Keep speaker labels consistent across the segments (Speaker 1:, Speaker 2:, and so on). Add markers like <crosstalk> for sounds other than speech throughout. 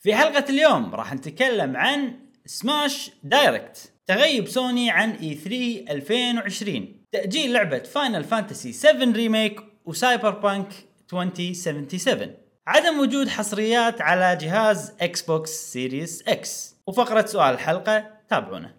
Speaker 1: في حلقة اليوم راح نتكلم عن سماش دايركت تغيب سوني عن E اي 3 2020 تأجيل لعبة فاينل فانتسي 7 ريميك وسايبر بانك 2077 عدم وجود حصريات على جهاز اكس بوكس سيريس اكس وفقرة سؤال الحلقة تابعونا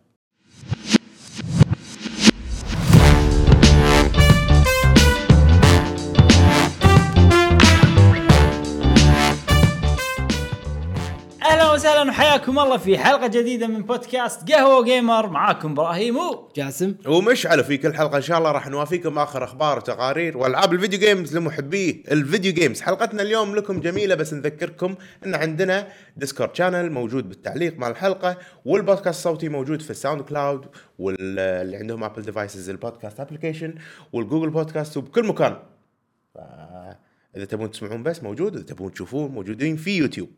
Speaker 1: اهلا وسهلا وحياكم الله في حلقة جديدة من بودكاست قهوة جيمر معاكم ابراهيم و
Speaker 2: جاسم
Speaker 3: ومشعل في كل حلقه ان شاء الله راح نوافيكم اخر اخبار وتقارير والعاب الفيديو جيمز لمحبي الفيديو جيمز حلقتنا اليوم لكم جميله بس نذكركم ان عندنا ديسكورد شانل موجود بالتعليق مع الحلقه والبودكاست الصوتي موجود في الساوند كلاود واللي عندهم ابل ديفايسز البودكاست ابلكيشن والجوجل بودكاست وبكل مكان ف- اذا تبون تسمعون بس موجود اذا تبون تشوفون موجودين في يوتيوب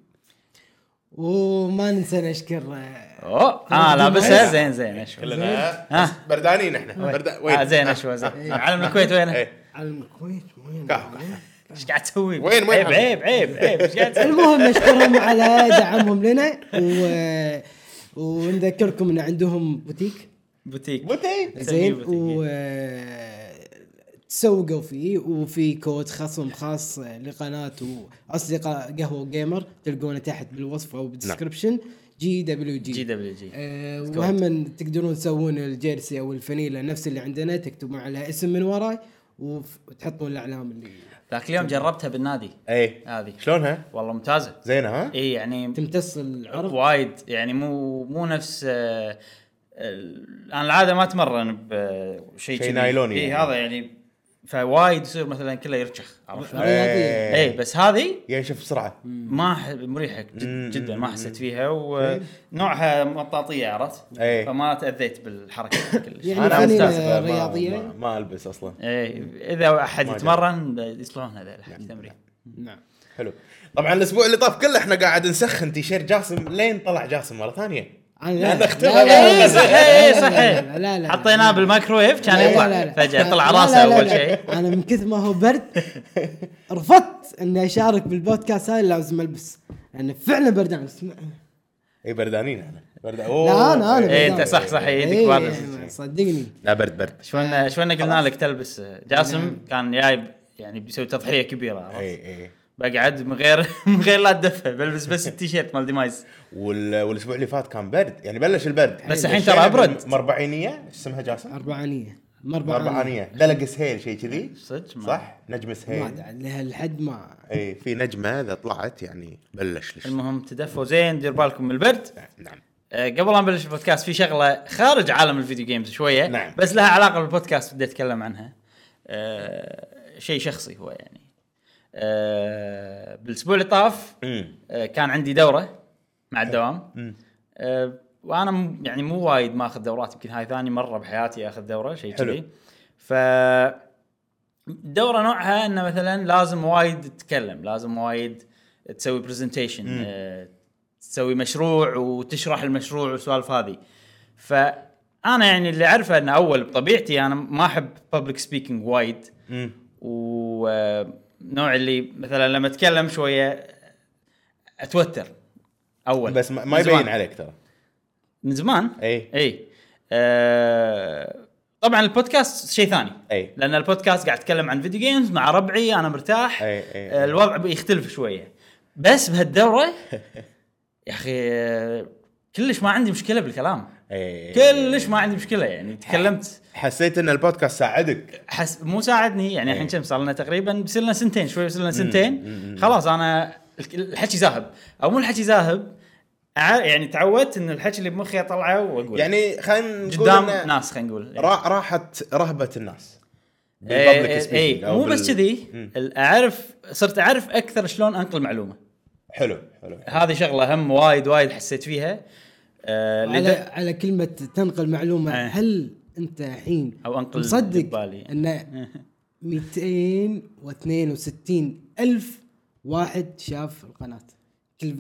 Speaker 2: وما ننسى نشكر آه،
Speaker 1: اوه اه لابسها زين زين اشوى
Speaker 3: كلنا بس بردانين احنا بردا- وين؟
Speaker 1: آه زين
Speaker 3: آه.
Speaker 1: اشوى زين علم الكويت وينه؟
Speaker 3: إيه.
Speaker 2: علم الكويت وين
Speaker 3: قهوة.
Speaker 1: ايش قاعد تسوي؟
Speaker 3: وين- وين
Speaker 1: عيب
Speaker 3: حمد؟
Speaker 1: عيب عيب عيب ايش قاعد
Speaker 3: <laughs>
Speaker 1: تسوي؟
Speaker 2: المهم نشكرهم على دعمهم لنا و... آه، ونذكركم ان عندهم بوتيك
Speaker 1: بوتيك
Speaker 3: متى؟
Speaker 1: نسميه
Speaker 2: زين
Speaker 1: بوتيك،
Speaker 2: و آه، تسوقوا فيه وفي كود خصم خاص لقناه واصدقاء قهوه جيمر تلقونه تحت بالوصف او بالدسكربشن جي دبليو
Speaker 1: جي دبليو جي
Speaker 2: آه، وهم إن تقدرون تسوون الجيرسي او الفنيله نفس اللي عندنا تكتبون على اسم من وراي وف- وتحطون الاعلام اللي
Speaker 1: ذاك اليوم جربتها بالنادي
Speaker 3: ايه
Speaker 1: هذه
Speaker 3: شلونها؟
Speaker 1: والله ممتازه
Speaker 3: زينه ها؟
Speaker 1: اي يعني
Speaker 2: تمتص العرض
Speaker 1: وايد يعني مو مو نفس آه، ال- انا العاده ما اتمرن بشيء
Speaker 3: شيء نايلوني
Speaker 1: اي
Speaker 3: يعني.
Speaker 1: هذا يعني فوايد يصير مثلا كله يرشخ عرفت شلون؟
Speaker 2: الرياضيه
Speaker 3: إيه.
Speaker 1: اي بس هذه
Speaker 3: ينشف بسرعه
Speaker 2: إيه.
Speaker 1: ما ح- مريحه جد-
Speaker 3: مم،
Speaker 1: جدا ما حسيت فيها
Speaker 3: إيه.
Speaker 1: ونوعها مطاطيه عرفت؟
Speaker 3: إيه.
Speaker 1: فما تاذيت بالحركه كلش
Speaker 2: يعني
Speaker 3: انا
Speaker 2: فني
Speaker 3: أستأثر، ما-
Speaker 2: رياضية.
Speaker 3: ما, ما البس اصلا
Speaker 1: ايه اذا احد
Speaker 3: ما
Speaker 1: يتمرن يصلحون هذا حق التمرين
Speaker 2: نعم
Speaker 3: حلو طبعا الاسبوع اللي طاف كله احنا قاعد نسخن تيشيرت جاسم لين طلع جاسم مره ثانيه
Speaker 2: انا
Speaker 3: أنا أختبر.
Speaker 2: لا- لا-
Speaker 1: اي
Speaker 2: لا-
Speaker 1: إيه، صحيح
Speaker 2: لا-
Speaker 1: اي
Speaker 2: لا-
Speaker 1: إيه، صحيح
Speaker 2: لا- لا- لا-
Speaker 1: حطيناه بالمايكرويف
Speaker 2: لا-
Speaker 1: كان
Speaker 2: لا-
Speaker 1: يطلع
Speaker 2: لا.
Speaker 1: فجاه طلع
Speaker 2: لا- لا-
Speaker 1: راسه
Speaker 2: لا-
Speaker 1: اول
Speaker 2: لا.
Speaker 1: شيء
Speaker 2: انا من كثر ما هو برد رفضت اني اشارك بالبودكاست هاي لازم البس لان فعلا بردان اسمع
Speaker 3: اي إيه، بردانين احنا برد...
Speaker 2: لا انا انا
Speaker 1: إيه،
Speaker 2: بردان.
Speaker 1: أنت صح- صح، إيه، يدك
Speaker 2: إيه،
Speaker 1: وارد.
Speaker 2: صدقني
Speaker 3: لا برد برد
Speaker 1: شلون آه، شلون قلنا لك تلبس آه،
Speaker 3: نعم.
Speaker 1: جاسم كان جايب يعني بيسوي تضحيه كبيره عرفت؟
Speaker 3: اي اي
Speaker 1: بقعد من غير <laughs> من غير لا تدفى بلبس بس التيشيرت مال ديمايز
Speaker 3: وال... والاسبوع اللي فات كان برد يعني بلش البرد
Speaker 1: بس الحين ترى أبرد.
Speaker 3: مربعينيه ايش اسمها جاسم؟
Speaker 2: اربعانيه مربعانيه
Speaker 3: مربعانيه دلق سهيل شيء كذي
Speaker 1: صدق ما-
Speaker 3: صح؟ نجم سهيل
Speaker 2: ما- لهالحد ما
Speaker 3: اي في نجمه اذا طلعت يعني بلش لش
Speaker 1: المهم تدفوا زين دير بالكم من البرد
Speaker 3: نعم
Speaker 1: آه، قبل لا نبلش البودكاست في شغله خارج عالم الفيديو جيمز شويه
Speaker 3: نعم.
Speaker 1: بس لها علاقه بالبودكاست بدي اتكلم عنها أه شيء شخصي هو يعني أه بالاسبوع اللي طاف
Speaker 3: امم
Speaker 1: أه كان عندي دوره مع الدوام
Speaker 3: أمم.
Speaker 1: أه وانا م- يعني مو وايد ما اخذ دورات يمكن هاي ثاني مره بحياتي اخذ دوره شيء
Speaker 3: حلو.
Speaker 1: كذي ف دوره نوعها انه مثلا لازم وايد تتكلم لازم وايد تسوي برزنتيشن تسوي مشروع وتشرح المشروع والسوالف هذه فانا يعني اللي اعرفه انه اول بطبيعتي انا ما احب بابليك سبيكينج وايد
Speaker 3: امم
Speaker 1: ونوع اللي مثلا لما اتكلم شويه اتوتر اول
Speaker 3: بس ما,
Speaker 1: من
Speaker 3: ما
Speaker 1: زمان.
Speaker 3: يبين إيه. عليك ترى
Speaker 1: من زمان
Speaker 3: اي
Speaker 1: اي آه طبعا البودكاست شيء ثاني
Speaker 3: أي.
Speaker 1: لان البودكاست قاعد اتكلم عن فيديو جيمز مع ربعي انا مرتاح
Speaker 3: أي، أي،
Speaker 1: آه،
Speaker 3: أي.
Speaker 1: الوضع بيختلف شويه بس
Speaker 3: <laughs>
Speaker 1: بهالدوره يا اخي آه، كلش ما عندي مشكله بالكلام
Speaker 3: اي
Speaker 1: كلش ما عندي مشكله يعني تكلمت
Speaker 3: إيه. حسيت ان البودكاست ساعدك
Speaker 1: حس مو ساعدني يعني
Speaker 3: إيه.
Speaker 1: الحين كم صار لنا تقريبا بيصير لنا سنتين شوي بيصير لنا سنتين خلاص انا الك- الحكي زاهب او مو الحكي زاهب أع- يعني تعودت ان الحكي اللي بمخي اطلعه واقول
Speaker 3: يعني خلينا نقول
Speaker 1: قدام
Speaker 3: إن
Speaker 1: ناس خلينا نقول يعني.
Speaker 3: را- راحت رهبه الناس
Speaker 1: إيه،
Speaker 3: بالpublic speaking
Speaker 1: إيه،
Speaker 3: أو
Speaker 1: مو
Speaker 3: بال-
Speaker 1: بس كذي
Speaker 3: مم.
Speaker 1: ال- اعرف صرت اعرف اكثر شلون انقل معلومه
Speaker 3: حلو حلو
Speaker 1: هذه شغله هم وايد وايد حسيت فيها آه
Speaker 2: على,
Speaker 1: لد...
Speaker 2: على كلمة تنقل معلومة
Speaker 1: إيه.
Speaker 2: هل أنت الحين
Speaker 1: أو أنقل
Speaker 2: مصدق
Speaker 1: ببالي.
Speaker 2: أن 262 ألف واحد شاف القناة كل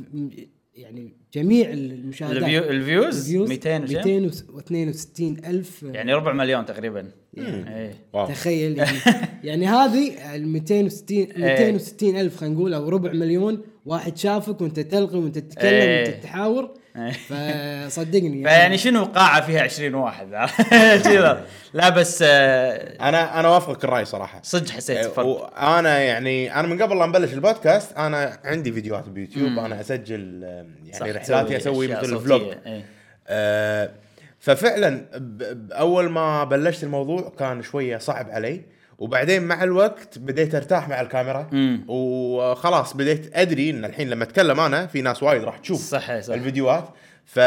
Speaker 2: يعني جميع المشاهدات
Speaker 1: الفيو... الفيوز
Speaker 2: الفيوز
Speaker 1: 200 وشي.
Speaker 2: 262 ألف
Speaker 1: يعني ربع مليون تقريبا إيه.
Speaker 3: واو
Speaker 2: تخيل
Speaker 1: إيه.
Speaker 2: يعني, يعني هذه ال 260 260 ألف خلينا نقول أو ربع مليون واحد شافك وانت تلقي وانت تتكلم
Speaker 1: إيه.
Speaker 2: وانت تحاور
Speaker 1: إيه.
Speaker 2: فصدقني يعني.
Speaker 3: يعني
Speaker 1: فيعني يعني شنو قاعه فيها 20 واحد <laughs> كذا لا بس آه،
Speaker 3: انا انا وافقك الراي صراحه
Speaker 1: صدق حسيت فرق
Speaker 3: وانا يعني انا من قبل لا نبلش البودكاست انا عندي فيديوهات بيوتيوب انا اسجل آم،
Speaker 1: صح،
Speaker 3: يعني رحلاتي
Speaker 1: تسوي
Speaker 3: اسوي
Speaker 1: أشياء
Speaker 3: مثل
Speaker 1: صوتية.
Speaker 3: فلوج
Speaker 1: إيه.
Speaker 3: آه، ففعلا ب- ب- اول ما بلشت الموضوع كان شويه صعب علي وبعدين مع الوقت بديت ارتاح مع الكاميرا
Speaker 1: مم.
Speaker 3: وخلاص بديت ادري ان الحين لما اتكلم انا في ناس وايد راح تشوف
Speaker 1: صح صح
Speaker 3: الفيديوهات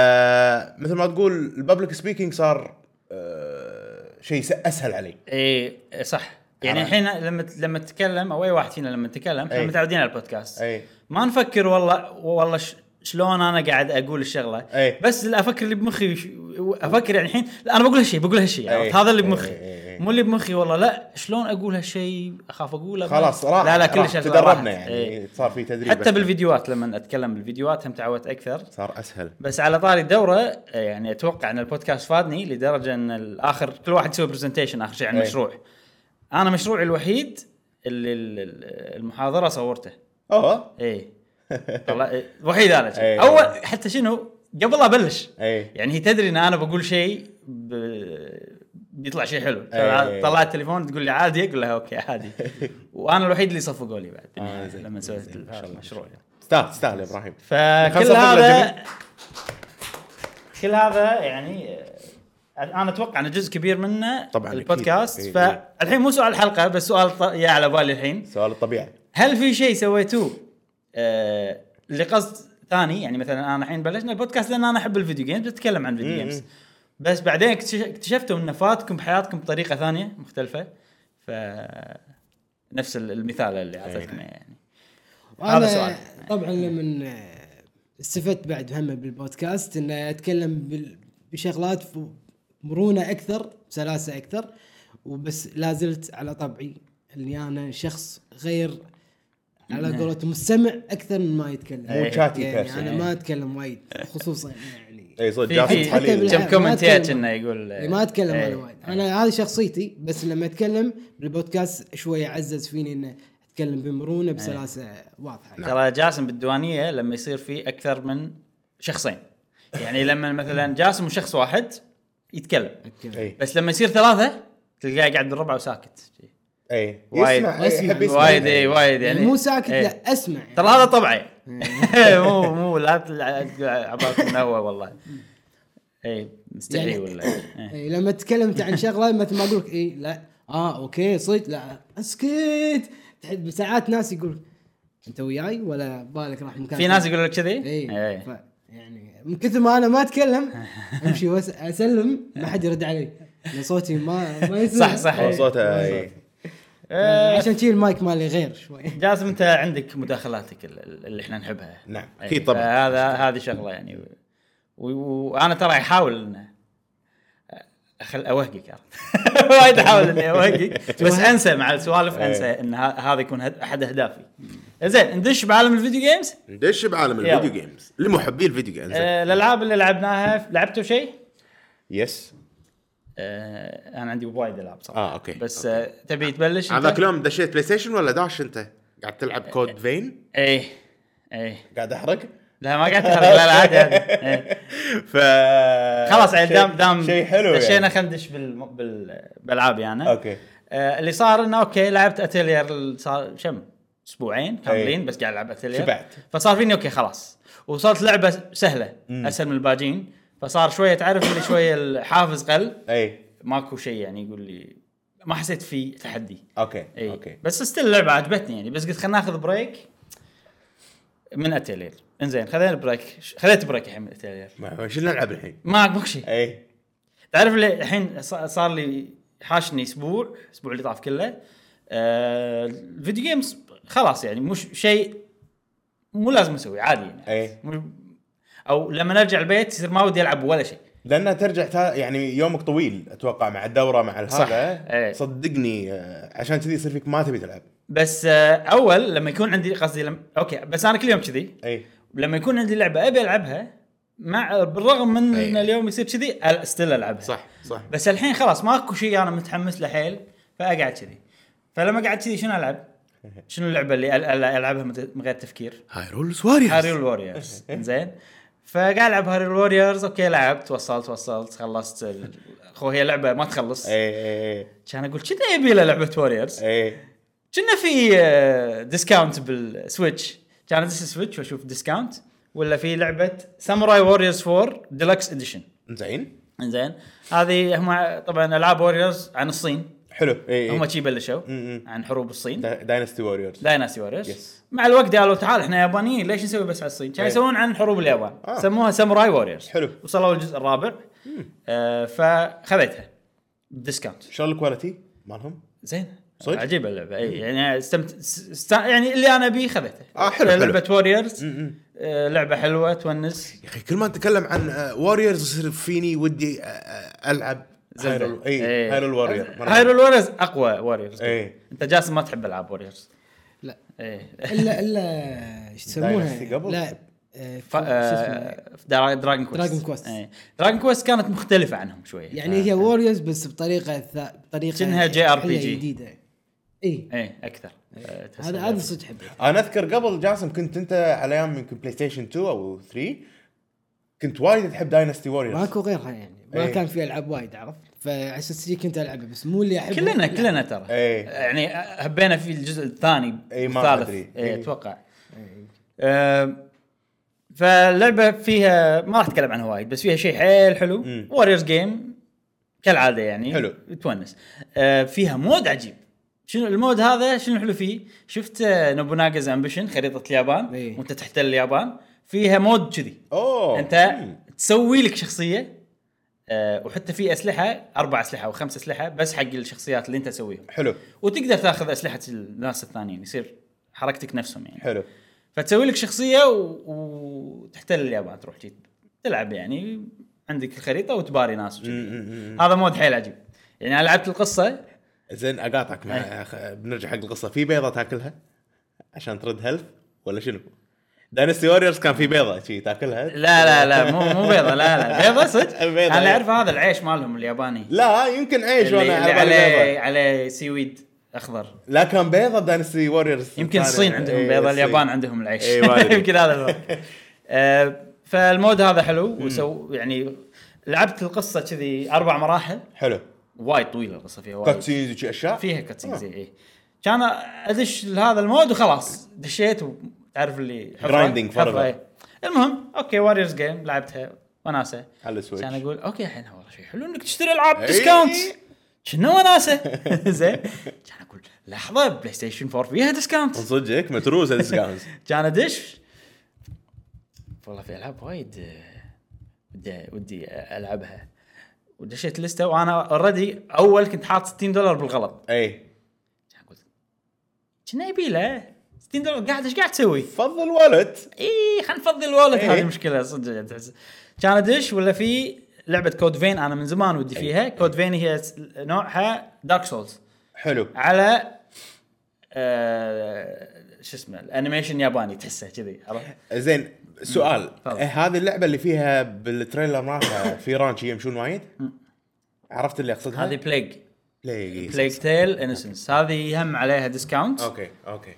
Speaker 3: فمثل ما تقول الببليك سبيكينج صار آه، شيء س- اسهل علي
Speaker 1: اي صح يعني
Speaker 3: عرفت.
Speaker 1: الحين لما لما تتكلم او اي واحد فينا لما نتكلم احنا
Speaker 3: إي.
Speaker 1: متعودين على البودكاست
Speaker 3: اي
Speaker 1: ما نفكر والله والله ش- شلون انا قاعد اقول الشغله
Speaker 3: إي.
Speaker 1: بس اللي افكر اللي بمخي ش- افكر يعني الحين لا انا بقول هالشيء بقول هالشيء
Speaker 3: إي.
Speaker 1: عرفت؟ هذا اللي
Speaker 3: إي،
Speaker 1: بمخي
Speaker 3: إي، إي.
Speaker 1: مو اللي بمخي والله لا شلون اقول هالشيء اخاف اقوله ما-
Speaker 3: خلاص راح
Speaker 1: لا لا كل
Speaker 3: راح.
Speaker 1: شغله راحت. إيه.
Speaker 3: تدربنا يعني
Speaker 1: إي.
Speaker 3: صار في تدريب
Speaker 1: حتى
Speaker 3: أكثر.
Speaker 1: بالفيديوهات لما اتكلم بالفيديوهات هم تعودت اكثر
Speaker 3: صار اسهل
Speaker 1: بس على طاري الدوره آه، يعني اتوقع ان البودكاست فادني لدرجه ان الاخر كل واحد يسوي برزنتيشن اخر شيء عن
Speaker 3: إيه.
Speaker 1: مشروع انا مشروعي الوحيد اللي ال- ال- المحاضره صورته
Speaker 3: اوه <laughs>
Speaker 1: اي طلع- إيه، الوحيد انا شي.
Speaker 3: إيه.
Speaker 1: اول حتى شنو قبل لا ابلش
Speaker 3: اي
Speaker 1: يعني هي تدري ان انا بقول شيء ب... بيطلع شيء حلو
Speaker 3: إيه.
Speaker 1: طلعت التليفون تقول لي عادي اقول لها اوكي
Speaker 3: <laughs>
Speaker 1: عادي وانا الوحيد اللي صفقوا لي بعد
Speaker 3: آه، زين،
Speaker 1: لما سويت
Speaker 3: زين، ما شاء الله.
Speaker 1: المشروع
Speaker 3: تستاهل تستاهل يا ابراهيم
Speaker 1: فكل
Speaker 3: خلصنا
Speaker 1: هذا
Speaker 3: الجميل.
Speaker 1: كل هذا يعني آه، انا اتوقع ان جزء كبير منه
Speaker 3: طبعاً،
Speaker 1: البودكاست
Speaker 3: أكيد. إيه، إيه.
Speaker 1: فالحين مو سؤال الحلقه بس سؤال ط- يا على بالي الحين
Speaker 3: سؤال الطبيعي
Speaker 1: هل في شيء سويتوه آه لقصد ثاني يعني مثلا انا الحين بلشنا البودكاست لان انا احب الفيديو جيمز بتكلم عن فيديو
Speaker 3: مم.
Speaker 1: جيمز بس بعدين اكتش- اكتشفتوا ان فاتكم بحياتكم بطريقه ثانيه مختلفه ف نفس ال- المثال اللي
Speaker 3: إيه.
Speaker 1: اعطيتنا يعني هذا
Speaker 2: هذا
Speaker 1: سؤال.
Speaker 2: سؤال طبعا لما آه، استفدت بعد هم بالبودكاست ان اتكلم بال- بشغلات ف- مرونه اكثر سلاسه اكثر وبس لا زلت على طبعي اني انا شخص غير على قولتهم مستمع اكثر من ما يتكلم
Speaker 1: مو
Speaker 3: chatty
Speaker 2: يعني
Speaker 3: person.
Speaker 2: انا ما اتكلم وايد خصوصا يعني
Speaker 3: اي صدق
Speaker 1: في
Speaker 3: جاسم
Speaker 1: في
Speaker 2: حتى
Speaker 3: حليل
Speaker 2: بالعكس.
Speaker 1: كم
Speaker 2: ما
Speaker 1: كومنت
Speaker 2: أتكلم.
Speaker 1: انه يقول آه،
Speaker 2: ما اتكلم
Speaker 1: إيه.
Speaker 2: انا وايد انا هذه شخصيتي بس لما اتكلم بالبودكاست شويه عزز فيني انه اتكلم بمرونه بسلاسه واضحه
Speaker 1: ترى جاسم بالديوانيه لما يصير في اكثر من شخصين يعني لما مثلا جاسم وشخص واحد يتكلم
Speaker 2: أتكلم.
Speaker 3: اي
Speaker 1: بس لما يصير ثلاثه تلقاه قاعد بالربع وساكت
Speaker 3: اي
Speaker 1: إيه. وايد-
Speaker 3: يسمع إي، يحب يسمع
Speaker 1: وايد اي وايد يعني
Speaker 2: يعني مو ساكت
Speaker 1: إيه.
Speaker 2: لا اسمع يعني.
Speaker 1: ترى هذا
Speaker 2: <laughs>
Speaker 1: طبعي <laughs> مو مو لا تلع- تقول عبارة من هو والله اي مستحي
Speaker 2: يعني-
Speaker 1: ولا إيه.
Speaker 2: إيه لما تكلمت عن شغله مثل ما اقول لك اي لا اه اوكي صدق لا اسكت تحب ساعات ناس يقول انت وياي ولا بالك راح مكان
Speaker 1: في ناس يقولوا لك كذي؟
Speaker 2: اي
Speaker 1: إيه.
Speaker 2: ف... يعني من كثر ما انا ما اتكلم امشي وأس... اسلم ما حد يرد علي لأن صوتي ما ما يسمع
Speaker 1: صح، صح.
Speaker 3: هو صوته اي
Speaker 1: إيه.
Speaker 2: عشان كذي المايك مالي غير شوي
Speaker 1: جاسم انت عندك مداخلاتك ال- ال- اللي احنا نحبها
Speaker 3: نعم،
Speaker 1: إيه،
Speaker 3: أكيد طبعاً.
Speaker 1: فهذا هذه شغله يعني و- و- وانا ترى احاول ان اخل اوهقك عرفت؟ <laughs> وايد احاول اني اوهقك بس انسى مع السوالف
Speaker 3: إيه.
Speaker 1: انسى ان ه- هذا يكون هد- احد اهدافي زين ندش بعالم الفيديو جيمز
Speaker 3: ندش بعالم
Speaker 1: يلا.
Speaker 3: الفيديو جيمز لمحبي الفيديو جيمز
Speaker 1: آه، الالعاب اللي لعبناها لعبتوا شيء؟
Speaker 3: يس
Speaker 1: آه، انا عندي وايد العاب صراحه
Speaker 3: آه، أوكي،
Speaker 1: بس آه، تبي تبلش أنت؟
Speaker 3: هذاك اليوم دشيت بلاي ستيشن ولا داش انت؟ قاعد تلعب
Speaker 1: إيه.
Speaker 3: كود فين؟
Speaker 1: ايه ايه
Speaker 3: قاعد احرق
Speaker 1: لا ما قاعد تحرق لا لا عادي
Speaker 3: <laughs>
Speaker 1: عادي إيه.
Speaker 3: ف
Speaker 1: خلاص يعني دام دام
Speaker 3: شيء حلو
Speaker 1: دشينا
Speaker 3: يعني
Speaker 1: خلينا ندش بال... بال... بالالعابي انا
Speaker 3: اوكي
Speaker 1: آه اللي صار انه اوكي لعبت اتيلير ال- صار كم اسبوعين كاملين بس قاعد العب اتيلير
Speaker 3: شبعت.
Speaker 1: فصار فيني اوكي خلاص وصارت لعبه سهله اسهل من الباجين فصار شويه تعرف اللي شويه الحافز قل
Speaker 3: اي
Speaker 1: ماكو شيء يعني يقول لي ما حسيت في تحدي
Speaker 3: اوكي
Speaker 1: اي
Speaker 3: اوكي
Speaker 1: بس ستيل اللعبه عجبتني يعني بس قلت خلينا ناخذ بريك من اتيلير انزين خذينا بريك خذيت بريك الحين من اتيلير
Speaker 3: ما- شو نلعب الحين؟ إيه.
Speaker 1: ما ماكو شيء
Speaker 3: اي
Speaker 1: تعرف لي الحين ص- صار لي حاشني اسبوع الاسبوع اللي طاف كله آه، الفيديو جيمز خلاص يعني مش شيء مو لازم اسوي عادي يعني
Speaker 3: إيه.
Speaker 1: مو- او لما ارجع البيت يصير ما ودي العب ولا شيء
Speaker 3: لانها ترجع تا... يعني يومك طويل اتوقع مع الدوره مع
Speaker 1: صح. إيه.
Speaker 3: هذا
Speaker 1: إي.
Speaker 3: صدقني آه، عشان كذي يصير فيك ما تبي تلعب
Speaker 1: بس آه، اول لما يكون عندي قصدي لم... اوكي بس انا كل يوم كذي
Speaker 3: اي
Speaker 1: لما يكون عندي لعبه ابي العبها مع بالرغم من ان
Speaker 3: إيه.
Speaker 1: اليوم يصير كذي أل- استل العبها
Speaker 3: صح صح
Speaker 1: بس الحين خلاص ماكو شيء انا متحمس له حيل فاقعد كذي فلما قعدت كذي شنو العب؟ شنو اللعبه اللي أل- أل- العبها من من غير تفكير؟
Speaker 3: هايرول واريورز
Speaker 1: هاريول ووريرز زين فقاعد العب هاريول ووريرز اوكي لعبت وصلت وصلت خلصت ال- خو هي لعبه ما تخلص
Speaker 3: إيه. اي
Speaker 1: كان اقول كنا يبي له لعبه ووريرز
Speaker 3: اي
Speaker 1: كنا في ديسكاونت بالسويتش كان ادش السويتش واشوف ديسكاونت ولا في لعبه ساموراي ووريرز 4 ديلكس اديشن
Speaker 3: زين
Speaker 1: زين هذه هم طبعا العاب ووريرز عن الصين
Speaker 3: حلو اي
Speaker 1: هم شي بلشوا
Speaker 3: مم.
Speaker 1: عن حروب الصين
Speaker 3: داينستي واريورز
Speaker 1: دايناسي ووريرز
Speaker 3: Yes.
Speaker 1: مع الوقت قالوا تعال احنا يابانيين ليش نسوي بس على الصين؟ كانوا
Speaker 3: أي.
Speaker 1: يسوون عن حروب اليابان
Speaker 3: آه.
Speaker 1: سموها ساموراي ووريرز
Speaker 3: حلو.
Speaker 1: وصلوا الجزء الرابع آه فخذيتها بديسكاونت
Speaker 3: شلون الكواليتي مالهم؟
Speaker 1: زين
Speaker 3: صدق؟
Speaker 1: عجيبه اللعبه اي يعني استمت... است... يعني اللي انا بيه خذيته
Speaker 3: آه، حلو، حلو.
Speaker 1: لعبه ووريرز آه لعبه حلوه تونس
Speaker 3: يا اخي كل ما نتكلم عن واريورز يصير فيني ودي آه، آه، العب هايرول إيه،
Speaker 1: إيه.
Speaker 3: اي هايرول واريور
Speaker 1: هايرول ووريرز اقوى ووريرز
Speaker 3: اي
Speaker 1: انت جاسم ما تحب إيه. العاب ووريرز
Speaker 2: لا
Speaker 1: اي
Speaker 2: الا الا ايش يسمونها
Speaker 3: Dynasty قبل؟
Speaker 2: لا آه،
Speaker 1: ف...
Speaker 2: شو اسمه؟
Speaker 1: آه... درا- دراجون كويست
Speaker 2: دراجون كويست.
Speaker 1: اي دراجون كويست كانت مختلفه عنهم شويه
Speaker 2: يعني هي ووريرز بس بطريقه ثا... بطريقه
Speaker 1: شنها JRPG.
Speaker 2: حلوة جديده اي
Speaker 1: اي اكثر آه، تحس
Speaker 2: إيه. هذا
Speaker 1: اللعبة.
Speaker 2: هذا صدق حبيته
Speaker 3: انا اذكر قبل جاسم كنت انت على ايام يمكن بلاي ستيشن 2 او 3 كنت وايد تحب داينستي واريورز
Speaker 2: ماكو غيرها يعني ما
Speaker 1: إيه.
Speaker 3: إي.
Speaker 2: كان في العاب وايد عرفت فعشان كذي كنت العبها بس مو اللي احبه
Speaker 1: كلنا
Speaker 2: لا.
Speaker 1: كلنا ترى
Speaker 3: إي.
Speaker 1: يعني هبينا في الجزء الثاني
Speaker 3: إي، ما
Speaker 1: والثالث.
Speaker 3: أدري.
Speaker 1: اي
Speaker 3: إي.
Speaker 1: اتوقع آم، فاللعبه فيها ما راح اتكلم عنها وايد بس فيها شيء حيل حلو
Speaker 3: مم.
Speaker 1: واريورز جيم كالعاده يعني
Speaker 3: حلو.
Speaker 1: تونس آه، فيها مود عجيب شنو المود هذا شنو الحلو فيه؟ شفت آه، نوبوناغاز امبيشن خريطه اليابان
Speaker 2: إي.
Speaker 1: وانت تحتل اليابان فيها مود كذي
Speaker 3: اوه
Speaker 1: انت
Speaker 3: مم.
Speaker 1: تسوي لك شخصيه آه، وحتى في اسلحه اربع اسلحه او خمس اسلحه بس حق الشخصيات اللي انت تسويهم
Speaker 3: حلو
Speaker 1: وتقدر تاخذ اسلحه الناس الثانيين يصير حركتك نفسهم يعني
Speaker 3: حلو
Speaker 1: فتسوي لك شخصيه و... وتحتل اليابان تروح جيت تلعب يعني عندك الخريطه وتباري ناس وجذي.
Speaker 3: مم، مم، مم.
Speaker 1: هذا مود حيل عجيب يعني انا لعبت القصه
Speaker 3: زين اقاطعك
Speaker 1: إيه.
Speaker 3: مع خ- بنرجع حق القصه في بيضه تاكلها عشان ترد هيلث ولا شنو؟ داينستي واريورز كان في بيضه شي تاكلها
Speaker 1: لا لا لا مو مو بيضه لا لا بيضه صدق
Speaker 3: <laughs> بيضة،
Speaker 1: انا اللي
Speaker 3: إيه.
Speaker 1: اعرفه هذا العيش مالهم الياباني
Speaker 3: لا يمكن عيش
Speaker 1: اللي,
Speaker 3: وانا
Speaker 1: اللي
Speaker 3: على
Speaker 1: عليه
Speaker 3: بالي بيضه
Speaker 1: عليه سيويد اخضر
Speaker 3: لا كان بيضه داينستي واريورز
Speaker 1: يمكن
Speaker 3: يعني
Speaker 1: الصين عندهم
Speaker 3: إيه،
Speaker 1: بيضه اليابان عندهم العيش
Speaker 3: إي، إيه، ما أدري.
Speaker 1: <laughs> يمكن هذا الفرق آه، فالمود هذا حلو وسو يعني لعبت القصه كذي اربع مراحل
Speaker 3: حلو
Speaker 1: وايد طويله القصه فيها وايد
Speaker 3: كاتسينز وشي اشياء
Speaker 1: فيها
Speaker 3: آه.
Speaker 1: كاتسينز زي ايه كان ادش لهذا المود وخلاص دشيت وتعرف اللي حفرة-
Speaker 3: Grinding
Speaker 1: حفرة،
Speaker 3: forever.
Speaker 1: إيه. المهم اوكي واريورز جيم لعبتها وناسه
Speaker 3: على السويتش.
Speaker 1: كان اقول اوكي الحين والله شيء حلو انك تشتري العاب
Speaker 3: إيه.
Speaker 1: ديسكاونت شنو وناسه <laughs> زين كان اقول لحظه بلاي ستيشن 4 فيها ديسكاونت
Speaker 3: من صدقك
Speaker 1: <laughs>
Speaker 3: متروسه ديسكاونت
Speaker 1: كان ادش والله في العاب وايد آه، ودي ودي العبها ودشيت لسته وانا اوريدي اول كنت حاط 60 دولار بالغلط
Speaker 3: اي
Speaker 1: كان قلت كنا يبي له 60 دولار قاعد ايش قاعد تسوي؟
Speaker 3: تفضل والت
Speaker 1: اي خلينا نفضل الوالد
Speaker 3: إيه.
Speaker 1: هذه مشكله صدق يعني تحس كان ادش ولا في لعبه كود فين انا من زمان ودي فيها كود فين هي س- نوعها دارك سولز
Speaker 3: حلو
Speaker 1: على آه شو اسمه الانيميشن ياباني تحسه كذي عرفت؟
Speaker 3: زين سؤال
Speaker 1: تفضل.
Speaker 3: آه، هذه اللعبه اللي فيها بالتريلر مالها في رانش يمشون وايد عرفت اللي اقصدها؟
Speaker 1: هذه بليج
Speaker 3: بلاي
Speaker 1: بليج تيل انسنس هذه هم عليها ديسكاونت
Speaker 3: اوكي اوكي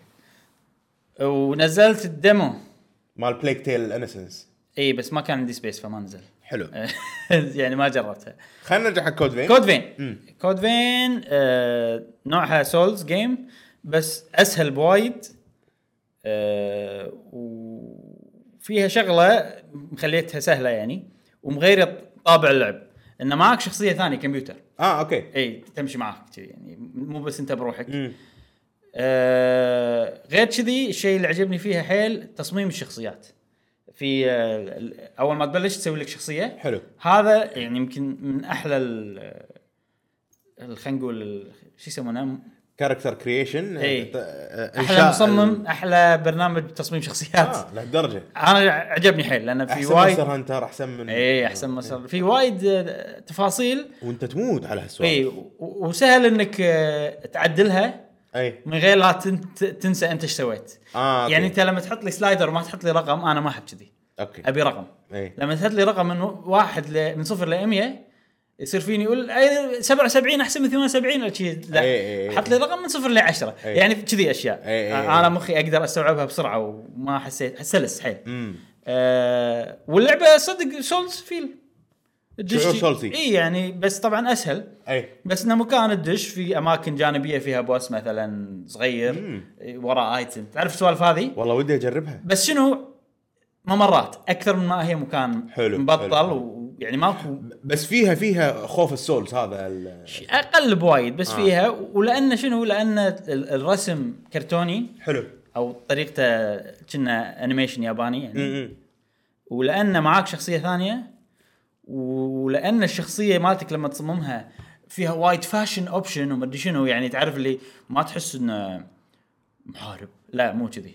Speaker 1: ونزلت الديمو
Speaker 3: مال بليك تيل انسنس
Speaker 1: اي بس ما كان عندي سبيس فما نزل <laughs>
Speaker 3: حلو
Speaker 1: يعني ما جربتها
Speaker 3: خلينا نرجع حق كود فين
Speaker 1: كود فين كود فين آه نوعها سولز جيم بس اسهل بوايد آه وفيها شغله مخليتها سهله يعني ومغيره طابع اللعب ان معك شخصيه ثانيه كمبيوتر
Speaker 3: اه اوكي
Speaker 1: اي تمشي معك كذي يعني مو بس انت بروحك
Speaker 3: مم.
Speaker 1: آه غير كذي الشيء اللي عجبني فيها حيل تصميم الشخصيات في آه ال- اول ما تبلش تسوي لك شخصيه
Speaker 3: حلو
Speaker 1: هذا يعني يمكن من احلى ال ال- خلينا نقول ال- شو يسمونه
Speaker 3: كاركتر كرييشن
Speaker 1: إي.
Speaker 3: آه،
Speaker 1: احلى إيه. مصمم احلى برنامج تصميم شخصيات
Speaker 3: اه لهالدرجه
Speaker 1: انا عجبني حيل لان في
Speaker 3: احسن وايد
Speaker 1: وايد
Speaker 3: هانتر احسن من
Speaker 1: اي احسن
Speaker 3: إيه.
Speaker 1: مسار في وايد آه، تفاصيل
Speaker 3: وانت تموت على هالسؤال
Speaker 1: اي و- وسهل انك آه، تعدلها
Speaker 3: اي
Speaker 1: من غير لا تن- ت- تنسى انت ايش سويت
Speaker 3: اه إيه. أوكي.
Speaker 1: يعني انت لما تحط لي سلايدر ما تحط لي رقم انا ما احب كذي
Speaker 3: اوكي
Speaker 1: ابي رقم
Speaker 3: اي
Speaker 1: لما تحط لي رقم من واحد ل... من صفر ل 100 يصير فيني يقول أي- 77 احسن من 78 ولا شيء لا
Speaker 3: إي إي إي.
Speaker 1: حط لي رقم من صفر ل 10
Speaker 3: إي.
Speaker 1: يعني كذي اشياء
Speaker 3: إي إي إي.
Speaker 1: انا مخي اقدر استوعبها بسرعه وما حسيت سلس حيل
Speaker 3: امم
Speaker 1: آه واللعبه صدق سولز فيل
Speaker 3: شعور سولزي.
Speaker 1: اي يعني بس طبعا اسهل
Speaker 3: اي
Speaker 1: بس انه مكان الدش في اماكن جانبيه فيها بوس مثلا صغير
Speaker 3: مم.
Speaker 1: إيه، وراه ايتم تعرف السوالف هذه
Speaker 3: والله ودي اجربها
Speaker 1: بس شنو ممرات اكثر من ما هي مكان
Speaker 3: حلو،
Speaker 1: مبطل
Speaker 3: حلو.
Speaker 1: ويعني ماكو
Speaker 3: بس فيها فيها خوف السولز هذا ال-
Speaker 1: اقل بوايد بس
Speaker 3: آه.
Speaker 1: فيها ولان شنو لان ال- الرسم كرتوني
Speaker 3: حلو
Speaker 1: او طريقته كنا انيميشن ياباني يعني
Speaker 3: امم
Speaker 1: ولان معاك شخصيه ثانيه ولان الشخصيه مالتك لما تصممها فيها وايد فاشن اوبشن ومدري شنو يعني تعرف اللي ما تحس انه محارب لا مو كذي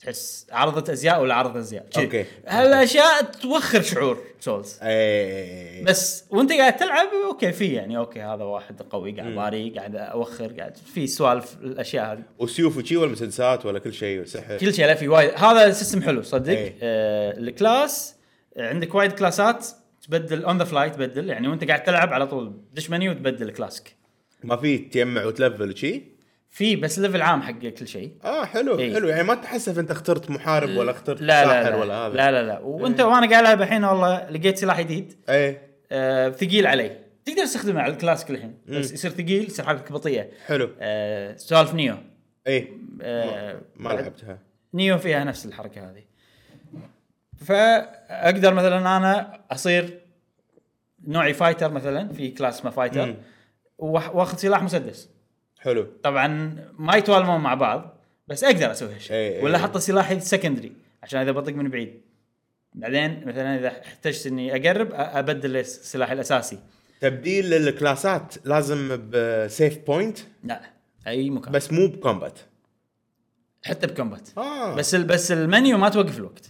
Speaker 1: تحس عرضت ازياء ولا عرض ازياء كذي.
Speaker 3: أوكي.
Speaker 1: هالاشياء توخر شعور
Speaker 3: إيه،
Speaker 1: سولز
Speaker 3: اي
Speaker 1: بس وانت قاعد تلعب اوكي في يعني اوكي هذا واحد قوي قاعد باري قاعد اوخر قاعد في سوالف الاشياء هذه
Speaker 3: وسيوف وشي ولا مسدسات ولا كل شيء سحر
Speaker 1: كل شيء لا في وايد E هذا سيستم حلو صدق
Speaker 3: إيه.
Speaker 1: آه الكلاس آه، عندك وايد كلاسات تبدل اون ذا فلاي تبدل يعني وانت قاعد تلعب على طول دش منيو وتبدل كلاسك
Speaker 3: ما في تجمع وتلفل شي
Speaker 1: في بس ليفل عام حق كل شيء
Speaker 3: اه حلو
Speaker 1: إي.
Speaker 3: حلو يعني ما تحسف انت اخترت محارب ولا اخترت
Speaker 1: إيه. لا
Speaker 3: ساحر
Speaker 1: لا لا
Speaker 3: ولا هذا إيه.
Speaker 1: لا لا لا وانت وانا قاعد العب الحين والله لقيت سلاح جديد
Speaker 3: اي
Speaker 1: آه ثقيل علي تقدر تستخدمه على الكلاسك الحين
Speaker 3: إيه.
Speaker 1: بس يصير ثقيل يصير حركتك بطيئه
Speaker 3: حلو
Speaker 1: آه سوالف نيو
Speaker 3: اي
Speaker 1: آه
Speaker 3: ما لعبتها
Speaker 1: نيو فيها نفس الحركه هذه فاقدر مثلا انا اصير نوعي فايتر مثلا في كلاس اسمه فايتر
Speaker 3: مم.
Speaker 1: وأح- واخذ سلاح مسدس
Speaker 3: حلو
Speaker 1: طبعا ما يتوالمون مع بعض بس اقدر اسوي
Speaker 3: إي
Speaker 1: هالشيء
Speaker 3: إي.
Speaker 1: ولا احط سلاحي سكندري عشان اذا بطق من بعيد بعدين مثلا اذا احتجت اني اقرب أ- ابدل السلاح الاساسي
Speaker 3: تبديل للكلاسات لازم بسيف بوينت
Speaker 1: لا اي مكان
Speaker 3: بس مو بكومبات
Speaker 1: حتى بكومبات
Speaker 3: اه
Speaker 1: بس ال- بس المنيو ما توقف الوقت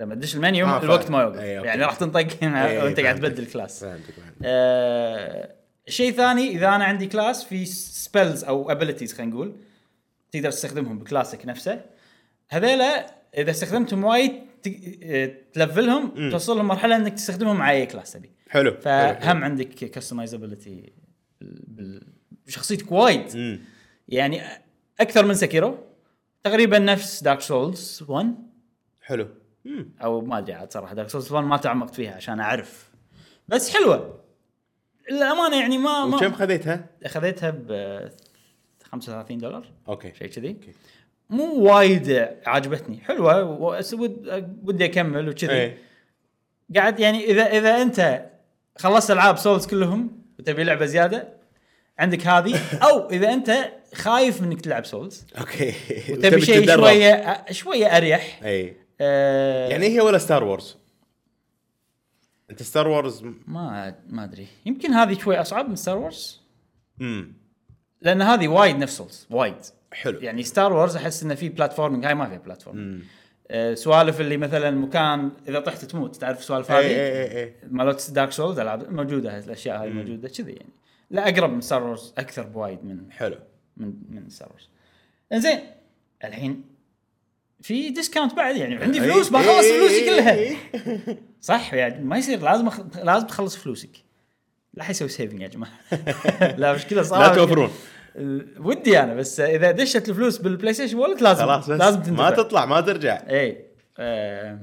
Speaker 1: لما تدش المنيو
Speaker 3: آه،
Speaker 1: آه
Speaker 3: فاهم.
Speaker 1: الوقت ما يوقف
Speaker 3: أي، أوكي.
Speaker 1: يعني راح تنطق
Speaker 3: أي،
Speaker 1: هنا
Speaker 3: أي،
Speaker 1: وانت قاعد
Speaker 3: فهمتك.
Speaker 1: تبدل كلاس
Speaker 3: فهمتك فهمتك.
Speaker 1: آه شيء ثاني اذا انا عندي كلاس في سبيلز او ابيلتيز خلينا نقول تقدر تستخدمهم بكلاسك نفسه هذيلا اذا استخدمتهم وايد ت- آه، تلفلهم توصل لهم مرحله انك تستخدمهم مع اي كلاس تبي
Speaker 3: حلو حلو، حلو.
Speaker 1: فهم عندك كستمايزابيلتي بشخصيتك وايد
Speaker 3: مم.
Speaker 1: يعني اكثر من سكيرو تقريبا نفس دارك سولز 1
Speaker 3: حلو مم.
Speaker 1: او ما ادري عاد صراحه دارك سولز 1 ما تعمقت فيها عشان اعرف بس حلوه للامانه يعني ما
Speaker 3: وكم
Speaker 1: ما
Speaker 3: خذيتها؟
Speaker 1: اخذتها ب 35 دولار
Speaker 3: اوكي
Speaker 1: شيء كذي مو وايد عجبتني حلوه وأس- ود- ودي اكمل وكذي
Speaker 3: اي
Speaker 1: قاعد يعني اذا اذا انت خلصت العاب سولز كلهم وتبي لعبه زياده عندك
Speaker 3: <laughs>
Speaker 1: هذه او اذا انت خايف منك تلعب سولز
Speaker 3: اوكي
Speaker 1: وتبي شيء
Speaker 3: تتدرب.
Speaker 1: شويه شويه اريح آه،
Speaker 3: اي إيه. يعني هي ولا ستار وورز انت ستار وورز
Speaker 1: ما ما ادري يمكن هذه شوي اصعب من ستار وورز
Speaker 3: امم
Speaker 1: لان هذه وايد نفس سولز وايد
Speaker 3: حلو
Speaker 1: يعني ستار وورز احس انه في بلاتفورمينج هاي ما فيها بلاتفورمينج أه سوالف اللي مثلا مكان اذا طحت تموت تعرف السوالف
Speaker 3: اي
Speaker 1: هذه
Speaker 3: اي اي اي
Speaker 1: مالت دارك سولز العاب موجوده هاي الاشياء هاي موجوده كذي يعني لا اقرب من ستار وورز اكثر بوايد من
Speaker 3: حلو
Speaker 1: من من ستار وورز انزين الحين في ديسكاونت بعد يعني عندي
Speaker 3: أي.
Speaker 1: فلوس
Speaker 3: أي،
Speaker 1: بخلص
Speaker 3: أي،
Speaker 1: فلوسي
Speaker 3: أي،
Speaker 1: كلها
Speaker 3: أي.
Speaker 1: صح يعني ما يصير لازم أخ... لازم تخلص فلوسك لا حيسوي سيفنج يا
Speaker 3: <laughs>
Speaker 1: جماعه لا مشكله صعبه
Speaker 3: لا توفرون
Speaker 1: ال- ودي انا بس اذا دشت الفلوس بالبلاي ستيشن وولت لازم
Speaker 3: خلاص بس
Speaker 1: لازم
Speaker 3: ما
Speaker 1: تندفع
Speaker 3: تطلع ما ترجع
Speaker 1: اي آه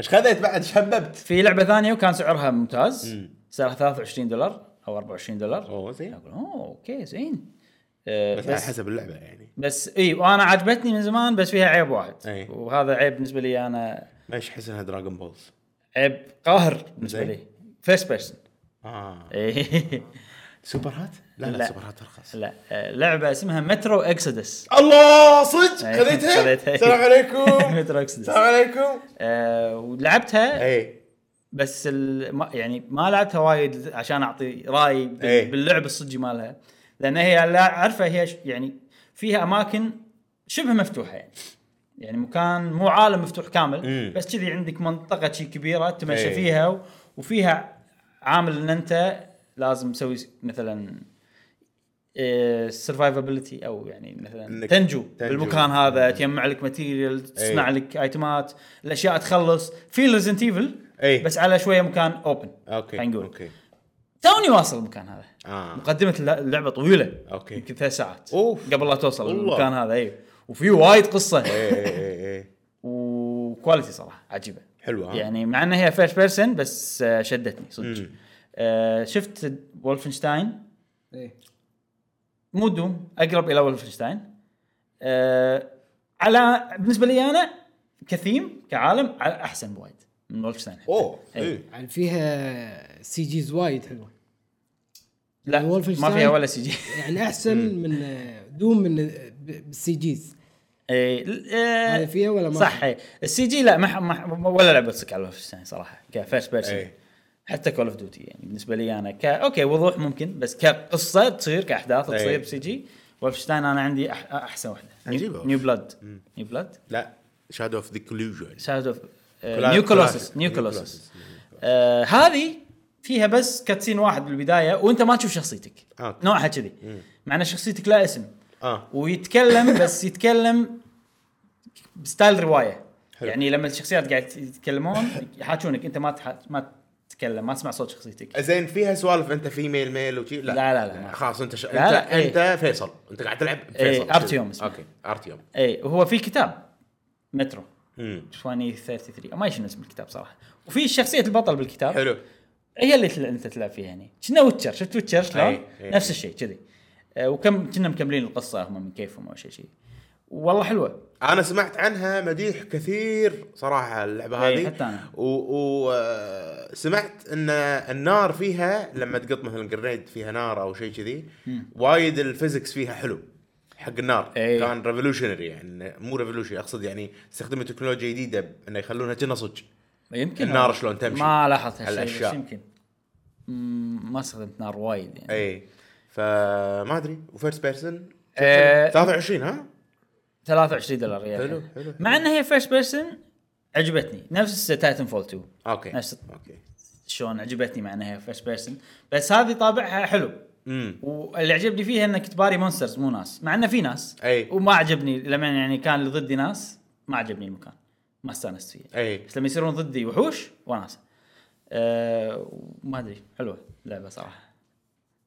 Speaker 3: ايش خذيت بعد شببت
Speaker 1: في لعبه ثانيه وكان سعرها ممتاز
Speaker 3: مم.
Speaker 1: سعرها 23 دولار او 24 دولار
Speaker 3: اوه زين
Speaker 1: اقول اوه اوكي زين آه
Speaker 3: بس على
Speaker 1: بس
Speaker 3: حسب اللعبه يعني
Speaker 1: بس اي وانا عجبتني من زمان بس فيها عيب واحد
Speaker 3: أي.
Speaker 1: وهذا عيب بالنسبه لي انا
Speaker 3: ما ايش احس انها دراجون بولز
Speaker 1: عيب قاهر بالنسبه
Speaker 3: زين.
Speaker 1: لي فيرست بيرسون
Speaker 3: اه سوبر هات؟ لا لا,
Speaker 1: لا.
Speaker 3: سوبر هات ارخص
Speaker 1: <laughs> لا آه، لعبه اسمها مترو اكسدس
Speaker 3: الله صدق
Speaker 1: أي،
Speaker 3: خذيتها؟
Speaker 1: إيه، خذيتها.
Speaker 3: السلام
Speaker 1: <laughs>
Speaker 3: عليكم
Speaker 1: مترو اكسدس
Speaker 3: السلام عليكم
Speaker 1: آه، ولعبتها
Speaker 3: اي
Speaker 1: بس ال... ما يعني ما لعبتها وايد عشان اعطي راي بال...
Speaker 3: إيه.
Speaker 1: باللعب الصجي مالها لان هي لا اعرفها هي ش... يعني فيها اماكن شبه مفتوحه يعني يعني مكان مو عالم مفتوح كامل
Speaker 3: مم.
Speaker 1: بس كذي عندك منطقه شي كبيره تمشى
Speaker 3: إيه.
Speaker 1: فيها و... وفيها عامل ان انت لازم تسوي س- مثلا سرفايفابيلتي او يعني مثلا
Speaker 3: إنك
Speaker 1: تنجو,
Speaker 3: تنجو.
Speaker 1: بالمكان هذا تجمع لك ماتيريال تصنع
Speaker 3: إيه.
Speaker 1: لك ايتمات الاشياء تخلص في ريزنت ايفل
Speaker 3: اي
Speaker 1: بس على شويه مكان اوبن
Speaker 3: اوكي
Speaker 1: خلينا نقول
Speaker 3: اوكي
Speaker 1: توني واصل المكان هذا
Speaker 3: آه.
Speaker 1: مقدمه الل- اللعبه طويله
Speaker 3: أوكي.
Speaker 1: يمكن ثلاث ساعات
Speaker 3: أوف.
Speaker 1: قبل لا توصل
Speaker 3: والله.
Speaker 1: المكان هذا اي وفي وايد قصه
Speaker 3: إيه، إيه، إيه، إيه.
Speaker 1: وكواليتي صراحه عجيبه
Speaker 3: حلوه ها؟
Speaker 1: يعني مع انها هي فيرست بيرسون بس آه، شدتني صدق آه شفت وولفنشتاين
Speaker 2: إيه.
Speaker 1: مو دوم اقرب الى ولفنشتاين آه على بالنسبه لي انا كثيم كعالم على احسن وايد من ولفنشتاين
Speaker 3: اوه
Speaker 1: إيه.
Speaker 3: إيه.
Speaker 2: يعني فيها سي جيز وايد حلوه
Speaker 1: لا
Speaker 2: يعني
Speaker 1: ما
Speaker 2: وولفنشتاين-
Speaker 1: فيها ولا سي جي <laughs>
Speaker 2: يعني احسن من آه، دوم من آه، ب- بالسي جيز
Speaker 1: إيه، ل- آه،
Speaker 2: هذا فيها ولا ما
Speaker 1: صح
Speaker 2: فيها؟
Speaker 1: إيه. السي جي لا ما ح- ما ح- ولا لعبه تصك على ولفنشتاين صراحه كفيرست بيرسون
Speaker 3: إيه.
Speaker 1: حتى كول اوف ديوتي يعني بالنسبه لي انا ك اوكي وضوح ممكن بس كقصه تصير كاحداث
Speaker 3: إيه.
Speaker 1: تصير بسي جي ولفنشتاين انا عندي أح احسن واحده
Speaker 3: عجيبة.
Speaker 1: نيو بلاد نيو بلاد
Speaker 3: لا شادو اوف ذا كولوجن
Speaker 1: شادو اوف
Speaker 3: كلا-
Speaker 1: نيو كولوسس
Speaker 3: كلاسيك.
Speaker 1: نيو
Speaker 3: New
Speaker 1: كولوسس
Speaker 3: Colossus.
Speaker 1: آه، هذه فيها بس كاتسين واحد بالبدايه وانت ما تشوف شخصيتك
Speaker 3: آه.
Speaker 1: نوعها كذي مع ان شخصيتك لا اسم
Speaker 3: اه <laughs>
Speaker 1: ويتكلم بس يتكلم بستايل روايه
Speaker 3: حلو.
Speaker 1: يعني لما الشخصيات قاعد يتكلمون يحاكونك انت ما تح... ما تتكلم ما تسمع صوت شخصيتك
Speaker 3: زين فيها سوالف انت في ميل ميل وشي لا
Speaker 1: لا، لا، لا.
Speaker 3: خلاص انت ش... انت
Speaker 1: لا، لا، إيه.
Speaker 3: انت فيصل انت قاعد تلعب فيصل
Speaker 1: إيه، أرتيوم اسمه.
Speaker 3: اوكي ارتيوم
Speaker 1: اي إيه، وهو في كتاب مترو
Speaker 3: مم.
Speaker 1: 2033 ما شنو اسم الكتاب صراحه وفي شخصيه البطل بالكتاب
Speaker 3: حلو
Speaker 1: هي اللي تل... انت تلعب فيها يعني كنا ويتشر شفت ويتشر شلون؟
Speaker 3: أي، أي.
Speaker 1: نفس الشيء كذي آه، وكم كنا مكملين القصه هم من كيفهم او شيء شيء والله حلوه
Speaker 3: انا سمعت عنها مديح كثير صراحه اللعبه
Speaker 1: إيه،
Speaker 3: هذه
Speaker 1: حتى أنا.
Speaker 3: وسمعت ان النار فيها لما تقط مثلا جريد فيها نار او شيء كذي وايد الفيزكس فيها حلو حق النار
Speaker 1: إيه.
Speaker 3: كان ريفولوشنري يعني مو ريفولوشن اقصد يعني استخدموا تكنولوجيا جديده انه يخلونها كنا صج
Speaker 1: يمكن
Speaker 3: النار
Speaker 1: والله.
Speaker 3: شلون تمشي.
Speaker 1: ما لاحظت هالشيء
Speaker 3: هالأشياء.
Speaker 1: بس يمكن مم، ما استخدمت نار وايد يعني
Speaker 3: اي إيه. فما ادري وفيرست بيرسون
Speaker 1: آه،
Speaker 3: 23 ها
Speaker 1: 23 دولار يعني
Speaker 3: حلو، حلو،
Speaker 1: مع ان هي فيرست بيرسون عجبتني نفس تايتن فول 2
Speaker 3: اوكي
Speaker 1: نفس-
Speaker 3: اوكي
Speaker 1: شلون عجبتني مع انها هي فيرست بيرسون بس هذه طابعها حلو
Speaker 3: امم
Speaker 1: واللي عجبني فيها انك تباري مونسترز مو ناس مع انه في ناس
Speaker 3: أي.
Speaker 1: وما عجبني لما يعني كان اللي ضدي ناس ما عجبني المكان ما استانست فيه
Speaker 3: أي.
Speaker 1: بس لما يصيرون ضدي وحوش وناس أه ما ادري حلوه اللعبه صراحه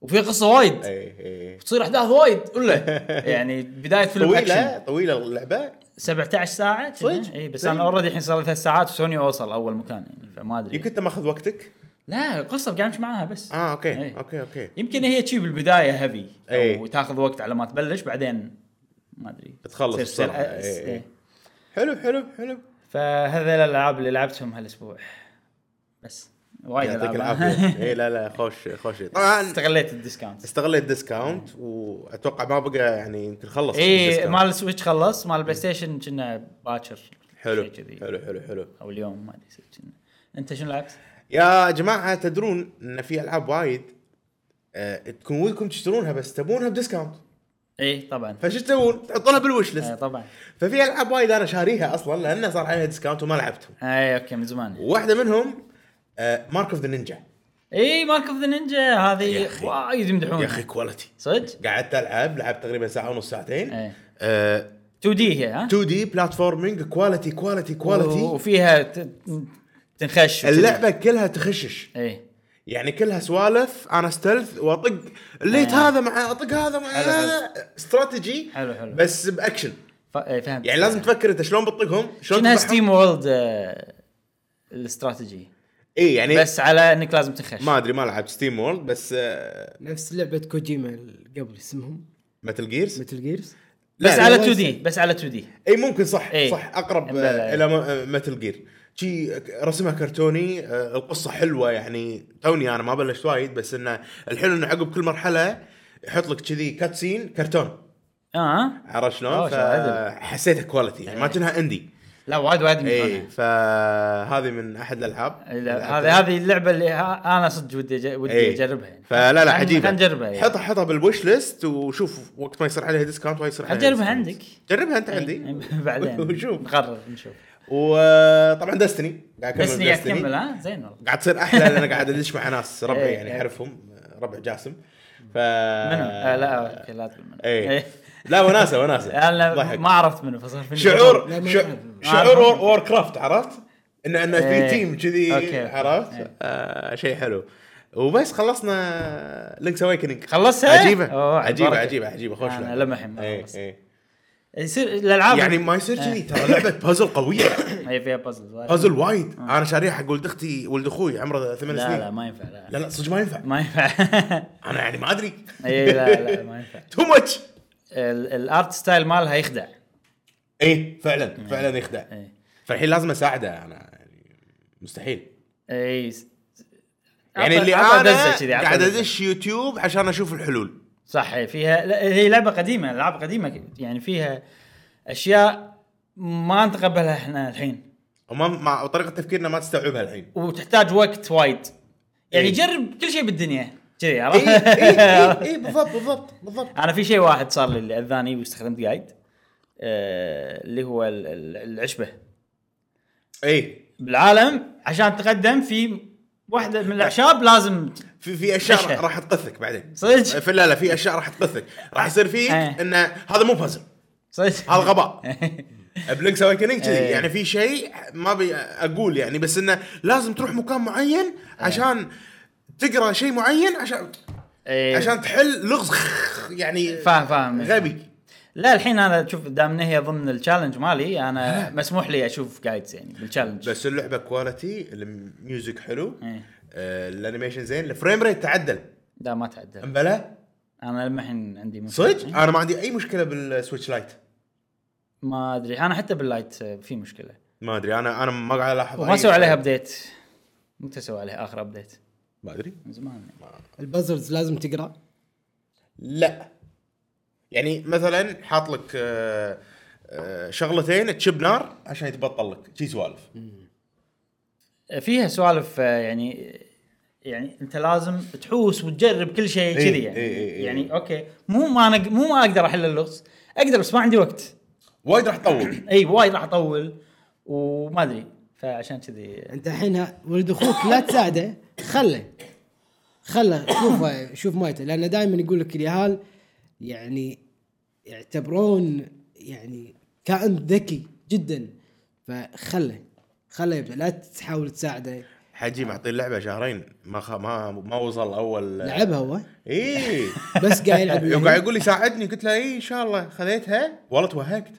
Speaker 1: وفي قصه وايد
Speaker 3: اي اي
Speaker 1: تصير احداث وايد ولا
Speaker 3: <laughs>
Speaker 1: يعني بدايه فيلم أكشن.
Speaker 3: طويله طويله
Speaker 1: إيه.
Speaker 3: اللعبه
Speaker 1: 17 ساعة
Speaker 3: صدق؟
Speaker 1: اي بس
Speaker 3: صدق؟
Speaker 1: انا اوريدي الحين صار لي ثلاث ساعات وسوني اوصل اول مكان يعني فما ادري
Speaker 3: يمكن انت ماخذ وقتك
Speaker 1: لا قصة قاعد امشي معاها بس
Speaker 3: اه اوكي
Speaker 1: إيه.
Speaker 3: اوكي اوكي
Speaker 1: يمكن هي شي بالبداية هيفي
Speaker 3: إيه.
Speaker 1: وتاخذ وقت على ما تبلش بعدين ما ادري
Speaker 3: بتخلص
Speaker 1: تصير
Speaker 3: بسرعة،
Speaker 1: سرعة.
Speaker 3: إيه، إيه.
Speaker 1: إيه.
Speaker 3: حلو حلو حلو
Speaker 1: فهذا الالعاب اللي لعبتهم هالاسبوع بس وايد
Speaker 3: يعطيك
Speaker 1: ألعاب. <laughs>
Speaker 3: العافيه اي لا لا خوش خوش طبعا
Speaker 1: استغليت الديسكاونت
Speaker 3: استغليت ديسكاونت
Speaker 1: إيه.
Speaker 3: واتوقع ما بقى يعني يمكن خلص
Speaker 1: اي
Speaker 3: الديسكاونت.
Speaker 1: إيه، مال السويتش خلص مال البلاي ستيشن كنا باكر
Speaker 3: حلو
Speaker 1: شي كذي.
Speaker 3: حلو حلو حلو
Speaker 1: او اليوم ما ادري كنا. انت شنو لعبت؟
Speaker 3: يا جماعه تدرون ان في العاب وايد آه، تكون ودكم تشترونها بس تبونها بديسكاونت
Speaker 1: اي طبعا
Speaker 3: فشو تسوون؟ تحطونها بالوش ليست
Speaker 1: إيه، طبعا
Speaker 3: ففي العاب وايد انا شاريها اصلا لانه صار عليها ديسكاونت وما لعبتهم
Speaker 1: اي اوكي آه، إيه، من زمان
Speaker 3: واحده منهم آه، مارك اوف ذا نينجا
Speaker 1: اي إيه، مارك اوف ذا نينجا
Speaker 3: يا
Speaker 1: هذه
Speaker 3: أخي.
Speaker 1: وايد يمدحون
Speaker 3: يا اخي كواليتي
Speaker 1: صدق
Speaker 3: قعدت العب لعبت تقريبا ساعه ونص ساعتين
Speaker 1: إيه.
Speaker 3: آه،
Speaker 1: 2 دي هي ها
Speaker 3: 2 دي بلاتفورمينج كواليتي كواليتي كواليتي
Speaker 1: وفيها ت- تنخش إيه.
Speaker 3: اللعبه كلها تخشش
Speaker 1: اي
Speaker 3: يعني كلها سوالف انا استلث واطق الليت
Speaker 1: آه.
Speaker 3: هذا مع اطق هذا مع
Speaker 1: حلو، حلو.
Speaker 3: هذا استراتيجي
Speaker 1: حلو، حلو.
Speaker 3: بس باكشن
Speaker 1: ف... إيه، فهمت
Speaker 3: يعني لازم تفكر انت شلون بتطقهم شلون
Speaker 1: شنها
Speaker 3: تذبحهم.
Speaker 1: ستيم وورلد آه، الاستراتيجي
Speaker 3: اي يعني بس
Speaker 1: بس على انك لازم تنخش
Speaker 3: ما ادري ما لعبت ستيم وورلد بس آه،
Speaker 2: نفس لعبه كوجيما اللي قبل اسمهم
Speaker 3: متل جيرز
Speaker 2: متل
Speaker 1: <laughs>
Speaker 2: جيرز
Speaker 1: بس
Speaker 3: لا،
Speaker 1: على
Speaker 2: لا،
Speaker 1: 2 دي بس على 2 دي
Speaker 3: اي ممكن صح
Speaker 1: إي.
Speaker 3: صح اقرب
Speaker 1: بلى، إي.
Speaker 3: آه، الى متل جير شي رسمها كرتوني آه، القصه حلوه يعني توني انا ما بلشت وايد بس انه الحلو انه عقب كل مرحله يحط لك كذي كاتسين كرتون
Speaker 1: اه
Speaker 3: عرفت شلون؟
Speaker 1: أوه، شاعدل.
Speaker 3: فحسيتها كواليتي يعني ما كانها اندي
Speaker 1: لا وايد وايد
Speaker 3: اي
Speaker 1: يمدحونها.
Speaker 3: فهذه من احد الالعاب
Speaker 1: لا، هذه هذه اللعبه اللي ها- انا صدق ودي أج- ودي
Speaker 3: إي.
Speaker 1: اجربها يعني
Speaker 3: فلا لا
Speaker 1: خل-
Speaker 3: عجيبه
Speaker 1: خل نجربها يعني.
Speaker 3: حطها حطها بالوش ليست وشوف وقت ما يصير عليها ديسكاونت ما يصير
Speaker 1: خل
Speaker 3: عليها
Speaker 1: نجربها
Speaker 3: discount.
Speaker 1: عندك
Speaker 3: جربها انت
Speaker 1: <laughs>
Speaker 3: عندي
Speaker 1: إي، إيه، بعدين
Speaker 3: <laughs> وشوف.
Speaker 1: نقرر نشوف
Speaker 3: وطبعا دستني قاعد اكمل
Speaker 1: بس قاعد
Speaker 3: Destiny.
Speaker 1: تكمل ها زين والله
Speaker 3: قاعد تصير احلى لان انا قاعد ادش
Speaker 1: <laughs>
Speaker 3: مع ناس ربعي
Speaker 1: إيه،
Speaker 3: يعني
Speaker 1: إيه.
Speaker 3: اعرفهم ربع جاسم ف
Speaker 1: منو؟ آه لا أوكي، لا تقول منو
Speaker 3: اي لا وناسه
Speaker 1: <laughs>
Speaker 3: وناسه
Speaker 1: انا
Speaker 3: إيه. ضحك.
Speaker 1: ما عرفت منو فصار فيني
Speaker 3: شعور
Speaker 2: لا، ما
Speaker 3: شع-
Speaker 2: أعرف.
Speaker 1: أعرف.
Speaker 3: شعور وور, وور كرافت عرفت؟ انه انه في
Speaker 1: إيه.
Speaker 3: تيم
Speaker 1: أوكي،
Speaker 3: كذي
Speaker 1: أوكي.
Speaker 3: عرفت؟
Speaker 1: إيه.
Speaker 3: آه شيء حلو وبس خلصنا لينكس اويكننج
Speaker 1: خلصها؟
Speaker 3: عجيبه
Speaker 1: أوه،
Speaker 3: عجيبه
Speaker 1: بركة.
Speaker 3: عجيبه عجيبه خوش
Speaker 1: أنا
Speaker 3: لعبة.
Speaker 1: لما أحب، أنا
Speaker 3: إيه،
Speaker 1: بس.
Speaker 3: إيه.
Speaker 1: يصير الالعاب
Speaker 3: يعني ما يصير كذي
Speaker 1: إيه.
Speaker 3: ترى لعبه بازل قويه
Speaker 1: هي إيه، فيها بازل
Speaker 3: بازل وايد انا شاريها حق ولد اختي ولد اخوي عمره ثمان
Speaker 1: أمم. آه. لا لا
Speaker 3: سنين
Speaker 1: ما ينفع لا
Speaker 3: لا لا صدق ما ينفع
Speaker 1: ما ينفع <laughs>
Speaker 3: انا يعني ما ادري
Speaker 1: اي
Speaker 3: <laughs>
Speaker 1: لا لا ما ينفع
Speaker 3: تو ماتش
Speaker 1: ال- الارت ستايل مالها يخدع
Speaker 3: اي فعلا فعلا إيه، يخدع
Speaker 1: إيه.
Speaker 3: فالحين لازم اساعده انا يعني مستحيل
Speaker 1: اي
Speaker 3: يعني اللي
Speaker 1: إيه، عطى دزة كذي،
Speaker 3: انا
Speaker 1: عطى
Speaker 3: قاعد
Speaker 1: دزة.
Speaker 3: ادش يوتيوب عشان اشوف الحلول
Speaker 1: صح إيه، فيها لا، هي لعبه قديمه العاب قديمه يعني فيها اشياء ما نتقبلها احنا الحين
Speaker 3: وما مع وطريقه تفكيرنا ما تستوعبها الحين
Speaker 1: وتحتاج وقت وايد يعني
Speaker 3: إيه.
Speaker 1: جرب كل شيء بالدنيا كذي
Speaker 3: اي
Speaker 1: عرفت؟ <laughs>
Speaker 3: اي اي بالضبط بالضبط بالضبط
Speaker 1: انا في شيء واحد صار لي اللي اذاني واستخدمت جايد آه، اللي هو ال- ال- العشبه
Speaker 3: اي
Speaker 1: بالعالم عشان تقدم في واحده من الاعشاب لازم
Speaker 3: في في اشياء
Speaker 1: <laughs> إيش؟
Speaker 3: راح تقثك بعدين
Speaker 1: صدق؟
Speaker 3: في لا لا في اشياء راح تقثك راح يصير فيك
Speaker 1: إيه.
Speaker 3: انه هذا مو بازل
Speaker 1: صدق
Speaker 3: هذا غباء بلينكس اويكننج كذي
Speaker 1: إيه.
Speaker 3: يعني في شيء ما ابي اقول يعني بس انه لازم تروح مكان معين عشان تقرا شيء معين عشان
Speaker 1: <laughs> إيه.
Speaker 3: عشان تحل لغز خ- يعني
Speaker 1: فاهم فاهم
Speaker 3: غبي
Speaker 1: لا الحين انا شوف دام إن هي ضمن التشالنج مالي انا مسموح لي اشوف جايدز يعني بالتشالنج
Speaker 3: بس اللعبه كواليتي الميوزك حلو
Speaker 1: إيه.
Speaker 3: آه، الانيميشن زين الفريم ريت تعدل
Speaker 1: لا ما تعدل
Speaker 3: امبلا
Speaker 1: انا لما الحين عندي مشكلة.
Speaker 3: صدق انا ما عندي اي مشكله بالسويتش لايت
Speaker 1: ما ادري انا حتى باللايت آه، في مشكله
Speaker 3: ما ادري انا انا ما قاعد الاحظ
Speaker 1: وما
Speaker 3: أي
Speaker 1: سووا عليها
Speaker 3: فرق.
Speaker 1: ابديت متى سووا عليها اخر ابديت
Speaker 3: ما ادري
Speaker 1: من زمان
Speaker 2: البازلز لازم تقرا
Speaker 3: لا يعني مثلا حاط لك آه، آه، شغلتين تشب نار عشان يتبطل لك شي سوالف
Speaker 1: آه، فيها سوالف آه، يعني يعني انت لازم تحوس وتجرب كل شيء
Speaker 3: إيه،
Speaker 1: كذي يعني
Speaker 3: إيه، إيه، إيه.
Speaker 1: يعني اوكي مو ما انا مو ما اقدر احل اللغز اقدر بس ما عندي وقت
Speaker 3: وايد راح تطول
Speaker 1: اي وايد راح اطول وما ادري فعشان كذي
Speaker 2: انت الحين ها- ولد اخوك لا تساعده خله خله شوفه شوف مايته لانه دائما يقول لك اليهال يعني يعتبرون يعني كائن ذكي جدا فخله خله يبدا لا تحاول تساعده
Speaker 3: <coughs> حجي معطي اللعبه شهرين ما خ... ما ما وصل اول
Speaker 2: لعبها هو
Speaker 3: <laughs> اي
Speaker 2: بس قاعد يلعب
Speaker 3: يقعد
Speaker 2: وياي.
Speaker 3: يقول لي ساعدني قلت له اي ان شاء الله خذيتها والله توهقت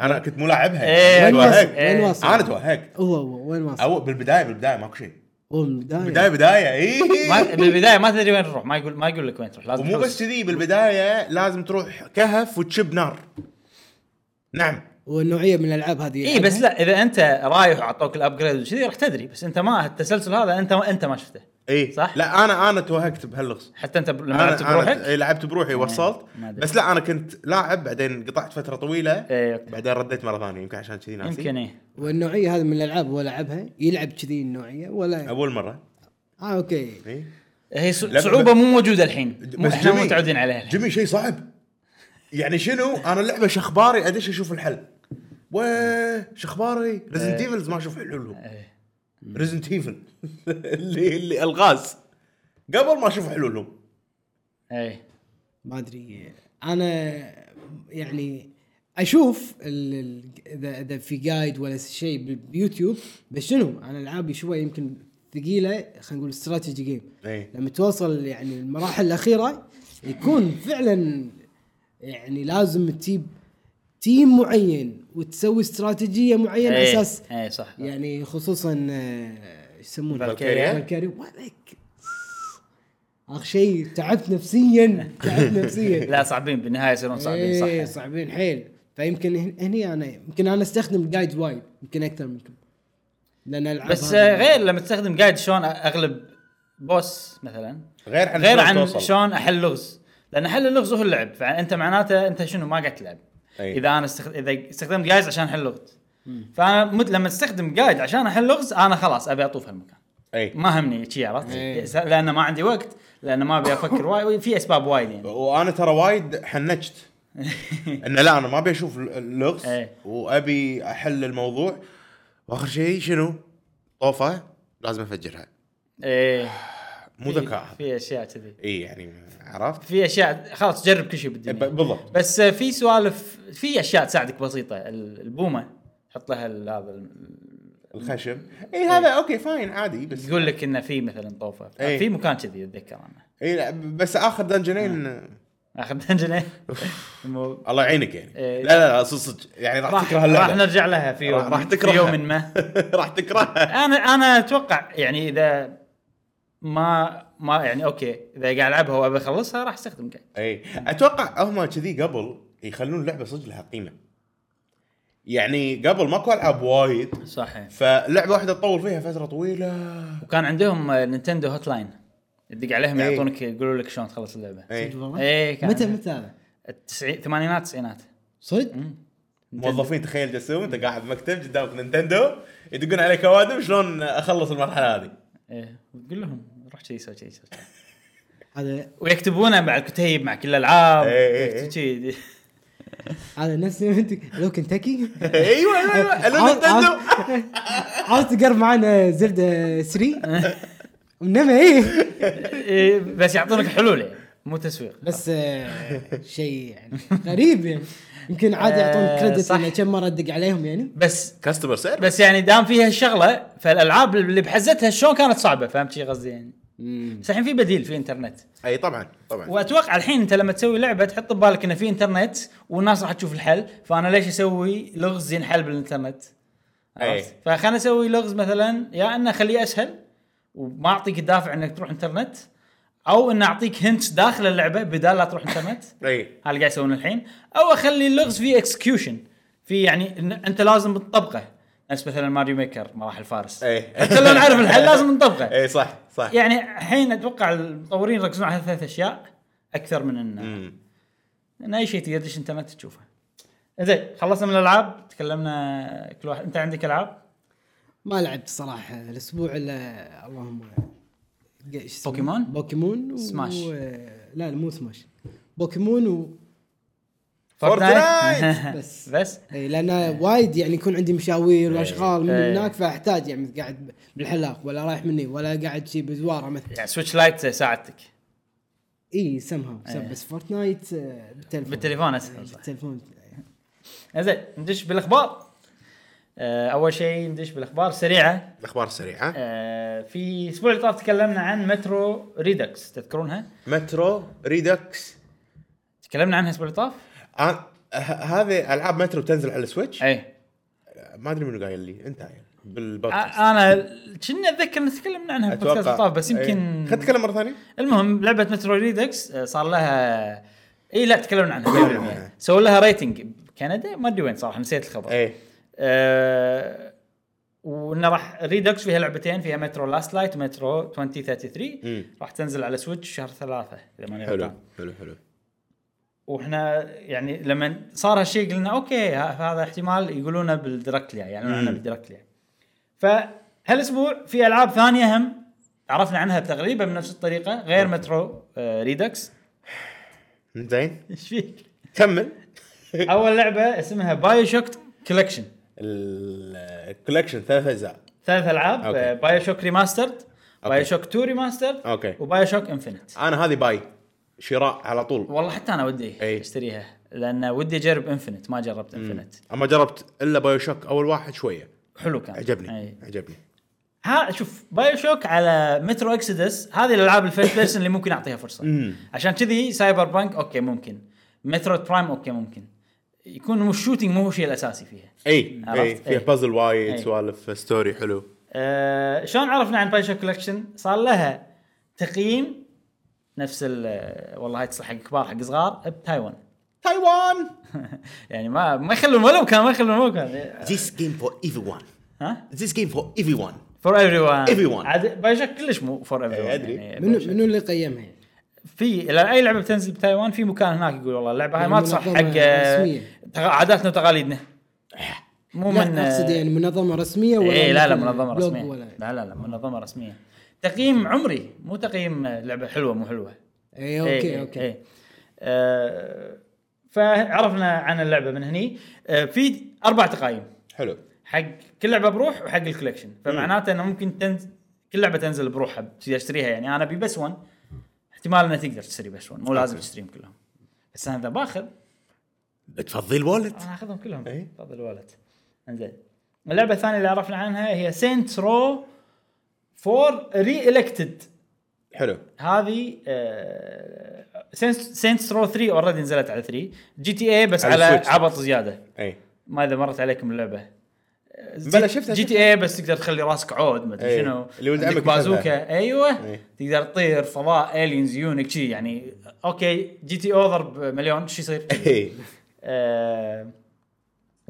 Speaker 3: انا كنت مو لاعبها
Speaker 1: إيه،
Speaker 2: وين واصل؟
Speaker 3: توهقت
Speaker 2: وين واصل؟
Speaker 3: انا توهقت
Speaker 2: هو هو وين واصل؟
Speaker 3: او بالبدايه بالبدايه ماكو شيء
Speaker 2: هو من البداية.
Speaker 3: بدايه بدايه اي <laughs>
Speaker 1: ما بالبدايه ما تدري وين تروح ما يقول ما يقول لك وين تروح لازم
Speaker 3: ومو
Speaker 1: تحوس.
Speaker 3: بس كذي بالبدايه لازم تروح كهف وتشب نار نعم
Speaker 2: والنوعيه من الالعاب هذه
Speaker 3: يعني
Speaker 1: اي إيه، بس لا اذا انت رايح وعطوك الابجريد وكذي راح تدري بس انت ما التسلسل هذا انت انت ما شفته
Speaker 3: اي
Speaker 1: صح؟
Speaker 3: لا انا انا توهقت بهاللغز
Speaker 1: حتى انت ب- لما
Speaker 3: أنا-
Speaker 1: لعبت
Speaker 3: أنا إيه.
Speaker 1: بروحك
Speaker 3: إي، لعبت بروحي وصلت
Speaker 1: ما أدري.
Speaker 3: بس لا انا كنت لاعب بعدين قطعت فتره طويله
Speaker 1: إيه، أوكي.
Speaker 3: بعدين رديت مره ثانيه يمكن عشان كذي ناسي
Speaker 1: يمكن ايه
Speaker 2: والنوعيه هذه من الالعاب هو لعبها يلعب كذي النوعيه ولا
Speaker 3: اول مره
Speaker 2: اه اوكي
Speaker 3: إيه.
Speaker 1: هي س-
Speaker 3: لا،
Speaker 1: صعوبه مو موجوده الحين مو- احنا مو متعودين عليها الحين
Speaker 3: جيمي شيء صعب يعني شنو انا اللعبه شخباري ادش اشوف الحل ويه شخباري ريزنت ايفلز ما اشوف حلولهم
Speaker 1: إيه.
Speaker 3: ريزنت ايفل <laughs> اللي اللي الغاز قبل ما اشوف حلولهم
Speaker 1: اي
Speaker 2: ما ادري انا يعني اشوف ال- ال- اذا اذا في جايد ولا شيء بيوتيوب بس شنو انا العابي شوي يمكن ثقيله خلينا نقول استراتيجي جيم
Speaker 3: إيه.
Speaker 2: لما توصل يعني المراحل الاخيره يكون فعلا يعني لازم تجيب تيم معين وتسوي استراتيجيه معينه على
Speaker 1: إيه.
Speaker 2: اساس
Speaker 1: اي صح
Speaker 2: يعني خصوصا آه، ايش يسمونه
Speaker 1: فالكيريا.
Speaker 2: فالكيريا وعليك اخ شيء تعبت نفسيا تعبت نفسيا
Speaker 1: <laughs> لا صعبين بالنهايه يصيرون صعبين
Speaker 2: إيه،
Speaker 1: صح
Speaker 2: صعبين حيل فيمكن هن- هني انا يمكن انا استخدم الجايد وايد يمكن اكثر منكم لان العب
Speaker 1: بس آه، غير لما تستخدم جايد شلون اغلب بوس مثلا
Speaker 3: غير عن
Speaker 1: غير
Speaker 3: شلون
Speaker 1: عن
Speaker 3: توصل.
Speaker 1: شلون احل لغز لان حل اللغز هو اللعب فانت معناته انت شنو ما قاعد تلعب
Speaker 3: أي.
Speaker 1: اذا انا استخد... اذا استخدمت جايز عشان احل لغز فانا مت... لما استخدم جايد عشان احل لغز انا خلاص ابي اطوف هالمكان
Speaker 3: اي
Speaker 1: ما همني شي عرفت
Speaker 2: أي.
Speaker 1: س- لان ما عندي وقت لان ما ابي افكر وايد في اسباب وايد يعني
Speaker 3: وانا ترى وايد
Speaker 1: <laughs>
Speaker 3: حنجت انه لا انا ما ابي اشوف ال- اللغز
Speaker 1: إيه.
Speaker 3: وابي احل الموضوع واخر شيء شنو؟ طوفه لازم افجرها
Speaker 1: ايه
Speaker 3: مو
Speaker 1: في-
Speaker 3: ذكاء هذا.
Speaker 1: في اشياء كذي
Speaker 3: اي يعني عرفت؟
Speaker 1: في اشياء خلاص جرب كل شيء بالدنيا
Speaker 3: ب- بالضبط.
Speaker 1: بس آه، في سوالف في اشياء تساعدك بسيطه ال- البومه حط لها ال- هذا ال-
Speaker 3: الخشب اي
Speaker 1: إيه.
Speaker 3: هذا اوكي فاين عادي بس
Speaker 1: يقول لك انه في مثلا طوفه
Speaker 3: إيه.
Speaker 1: في مكان كذي اتذكر انا
Speaker 3: اي إيه، لا بس اخر دنجنين
Speaker 1: إيه. اخذ دنجنه
Speaker 3: <laughs>
Speaker 1: المو-
Speaker 3: الله يعينك يعني
Speaker 1: إيه.
Speaker 3: لا لا لا صدق صدق يعني راح
Speaker 1: راح
Speaker 3: تكره
Speaker 1: راح
Speaker 3: اللعبه
Speaker 1: نرجع لها في يوم
Speaker 3: راح- راح
Speaker 1: في
Speaker 3: تكرهها.
Speaker 1: يوم ما
Speaker 3: <laughs> راح تكرهها
Speaker 1: انا انا اتوقع يعني اذا ما ما يعني اوكي اذا قاعد العبها وابي اخلصها راح استخدم جايد
Speaker 3: اي اتوقع إيه. هم كذي قبل يخلون اللعبه صدق لها قيمه يعني قبل ماكو العاب وايد
Speaker 1: صحيح
Speaker 3: فلعبه واحده تطول فيها فتره طويله
Speaker 1: وكان عندهم آه، نينتندو هوت لاين تدق عليهم
Speaker 3: إيه.
Speaker 1: يعطونك يقولوا لك شلون تخلص اللعبه
Speaker 3: إيه.
Speaker 2: صدق والله؟
Speaker 1: اي كان
Speaker 2: متى متى هذا؟
Speaker 1: التسعين ثمانينات تسعينات
Speaker 2: صدق؟
Speaker 3: موظفين تخيل جسوم انت قاعد بمكتب قدامك نينتندو يدقون عليك اوادم شلون اخلص المرحله هذه
Speaker 1: ايه وتقول لهم روح كذي سوي كذي سوي كذي.
Speaker 2: هذا
Speaker 1: ويكتبونه مع الكتيب مع كل الالعاب
Speaker 3: إيه، إيه، <laughs> إيه.
Speaker 1: كذي.
Speaker 2: هذا نفس انت- لو كنتاكي
Speaker 3: ايوه ايوه ايوه الو
Speaker 2: عاوز-
Speaker 3: نينتندو
Speaker 2: عاوز- عاوز تقرب معنا
Speaker 1: <laughs>
Speaker 2: زلدة 3 انما ايه
Speaker 1: <laughs> إيه، بس يعطونك حلول يعني مو تسويق
Speaker 2: بس آه، شيء يعني غريب يعني يمكن عادي يعطون
Speaker 1: آه،
Speaker 2: كريدت
Speaker 1: صح.
Speaker 2: انه كم مره تدق عليهم يعني
Speaker 1: بس
Speaker 3: كاستمر سيرفيس
Speaker 1: بس يعني دام فيها الشغله فالالعاب اللي بحزتها شلون كانت صعبه فهمت شي قصدي يعني بس الحين في بديل في انترنت
Speaker 3: اي طبعا طبعا
Speaker 1: واتوقع الحين انت لما تسوي لعبه تحط ببالك انه في انترنت والناس راح تشوف الحل فانا ليش اسوي لغز ينحل بالانترنت؟
Speaker 3: أي.
Speaker 1: عرفت؟ فخلنا اسوي لغز مثلا يا انه اخليه اسهل وما اعطيك الدافع انك تروح انترنت او ان اعطيك هنت داخل اللعبه بدال لا تروح انترنت <laughs>
Speaker 3: اي
Speaker 1: هذا اللي قاعد يسوونه الحين او اخلي اللغز فيه اكسكيوشن في يعني إن انت لازم تطبقه نفس مثلا ماريو ميكر مراحل فارس
Speaker 3: اي
Speaker 1: حتى لو نعرف الحل
Speaker 3: <laughs>
Speaker 1: لازم نطبقه
Speaker 3: اي إيه. صح صح
Speaker 1: يعني الحين اتوقع المطورين يركزون على ثلاث اشياء اكثر من انه
Speaker 3: مم.
Speaker 1: ان اي شيء تقدر تدش انترنت تشوفه. زين خلصنا من الالعاب تكلمنا كل واحد انت عندك العاب
Speaker 2: ما لعبت صراحه الاسبوع الا اللهم ق- إيش اسمه؟
Speaker 1: بوكيمون؟
Speaker 2: بوكيمون و...
Speaker 1: سماش.
Speaker 2: لا لا مو سماش
Speaker 1: <laughs>
Speaker 2: بوكيمون و...
Speaker 3: فورتنايت!
Speaker 2: بس
Speaker 1: بس
Speaker 2: اي لان وايد يعني يكون عندي مشاوير واشغال من
Speaker 1: إيه.
Speaker 2: هناك فاحتاج يعني قاعد بالحلاق ولا رايح مني ولا قاعد شي بزواره مثلا
Speaker 1: يعني سويتش لايت ساعدتك
Speaker 2: اي سمها
Speaker 1: إيه.
Speaker 2: بس فورتنايت آه، بالتلفون
Speaker 1: بالتليفون اسهل صح.
Speaker 2: بالتلفون
Speaker 1: زين ندش بالاخبار آه، اول شيء ندش بالاخبار سريعه
Speaker 3: الاخبار السريعه
Speaker 1: آه، في الاسبوع اللي طاف تكلمنا عن مترو ريدكس تذكرونها؟
Speaker 3: مترو ريدكس
Speaker 1: تكلمنا عنها الاسبوع اللي طاف؟
Speaker 3: أنا- ه- هذه العاب مترو تنزل على السويتش
Speaker 1: اي
Speaker 3: ما ادري منو قايل لي انت قايل بالبودكاست
Speaker 1: انا آه، كنا اتذكر ان تكلمنا عنها في بودكاست اللي طاف بس
Speaker 3: إيه.
Speaker 1: يمكن
Speaker 3: خلنا نتكلم مره ثانيه
Speaker 1: المهم لعبه مترو ريدكس آه، صار لها اي لا تكلمنا عنها سووا لها ريتنج بكندا ما ادري وين صراحه نسيت الخبر
Speaker 3: ايه
Speaker 1: أه... وانه راح ريدكس فيها لعبتين فيها مترو لاست لايت ومترو 2033
Speaker 3: مم.
Speaker 1: راح تنزل على سويتش شهر ثلاثة اذا ماني
Speaker 3: حلو
Speaker 1: غلطان
Speaker 3: حلو حلو
Speaker 1: واحنا يعني لما صار هالشيء قلنا اوكي ه- هذا احتمال يقولونه بالدركت يعني يعلنون عنه
Speaker 3: مم.
Speaker 1: بالدركت فهالاسبوع في العاب ثانيه هم عرفنا عنها تقريبا بنفس الطريقه غير مترو آه، ريدكس <laughs>
Speaker 3: زين
Speaker 1: ايش فيك؟
Speaker 3: كمل
Speaker 1: اول لعبه اسمها بايو شوك كولكشن
Speaker 3: الكولكشن ثلاث اجزاء
Speaker 1: ثلاث العاب
Speaker 3: أوكي. آه،
Speaker 1: آه، بايو شوك ريماسترد بايو شوك 2 ريماسترد
Speaker 3: أوكي.
Speaker 1: وبايو شوك انفنت
Speaker 3: انا هذه باي شراء على طول
Speaker 1: والله حتى انا ودي
Speaker 3: أي.
Speaker 1: اشتريها لان ودي اجرب انفنت ما جربت انفنت
Speaker 3: اما جربت الا بايو شوك اول واحد شويه
Speaker 1: حلو كان
Speaker 3: عجبني
Speaker 1: أي.
Speaker 3: عجبني
Speaker 1: ها شوف بايو شوك على مترو اكسيدس هذه الالعاب الفيرست بيرسون اللي ممكن اعطيها فرصه
Speaker 3: مم.
Speaker 1: عشان كذي سايبر بانك اوكي ممكن مترو برايم اوكي ممكن يكون مو الشوتينج مو هو الشيء الاساسي فيها
Speaker 3: اي
Speaker 1: عرفت؟ إيه.
Speaker 3: اي إيه، فيها
Speaker 1: أي.
Speaker 3: بازل وايد
Speaker 1: أي.
Speaker 3: سوالف ستوري حلو
Speaker 1: آه شلون عرفنا عن باي شوك كولكشن صار لها تقييم نفس ال والله هاي تصلح حق كبار حق صغار بتايوان <laughs>
Speaker 3: تايوان
Speaker 1: يعني ما ما يخلون ولو كان ما يخلون ولو كان
Speaker 3: This game for everyone.
Speaker 1: ها
Speaker 3: This game for everyone.
Speaker 1: فور ايفري ون
Speaker 3: Everyone.
Speaker 1: عاد باي شوك كلش مو فور ايفري ون
Speaker 3: إيه، أدري.
Speaker 2: منو منو اللي قيمها يعني؟
Speaker 1: في لا، اي لعبه بتنزل بتايوان في مكان هناك يقول والله اللعبه هاي ما
Speaker 2: يعني
Speaker 1: تصح حق
Speaker 2: منظمة
Speaker 1: آه،
Speaker 2: رسمية.
Speaker 1: تغ- عاداتنا وتقاليدنا مو من
Speaker 2: لا اقصد يعني منظمه رسميه ولا
Speaker 1: اي إيه، لا لا
Speaker 2: مثلاً
Speaker 1: منظمه
Speaker 2: بلوج
Speaker 1: رسميه
Speaker 2: ولا
Speaker 1: لا لا لا منظمه رسميه تقييم عمري مو تقييم آه، لعبه حلوه مو حلوه
Speaker 2: اي
Speaker 1: إيه،
Speaker 2: اوكي
Speaker 1: إيه،
Speaker 2: اوكي
Speaker 1: إيه. آه، فعرفنا عن اللعبه من هني آه، في اربع تقايم
Speaker 3: حلو
Speaker 1: حق كل لعبه بروح وحق الكوليكشن فمعناته انه ممكن تنز... كل لعبه تنزل بروحها تقدر تشتريها يعني انا ابي بس 1 احتمال انها تقدر تشتري بس 1 مو لازم
Speaker 3: أوكي.
Speaker 1: تشتريهم كلهم بس انا اذا باخذ
Speaker 3: تفضي الوالد
Speaker 1: انا اخذهم كلهم
Speaker 3: إي.
Speaker 1: تفضل الولد انزين اللعبه الثانيه اللي عرفنا عنها هي سينت رو 4 ري الكتد
Speaker 3: حلو
Speaker 1: هذه آه، سينت رو 3 اوريدي نزلت على 3 جي تي اي بس
Speaker 3: على
Speaker 1: على,
Speaker 3: السويتش.
Speaker 1: عبط زياده
Speaker 3: اي
Speaker 1: ما اذا مرت عليكم اللعبه آه،
Speaker 3: بلى،
Speaker 1: جي-
Speaker 3: شفتها-
Speaker 1: جي تي اي بس تقدر تخلي راسك عود ما ادري
Speaker 3: إيه.
Speaker 1: شنو
Speaker 3: اللي ولد
Speaker 1: عندك
Speaker 3: عمك
Speaker 1: بازوكا
Speaker 3: يحبها.
Speaker 1: ايوه
Speaker 3: إيه.
Speaker 1: تقدر تطير فضاء الينز يونك شي يعني اوكي جي تي او ضرب مليون شو
Speaker 3: <laughs>
Speaker 1: يصير؟
Speaker 3: إي.
Speaker 1: آه،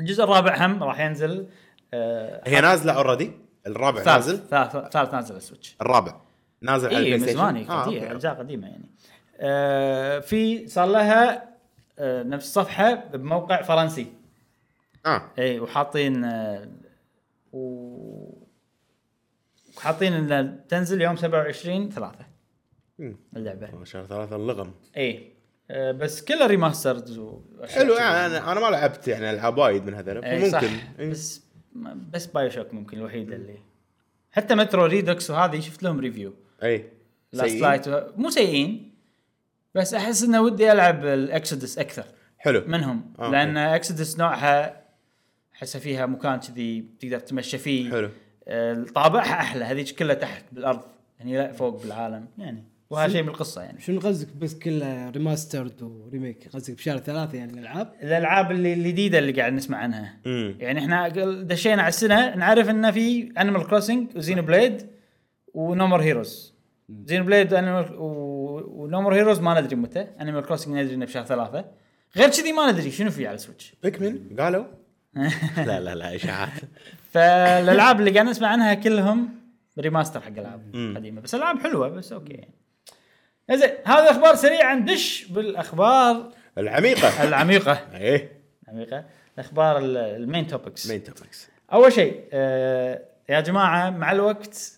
Speaker 1: الجزء الرابع هم راح ينزل آه،
Speaker 3: <laughs> هي نازله اوريدي الرابع
Speaker 1: ثالث
Speaker 3: نازل
Speaker 1: ثالث ثالث نازل على السويتش
Speaker 3: الرابع نازل على
Speaker 1: اي
Speaker 3: البلاي
Speaker 1: إيه، من
Speaker 3: ستيشن
Speaker 1: زمان هي
Speaker 3: آه،
Speaker 1: قديمه
Speaker 3: أوكي.
Speaker 1: اجزاء قديمه يعني آه، في صار لها آه، نفس الصفحه بموقع فرنسي
Speaker 3: اه
Speaker 1: اي وحاطين آه، و وحاطين ان تنزل يوم 27 3
Speaker 3: مم.
Speaker 1: اللعبه
Speaker 3: شهر ثلاثة اللغم
Speaker 1: اي آه، بس كلها ريماسترز وأشياء
Speaker 3: حلو
Speaker 1: كذي.
Speaker 3: يعني انا انا ما لعبت يعني العاب وايد من هذول
Speaker 1: اي إيه، صح
Speaker 3: ممكن إيه.
Speaker 1: بس بس بايو شوك ممكن الوحيده اللي حتى مترو ريدوكس وهذه شفت لهم ريفيو
Speaker 3: اي
Speaker 1: لاست
Speaker 3: سيئين؟
Speaker 1: لايت مو سيئين بس احس انه ودي العب الاكسدس اكثر
Speaker 3: حلو
Speaker 1: منهم
Speaker 3: آه،
Speaker 1: لان اكسدس نوعها احسها فيها مكان كذي تقدر تتمشى فيه
Speaker 3: حلو.
Speaker 1: آه، طابعها احلى هذيك كلها تحت بالارض هني لا فوق بالعالم يعني وهذا شيء من القصه يعني
Speaker 2: شنو قصدك بس كله ريماسترد وريميك قصدك بشهر ثلاثة يعني الالعاب
Speaker 1: الالعاب اللي الجديده اللي قاعد نسمع عنها
Speaker 3: امم
Speaker 1: يعني احنا قل- دشينا على السنه نعرف انه في انيمال كروسنج وزينو بليد ونومر هيروز زينو بليد وأنيمال- و- ونومر هيروز ما ندري متى انيمال كروسنج ندري انه بشهر ثلاثه غير كذي ما ندري شنو في على السويتش
Speaker 3: بيكمن
Speaker 1: <laughs>
Speaker 3: قالوا لا لا لا اشاعات
Speaker 1: فالالعاب اللي قاعد نسمع عنها كلهم ريماستر حق العاب
Speaker 3: مم.
Speaker 1: قديمه بس العاب حلوه بس اوكي يعني زين هذه اخبار سريعه ندش بالاخبار <laughs>
Speaker 3: العميقة
Speaker 1: العميقه
Speaker 3: ايه
Speaker 1: العميقه الاخبار ال- المين توبكس
Speaker 3: مين توبكس
Speaker 1: اول شيء آه يا جماعه مع الوقت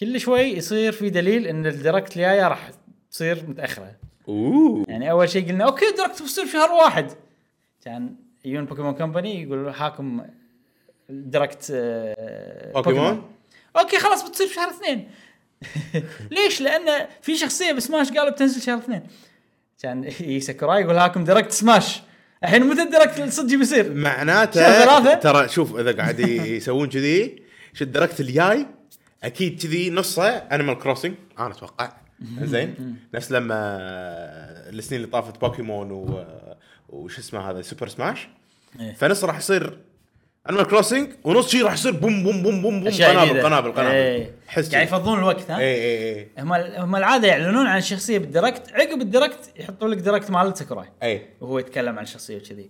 Speaker 1: كل شوي يصير في دليل ان الديركت الجايه راح تصير متاخره
Speaker 3: اوه
Speaker 1: يعني اول شيء قلنا اوكي الديركت بتصير شهر واحد كان يجون بوكيمون كومباني يقولوا حاكم الديركت آه
Speaker 3: بوكيمون
Speaker 1: اوكي خلاص بتصير في شهر اثنين <laughs> ليش؟ لان في شخصيه بسماش قالوا بتنزل شهر اثنين كان <laughs> ساكوراي يقول هاكم ديركت سماش الحين متى الديركت الصدق بيصير؟ شهر
Speaker 3: معناته
Speaker 1: ثلاثة؟
Speaker 3: ترى شوف اذا قاعد ي- يسوون كذي شو الدركت الجاي اكيد كذي نصه انيمال كروسنج انا اتوقع زين نفس لما السنين اللي طافت بوكيمون و وش اسمه هذا سوبر سماش
Speaker 1: إيه.
Speaker 3: فنص راح يصير انيمال كروسنج ونص شي راح يصير بوم بوم بوم بوم بوم
Speaker 1: أشياء
Speaker 3: قنابل
Speaker 1: جديدة.
Speaker 3: قنابل قنابل
Speaker 1: إيه.
Speaker 3: حس إيه.
Speaker 1: قاعد
Speaker 3: كذي.
Speaker 1: يفضون الوقت ها؟
Speaker 3: اي اي اي
Speaker 1: هم هم العاده يعلنون عن الشخصيه بالديركت عقب الديركت يحطوا لك ديركت مال ساكوراي
Speaker 3: اي
Speaker 1: وهو يتكلم عن الشخصيه وكذي
Speaker 3: إيه.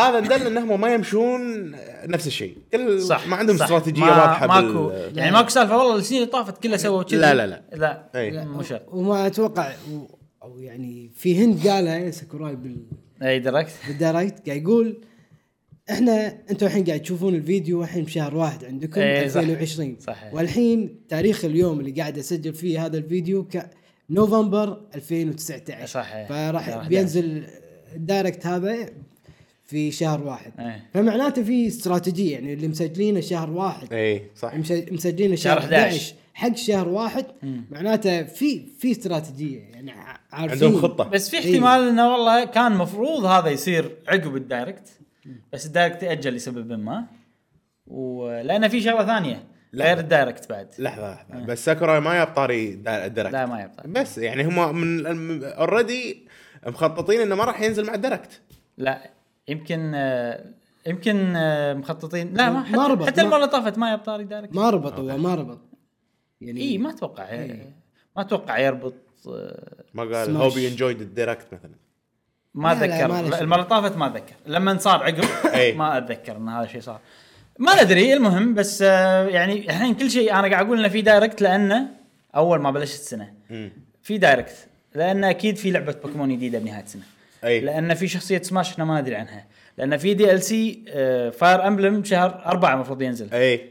Speaker 3: هذا دل انهم ما يمشون نفس الشيء كل
Speaker 1: صح
Speaker 3: ما عندهم
Speaker 1: صح.
Speaker 3: استراتيجيه
Speaker 1: ما-
Speaker 3: واضحه
Speaker 1: ماكو
Speaker 3: بال-
Speaker 1: يعني ماكو سالفه والله السنين اللي طافت كلها سووا كذي
Speaker 3: لا، لا، لا. إيه.
Speaker 1: لا
Speaker 3: إي.
Speaker 2: لا،
Speaker 1: مو شرط
Speaker 2: وما اتوقع و- او يعني في هند قالها يعني ساكوراي بال-
Speaker 1: اي إيه، ديركت
Speaker 2: بالدايركت قاعد يقول احنا انتم الحين قاعد تشوفون الفيديو الحين بشهر واحد عندكم
Speaker 1: إيه، صح.
Speaker 2: 2020
Speaker 1: صحيح.
Speaker 2: والحين تاريخ اليوم اللي قاعد اسجل فيه هذا الفيديو ك نوفمبر 2019
Speaker 1: صحيح.
Speaker 2: فراح
Speaker 1: شهر
Speaker 2: بينزل الدايركت هذا في شهر واحد
Speaker 1: إيه.
Speaker 2: فمعناته في استراتيجيه يعني اللي مسجلينه شهر واحد
Speaker 3: اي إيه، صح
Speaker 2: مش- مسجلين شهر
Speaker 1: شهر
Speaker 2: 11 حق شهر واحد معناته في في استراتيجيه يعني ع- عارفين
Speaker 3: عندهم خطة.
Speaker 1: بس في
Speaker 2: إي.
Speaker 1: احتمال انه والله كان مفروض هذا يصير عقب الدايركت بس الدايركت تاجل لسبب ما ولانه في شغله ثانيه
Speaker 3: لا.
Speaker 1: غير الدايركت بعد
Speaker 3: لحظه لحظه بس ساكوراي ما جاب طاري دا- الدركت
Speaker 1: لا ما يبطل
Speaker 3: بس يعني هم من اوريدي مخططين انه ما راح ينزل مع الدركت
Speaker 1: لا يمكن آه، يمكن آه، مخططين لا ما
Speaker 2: ما
Speaker 1: حتى,
Speaker 2: ربط،
Speaker 1: حتى
Speaker 2: ما-
Speaker 1: المره اللي طافت ما يبطل طاري دايركت
Speaker 2: ما ربط هو ما ربط يعني
Speaker 1: اي ما اتوقع
Speaker 2: إي.
Speaker 1: ما اتوقع يربط آه،
Speaker 3: ما قال
Speaker 2: سماش.
Speaker 3: هوبي انجويد الدركت مثلا
Speaker 1: ما
Speaker 2: لا، لا،
Speaker 1: اتذكر
Speaker 2: ما له شغل.
Speaker 1: المره اللي طافت ما اتذكر لما صار عقب <coughs>
Speaker 3: إي.
Speaker 1: ما اتذكر ان هذا الشيء صار ما ادري المهم بس آه، يعني الحين كل شيء انا قاعد اقول انه في دايركت لانه اول ما بلشت السنه
Speaker 3: مم.
Speaker 1: في دايركت لان اكيد في لعبه بوكيمون جديده بنهايه السنه
Speaker 3: أي.
Speaker 1: لان في شخصيه سماش احنا ما ندري عنها لان في دي ال سي فاير امبلم آه، شهر أربعة المفروض ينزل
Speaker 3: اي
Speaker 1: كل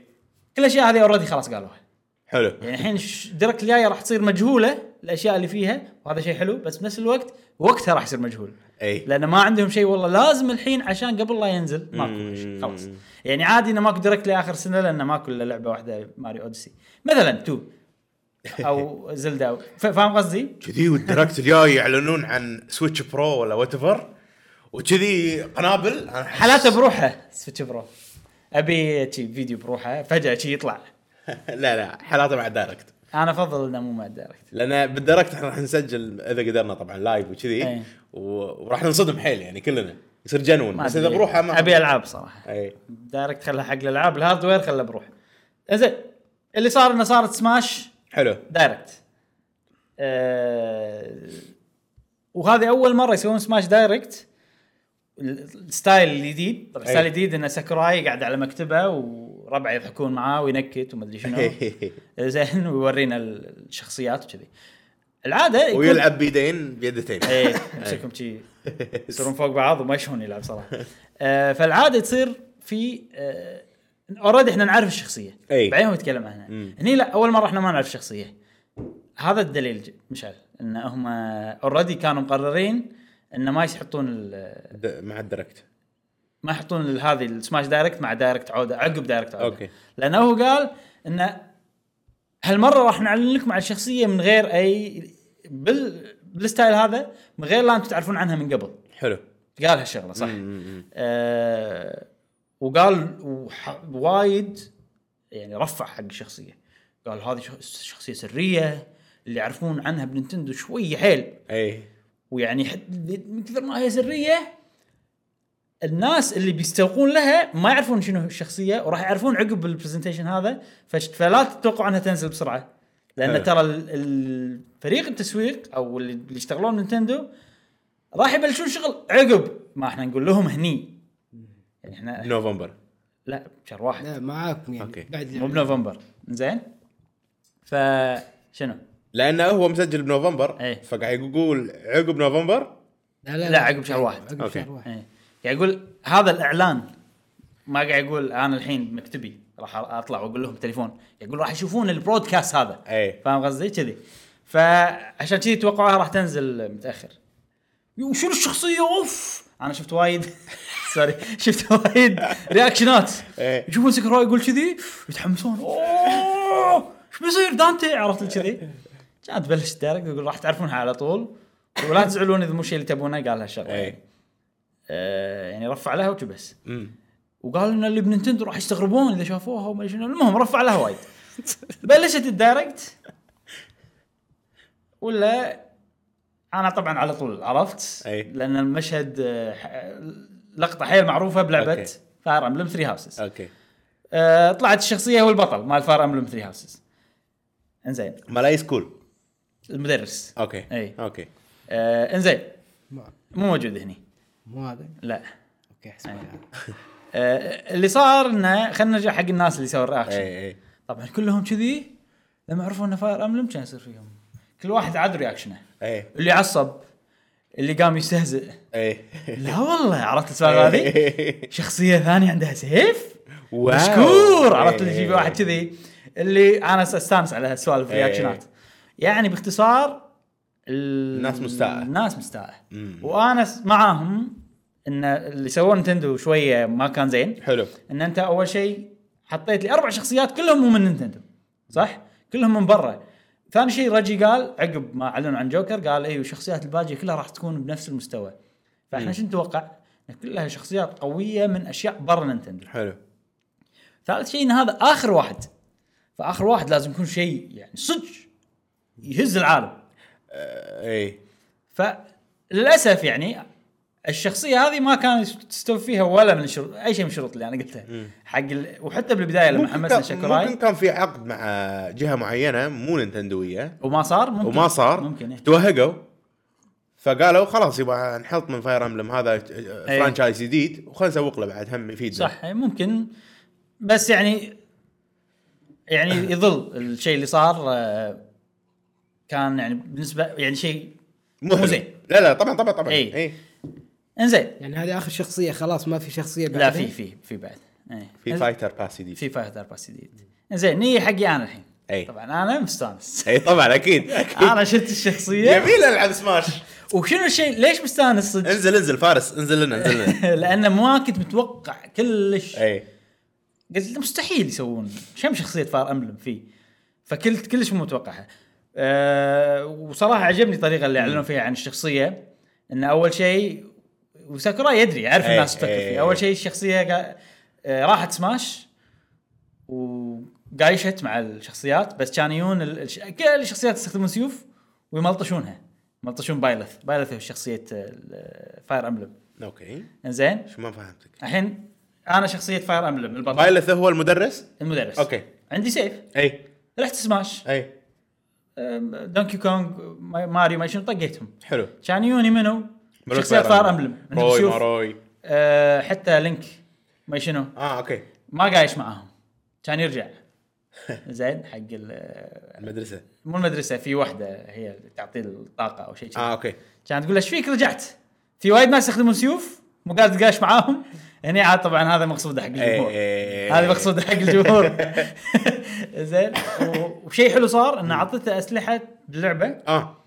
Speaker 1: الاشياء هذه اوريدي خلاص قالوها
Speaker 3: إيه، حلو
Speaker 1: يعني الحين ش- درك الجايه راح تصير مجهوله الاشياء اللي فيها وهذا شيء حلو بس بنفس الوقت وقتها راح يصير مجهول
Speaker 3: اي
Speaker 1: لان ما عندهم شيء والله لازم الحين عشان قبل لا ينزل ماكو شيء، خلاص يعني عادي انه ماكو دركت لاخر سنه لان ماكو الا لعبه واحده ماري اوديسي مثلا تو او زلدا أو ف- فاهم قصدي؟
Speaker 3: كذي والدركت الجاي يعلنون عن سويتش برو ولا وات ايفر وكذي قنابل أنا أحس-
Speaker 1: حالاته بروحه سويتش برو ابي شي فيديو بروحه فجاه شي يطلع
Speaker 3: <laughs> لا لا حالاته مع الدايركت
Speaker 1: انا افضل انه مو مع الدايركت
Speaker 3: لان بالدايركت احنا راح نسجل اذا قدرنا طبعا لايف وكذي
Speaker 1: إيه.
Speaker 3: و- وراح ننصدم حيل يعني كلنا يصير جنون
Speaker 1: ما
Speaker 3: بس
Speaker 1: أدري.
Speaker 3: اذا بروحه ما إيه.
Speaker 1: ابي العاب صراحه
Speaker 3: اي
Speaker 1: دايركت خله حق الالعاب الهاردوير خله بروح زين اللي صار انه صارت سماش
Speaker 3: حلو
Speaker 1: دايركت أه وهذه اول مره يسوون سماش دايركت ال- الستايل الجديد طبعا الستايل
Speaker 3: أي.
Speaker 1: الجديد انه ساكوراي قاعد على مكتبه وربعه يضحكون معاه وينكت ومدري شنو زين ويورينا ال- الشخصيات وكذي العاده يكون-
Speaker 3: ويلعب بيدين بيدتين
Speaker 1: <laughs> ايه يمسكهم شي يصيرون فوق بعض وما يشون يلعب صراحه آه فالعاده تصير في آه اوريدي احنا نعرف الشخصيه
Speaker 3: أي.
Speaker 1: بعدين هو يتكلم عنها
Speaker 3: مم.
Speaker 1: هني لا اول مره احنا ما نعرف الشخصيه هذا الدليل ج- مشعل ان هم اوريدي كانوا مقررين ان ما يحطون ال-
Speaker 3: د- مع الدايركت
Speaker 1: ما يحطون ال- هذه السماش دايركت مع دايركت عوده عقب دايركت عوده
Speaker 3: أوكي.
Speaker 1: لانه هو قال ان هالمره راح نعلن لكم عن الشخصيه من غير اي بال بالستايل هذا من غير لا انتم تعرفون عنها من قبل
Speaker 3: حلو
Speaker 1: قال هالشغله صح
Speaker 3: مم.
Speaker 1: آه وقال وح- وايد يعني رفع حق الشخصيه قال هذه شخ- شخصيه سريه اللي يعرفون عنها بننتندو شويه حيل
Speaker 3: اي
Speaker 1: ويعني حد من كثر ما هي سريه الناس اللي بيستوقون لها ما يعرفون شنو الشخصيه وراح يعرفون عقب البرزنتيشن هذا فش- فلا تتوقعوا انها تنزل بسرعه
Speaker 3: حلو.
Speaker 1: لان ترى ال- ال- فريق التسويق او اللي اللي يشتغلون نينتندو راح يبلشون شغل عقب ما احنا نقول لهم هني يعني احنا
Speaker 3: نوفمبر
Speaker 1: لا بشهر واحد
Speaker 2: لا معاكم يعني
Speaker 3: أوكي.
Speaker 2: بعد
Speaker 1: مو بنوفمبر زين فشنو
Speaker 3: لانه هو مسجل بنوفمبر
Speaker 1: إيه.
Speaker 3: فقاعد يقول عقب نوفمبر
Speaker 1: لا، عقب شهر واحد.
Speaker 2: عقب
Speaker 3: أوكي.
Speaker 2: شهر واحد
Speaker 1: إيه. قاعد يقول هذا الاعلان ما قاعد يقول انا الحين بمكتبي راح اطلع واقول لهم تليفون يقول راح يشوفون البرودكاست هذا
Speaker 3: اي
Speaker 1: فاهم قصدي كذي فعشان كذي توقعوها راح تنزل متاخر وشنو الشخصيه اوف انا شفت وايد <laughs> سوري شفت وايد رياكشنات
Speaker 3: إيه.
Speaker 1: يشوفون سكرو يقول كذي يتحمسون اوه ايش بيصير دانتي عرفت كذي كانت تبلش الدايركت يقول راح تعرفونها على طول ولا تزعلون اذا مو الشيء اللي تبونه قال هالشغله
Speaker 3: اي
Speaker 1: آه، يعني رفع لها وبس
Speaker 3: إيه. مم.
Speaker 1: وقال ان اللي بننتندو راح يستغربون اذا شافوها وما شنو المهم رفع لها
Speaker 3: <laughs>
Speaker 1: وايد بلشت الدايركت ولا انا طبعا على طول عرفت
Speaker 3: أي.
Speaker 1: لان المشهد آه، ح- لقطه حيل معروفه
Speaker 3: أوكي.
Speaker 1: بلعبه فاير امبلم 3 هاوسز آه،
Speaker 3: اوكي
Speaker 1: طلعت الشخصيه هو البطل مال فاير امبلم 3 هاوسز انزين
Speaker 3: ملاي سكول
Speaker 1: المدرس
Speaker 3: اوكي
Speaker 1: أي.
Speaker 3: اوكي
Speaker 1: آه، انزين
Speaker 2: ما-
Speaker 1: مو موجود هني
Speaker 2: مو هذا
Speaker 1: لا
Speaker 2: اوكي حسبي هذا.
Speaker 1: أيوة. آه، اللي صار انه خلينا نرجع حق الناس اللي سووا الرياكشن
Speaker 3: اي اي
Speaker 1: طبعا كلهم كذي لما عرفوا انه فاير املم كان يصير فيهم كل واحد عاد رياكشنه
Speaker 3: اي
Speaker 1: اللي عصب اللي قام يستهزئ
Speaker 3: اي
Speaker 1: لا والله عرفت السالفه هذه شخصيه ثانيه عندها سيف
Speaker 3: إيه. <laughs> واو.
Speaker 1: مشكور عرفت اللي
Speaker 3: إيه.
Speaker 1: في واحد كذي اللي انا استانس على هالسوالف
Speaker 3: إيه.
Speaker 1: رياكشنات يعني باختصار ال-
Speaker 3: الناس مستاءة.
Speaker 1: الناس مستاءة
Speaker 3: مم.
Speaker 1: وانا س- معاهم ان اللي سووه نتندو شويه ما كان زين
Speaker 3: حلو
Speaker 1: ان انت اول شيء حطيت لي اربع شخصيات كلهم مو من نينتندو صح؟ كلهم من برا ثاني شيء رجي قال عقب ما اعلنوا عن جوكر قال ايوه الشخصيات الباجيه كلها راح تكون بنفس المستوى فاحنا شو نتوقع؟ إن كلها شخصيات قويه من اشياء برا نينتندو
Speaker 3: حلو
Speaker 1: ثالث شيء ان هذا اخر واحد فاخر واحد لازم يكون شيء يعني صدق يهز العالم
Speaker 3: اي
Speaker 1: فللاسف يعني الشخصيه هذه ما كان تستوفي فيها ولا من شروط اي شيء من الشروط اللي انا قلتها حق ال... وحتى بالبدايه لما
Speaker 3: ممكن
Speaker 1: حمسنا
Speaker 3: كان,
Speaker 1: شاكوراي
Speaker 3: ممكن كان في عقد مع جهه معينه مو نينتندويه
Speaker 1: وما صار ممكن
Speaker 3: وما صار
Speaker 1: ممكن إيه.
Speaker 3: توهقوا فقالوا خلاص يبقى نحط من فاير امبلم هذا فرانشايز جديد وخلينا نسوق له بعد هم يفيدنا
Speaker 1: إيه. صح إيه، ممكن بس يعني يعني يظل الشيء اللي صار آه، كان يعني بالنسبه يعني شيء
Speaker 3: مو
Speaker 1: مو
Speaker 3: حلو.
Speaker 1: زين.
Speaker 3: لا لا طبعا طبعا طبعا
Speaker 1: إي.
Speaker 3: اي
Speaker 1: انزين
Speaker 2: يعني هذه اخر شخصيه خلاص ما في شخصيه
Speaker 1: لا
Speaker 2: بعدها.
Speaker 1: في في في بعد إيه.
Speaker 3: في
Speaker 1: إنزين،
Speaker 3: فايتر باس جديد
Speaker 1: في فايت باس جديد انزين نية حقي انا الحين
Speaker 3: إيه.
Speaker 1: طبعا انا
Speaker 3: <laughs>
Speaker 1: مستانس
Speaker 3: اي
Speaker 1: <laughs>
Speaker 3: طبعا اكيد اكيد
Speaker 1: انا شفت الشخصيه
Speaker 3: جميل العب سماش
Speaker 1: وشنو الشيء ليش مستانس صدق؟
Speaker 3: انزل انزل فارس انزل لنا انزل <laughs> لنا
Speaker 1: <laughs> لانه ما كنت متوقع كلش
Speaker 3: اي
Speaker 1: قلت مستحيل يسوون شم شخصيه فار امبلم فيه فكنت كلش مو متوقعها أه وصراحه عجبني الطريقه اللي اعلنوا فيها عن الشخصيه انه اول شيء وساكورا يدري يعرف
Speaker 3: إيه،
Speaker 1: الناس تفكر
Speaker 3: إيه،
Speaker 1: فيه اول شيء الشخصيه قا- آه، راحت سماش وقايشت مع الشخصيات بس كان يجون ال- الش- كل الشخصيات يستخدمون سيوف ويملطشونها يملطشون بايلث بايلث هو شخصيه فاير امبلم
Speaker 3: اوكي
Speaker 1: انزين
Speaker 3: شو ما فهمتك
Speaker 1: الحين انا شخصيه فاير امبلم البطل
Speaker 3: بايلث هو المدرس
Speaker 1: المدرس
Speaker 3: أوكي.
Speaker 1: عندي سيف
Speaker 3: اي
Speaker 1: رحت سماش
Speaker 3: اي
Speaker 1: أم، دونكي كونغ ما- ماريو ما شنو طقيتهم
Speaker 3: حلو
Speaker 1: كان يوني منو شخصيات فاير امبلم عندهم
Speaker 3: روي ما
Speaker 1: سيوف.
Speaker 3: روي
Speaker 1: أه، حتى لينك ما شنو
Speaker 3: اه اوكي
Speaker 1: ما قايش معاهم كان يرجع زين حق ال-
Speaker 3: المدرسه
Speaker 1: مو المدرسه في وحده هي اللي تعطي الطاقه او شيء كذي
Speaker 3: اه اوكي
Speaker 1: كانت تقول له ايش فيك رجعت؟ في وايد ناس يستخدمون سيوف مو قاعد تقاش معاهم هني عاد طبعا هذا مقصود حق الجمهور
Speaker 3: إيه.
Speaker 1: هذا مقصود حق الجمهور <laughs> زين و- وشيء حلو صار انه عطته اسلحه باللعبه
Speaker 3: اه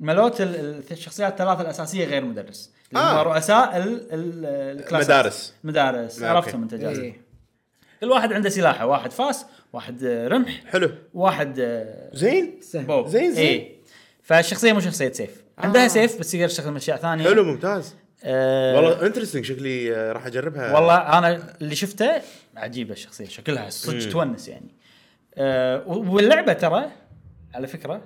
Speaker 1: ملوت ال- ال- الشخصيات الثلاثه الاساسيه غير مدرس اللي
Speaker 3: آه.
Speaker 1: هم رؤساء ال- ال- الكلاسات
Speaker 3: مدارس.
Speaker 1: مدارس
Speaker 3: آه،
Speaker 1: عرفتهم
Speaker 3: أوكي.
Speaker 1: انت جاز
Speaker 2: إيه.
Speaker 1: كل واحد عنده سلاحه واحد فاس واحد آه، رمح
Speaker 3: حلو
Speaker 1: واحد آه،
Speaker 3: زين
Speaker 2: سهل.
Speaker 1: بو
Speaker 3: زين، زين.
Speaker 1: إيه. فالشخصيه مو شخصيه سيف عندها
Speaker 2: آه.
Speaker 1: سيف بس تقدر تستخدم اشياء ثانيه
Speaker 3: حلو ممتاز
Speaker 1: آه والله
Speaker 3: والله انترستنج شكلي آه، راح اجربها
Speaker 1: والله انا اللي شفته عجيبه الشخصيه شكلها صدق تونس يعني آه و- واللعبه ترى على فكره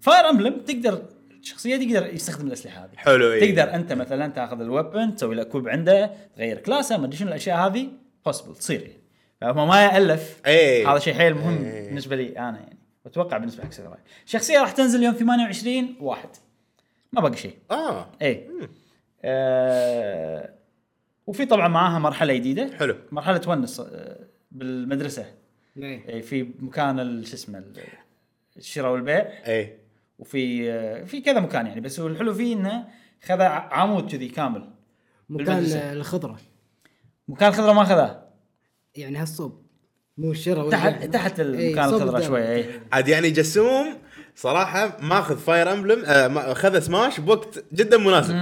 Speaker 1: فاير امبلم تقدر الشخصيه تقدر يستخدم الاسلحه هذه
Speaker 3: حلو إيه.
Speaker 1: تقدر انت مثلا تاخذ الويبن تسوي له كوب عنده تغير كلاسه ما ادري شنو الاشياء هذه بوسبل تصير يعني فما ما يالف
Speaker 3: إيه.
Speaker 1: هذا شيء حيل مهم
Speaker 3: إيه.
Speaker 1: بالنسبه لي انا يعني واتوقع بالنسبه حق سيرفاي الشخصيه راح تنزل يوم 28 واحد ما باقي شيء
Speaker 3: اه
Speaker 1: اي إيه. آه وفي طبعا معاها مرحله جديده
Speaker 3: حلو.
Speaker 1: مرحله تونس آه، بالمدرسه
Speaker 2: إيه.
Speaker 1: إي، في مكان ال- شو اسمه ال- الشراء والبيع
Speaker 3: اي
Speaker 1: وفي آه، في كذا مكان يعني بس هو الحلو فيه انه خذ ع- عمود كذي كامل
Speaker 2: مكان
Speaker 1: بالمدرسة.
Speaker 2: الخضره
Speaker 1: مكان خضره ما خذاه
Speaker 2: يعني هالصوب مو الشراء يعني. إيه،
Speaker 1: تحت تحت المكان الخضره شويه اي
Speaker 3: عاد يعني جسوم صراحه ماخذ آه، فاير امبلم اخذ سماش بوقت جدا
Speaker 1: <laughs>
Speaker 3: مناسب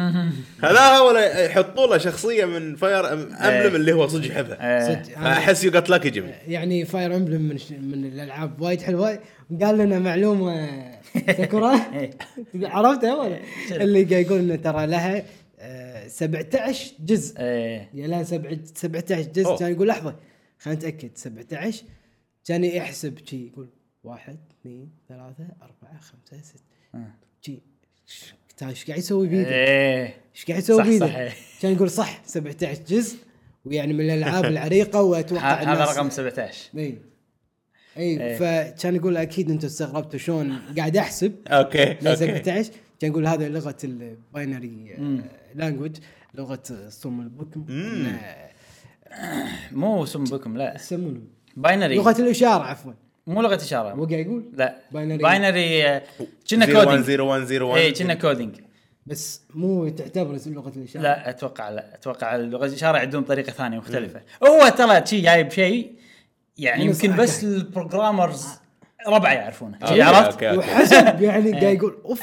Speaker 3: خذاها ولا يحطوا له شخصيه من فاير امبلم
Speaker 1: إيه.
Speaker 3: اللي هو صدق يحبها
Speaker 1: آه،
Speaker 3: فاحس يو جت لك جيمي
Speaker 2: يعني فاير امبلم من ش- من الالعاب وايد حلوه قال لنا معلومه ساكورا
Speaker 1: <laughs> إيه.
Speaker 2: عرفتها ولا
Speaker 1: شنو؟
Speaker 2: اللي قاعد يقول انه ترى لها آه، 17 جزء
Speaker 1: إيه.
Speaker 2: يا لها سبع- 17 جزء
Speaker 3: أوه.
Speaker 2: كان يقول لحظه خلينا نتاكد 17 كان يحسب شي يقول واحد اثنين ثلاثة أربعة خمسة ستة
Speaker 1: آه.
Speaker 2: شي ش- ايش قاعد يسوي بيده؟
Speaker 1: ايه
Speaker 2: ايش قاعد يسوي
Speaker 1: صح- صح،
Speaker 2: بيده؟
Speaker 1: إيه.
Speaker 2: كان يقول صح 17 جزء ويعني من
Speaker 1: <laughs>
Speaker 2: الالعاب العريقه
Speaker 1: ه-
Speaker 2: واتوقع
Speaker 1: هذا
Speaker 2: الناس-
Speaker 1: رقم 17
Speaker 2: اي اي
Speaker 1: إيه.
Speaker 2: فكان يقول اكيد انتم استغربتوا شلون قاعد احسب
Speaker 3: اوكي
Speaker 2: لين 17 كان يقول هذا لغه الباينري لانجوج لغه صم البكم
Speaker 3: مم.
Speaker 2: إنه-
Speaker 1: مو اسم بكم لا
Speaker 2: يسمونه
Speaker 1: باينري
Speaker 2: لغه الاشاره عفوا
Speaker 1: مو لغه اشاره
Speaker 2: مو قاعد يقول
Speaker 1: لا
Speaker 2: باينري.
Speaker 1: باينري آه، كنا كودينج
Speaker 3: 010101
Speaker 1: اي إيه، كنا كودينج
Speaker 3: نعم.
Speaker 2: بس مو تعتبر اسم لغه الاشاره
Speaker 1: لا اتوقع لا اتوقع اللغه الاشاره عندهم طريقه ثانيه مختلفه هو ترى شي جايب شيء يعني
Speaker 2: من
Speaker 1: يمكن
Speaker 2: الصراحة.
Speaker 1: بس البروجرامرز ربعه يعرفونه
Speaker 3: آه، أوكي،
Speaker 1: شي عرفت
Speaker 3: أوكي، أوكي.
Speaker 2: وحسب
Speaker 1: <laughs> إيه.
Speaker 2: يعني قاعد يقول اوف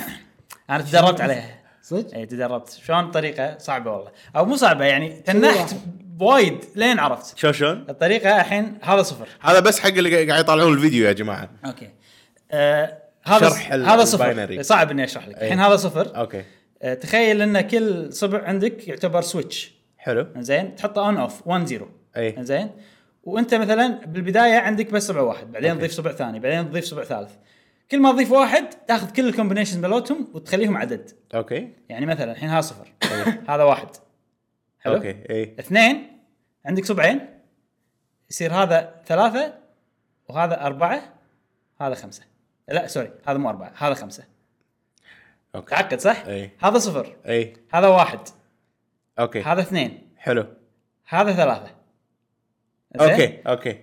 Speaker 1: انا تدربت عليها
Speaker 2: صدق
Speaker 1: اي تدربت شلون طريقه صعبه والله او مو صعبه يعني تنحت وايد لين عرفت
Speaker 3: شو شلون؟
Speaker 1: الطريقه الحين هذا صفر
Speaker 3: هذا بس حق اللي قاعد يطالعون الفيديو يا جماعه
Speaker 1: اوكي آه هذا
Speaker 3: شرح ال-
Speaker 1: هذا صفر
Speaker 3: الباينري. إيه.
Speaker 1: صعب اني اشرح لك الحين هذا صفر
Speaker 3: اوكي
Speaker 1: آه تخيل ان كل صبع عندك يعتبر سويتش
Speaker 3: حلو
Speaker 1: زين تحطه اون اوف 1 0
Speaker 3: أي.
Speaker 1: زين وانت مثلا بالبدايه عندك بس صبع واحد بعدين تضيف صبع ثاني بعدين تضيف صبع ثالث كل ما تضيف واحد تاخذ كل الكومبينيشنز مالتهم وتخليهم عدد
Speaker 3: اوكي
Speaker 1: يعني مثلا الحين هذا صفر هذا واحد حلو
Speaker 3: اوكي اي
Speaker 1: اثنين عندك صبعين يصير هذا ثلاثه وهذا اربعه هذا خمسه لا سوري هذا مو اربعه هذا خمسه
Speaker 3: اوكي
Speaker 1: تعقد صح؟
Speaker 3: أي.
Speaker 1: هذا صفر
Speaker 3: اي
Speaker 1: هذا واحد
Speaker 3: اوكي
Speaker 1: هذا اثنين
Speaker 3: إيه. حلو
Speaker 1: هذا ثلاثه زين؟
Speaker 3: اوكي اوكي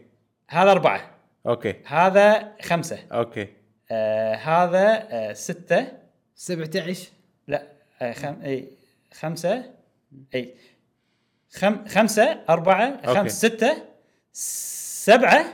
Speaker 1: هذا أربعة
Speaker 3: اوكي
Speaker 1: هذا خمسة
Speaker 3: اوكي
Speaker 1: آه هذا آه ستة
Speaker 2: 17
Speaker 1: لا آه خم... اي خمسة اي خم... خمسة أربعة
Speaker 3: أوكي.
Speaker 1: خمسة ستة
Speaker 3: <laughs>
Speaker 1: سبعة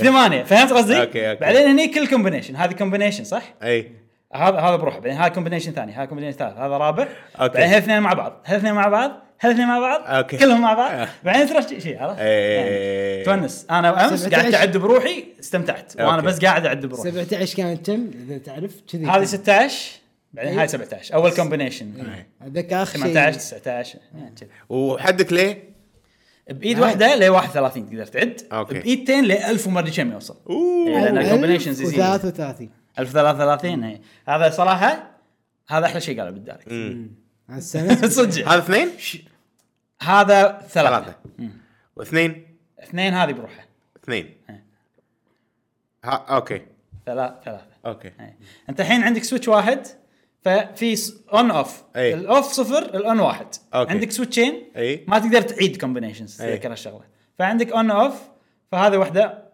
Speaker 1: ثمانية فهمت قصدي؟
Speaker 3: أوكي، أوكي.
Speaker 1: بعدين هني كل كومبينيشن هذا كومبينيشن صح؟
Speaker 3: اي
Speaker 1: هذا هذا بروحه بعدين هذا كومبينيشن ثاني هذا كومبينيشن ثالث هذا رابع
Speaker 3: أوكي.
Speaker 1: بعدين هالاثنين مع بعض هالاثنين مع بعض هالاثنين مع بعض
Speaker 3: أوكي.
Speaker 1: كلهم مع بعض
Speaker 3: <laughs> آه.
Speaker 1: بعدين تروح شيء- شيء عرفت؟ يعني.
Speaker 3: إيه.
Speaker 1: تونس انا امس
Speaker 2: 17.
Speaker 1: قعدت اعد بروحي استمتعت وانا
Speaker 3: أوكي.
Speaker 1: بس قاعد اعد بروحي
Speaker 2: 17 كانت كم اذا تعرف كذي
Speaker 1: هذه 16 بعدين
Speaker 2: أي.
Speaker 1: هاي 17 اول كومبينيشن
Speaker 2: اتذكر اخر إيه. شيء
Speaker 1: 18 19 يعني كذا.
Speaker 3: وحدك ليه؟
Speaker 1: بايد واحده ل 31 تقدر تعد
Speaker 3: أوكي.
Speaker 1: بايدتين ل 1000 وما ادري كم يوصل
Speaker 3: اوه
Speaker 1: إيه، لان
Speaker 2: ألف
Speaker 1: الكومبينيشنز يزيد
Speaker 2: وثلاثة وثلاثين
Speaker 1: 1033 هي. إيه. هذا صراحه هذا احلى شيء قاله بالدارك
Speaker 2: على السنة
Speaker 1: <laughs>
Speaker 2: <laughs>
Speaker 1: صدق
Speaker 3: هذا اثنين
Speaker 1: هذا ثلاثه
Speaker 3: ثلاثة واثنين
Speaker 1: اثنين هذه بروحه
Speaker 3: اثنين
Speaker 1: إيه.
Speaker 3: ها اوكي
Speaker 1: ثلاث ثلاثه
Speaker 3: اوكي
Speaker 1: إيه. انت الحين عندك سويتش واحد ففي اون اوف
Speaker 3: أي.
Speaker 1: الاوف صفر الاون واحد
Speaker 3: أوكي.
Speaker 1: عندك سويتشين
Speaker 3: أي.
Speaker 1: ما تقدر تعيد كومبينيشنز
Speaker 3: أي.
Speaker 1: تذكر الشغله فعندك اون اوف فهذه واحده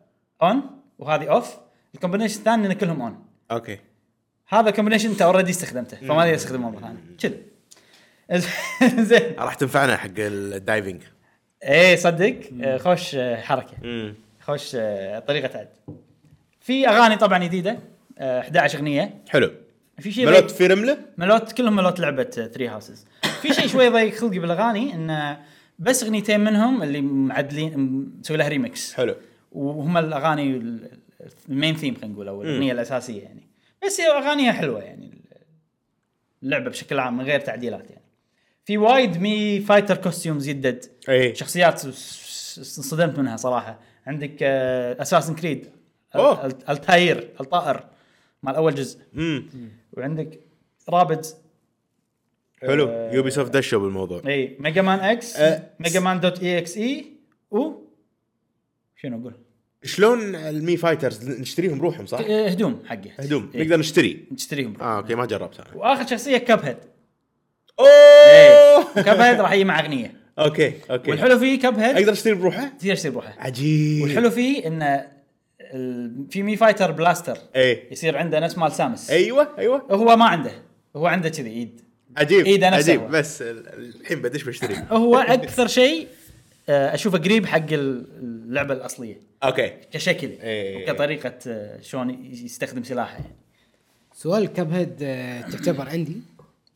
Speaker 1: اون وهذه اوف الكومبينيشن الثاني ان كلهم اون
Speaker 3: اوكي
Speaker 1: هذا الكومبينيشن انت اوريدي استخدمته فما تقدر تستخدمه مره ثانيه كذي <laughs> زين
Speaker 3: راح تنفعنا حق الدايفنج
Speaker 1: ايه صدق آه، خوش آه، حركه
Speaker 3: امم
Speaker 1: خوش آه، طريقه عد في اغاني طبعا جديده آه، 11 اغنيه
Speaker 3: حلو
Speaker 1: في شيء
Speaker 3: بلوت في رمله
Speaker 1: ملوت كلهم ملوت لعبه ثري هاوسز في شيء شوي ضيق خلقي بالاغاني انه بس اغنيتين منهم اللي معدلين مسوي لها ريمكس
Speaker 3: حلو
Speaker 1: وهم الاغاني ال- المين ثيم خلينا نقول او الاغنيه الاساسيه يعني بس هي اغانيها حلوه يعني اللعبه بشكل عام من غير تعديلات يعني في وايد مي فايتر كوستيومز يدد
Speaker 3: اي
Speaker 1: شخصيات س- س- انصدمت منها صراحه عندك آه، اساسن كريد
Speaker 3: أوه.
Speaker 1: التاير الطائر مال اول جزء
Speaker 3: امم
Speaker 1: وعندك رابد
Speaker 3: حلو
Speaker 1: آه،
Speaker 3: يوبي سوفت دشوا بالموضوع
Speaker 1: اي ميجا مان اكس
Speaker 3: أه،
Speaker 1: ميجا مان دوت اي اكس اي و شنو اقول؟
Speaker 3: شلون المي فايترز نشتريهم روحهم صح؟
Speaker 1: أه، هدوم حقه
Speaker 3: هدوم
Speaker 1: إيه،
Speaker 3: نقدر نشتري
Speaker 1: تشتريهم
Speaker 3: اه اوكي ما جربت انا
Speaker 1: واخر شخصيه كاب هيد
Speaker 3: <laughs> اوه
Speaker 1: كاب هيد إيه، راح يجي مع
Speaker 3: <laughs>
Speaker 1: اغنيه
Speaker 3: اوكي اوكي
Speaker 1: والحلو فيه كاب هيد
Speaker 3: اقدر اشتري بروحه؟
Speaker 1: تقدر تشتري بروحه
Speaker 3: عجيب
Speaker 1: والحلو فيه انه ال- في مي فايتر بلاستر
Speaker 3: اي
Speaker 1: يصير عنده نفس مال سامس
Speaker 3: ايوه ايوه
Speaker 1: هو ما عنده هو عنده كذي ايد
Speaker 3: عجيب
Speaker 1: إيه، ده نفسه
Speaker 3: عجيب
Speaker 1: هو.
Speaker 3: بس ال- الحين بدش
Speaker 1: <laughs>
Speaker 3: بشتري <laughs>
Speaker 1: هو اكثر شيء آه، اشوفه قريب حق ال- اللعبه الاصليه
Speaker 3: اوكي
Speaker 1: كشكل
Speaker 3: إيه.
Speaker 1: وكطريقه آه، شلون يستخدم سلاحه يعني
Speaker 2: سؤال كاب هيد آه، تعتبر عندي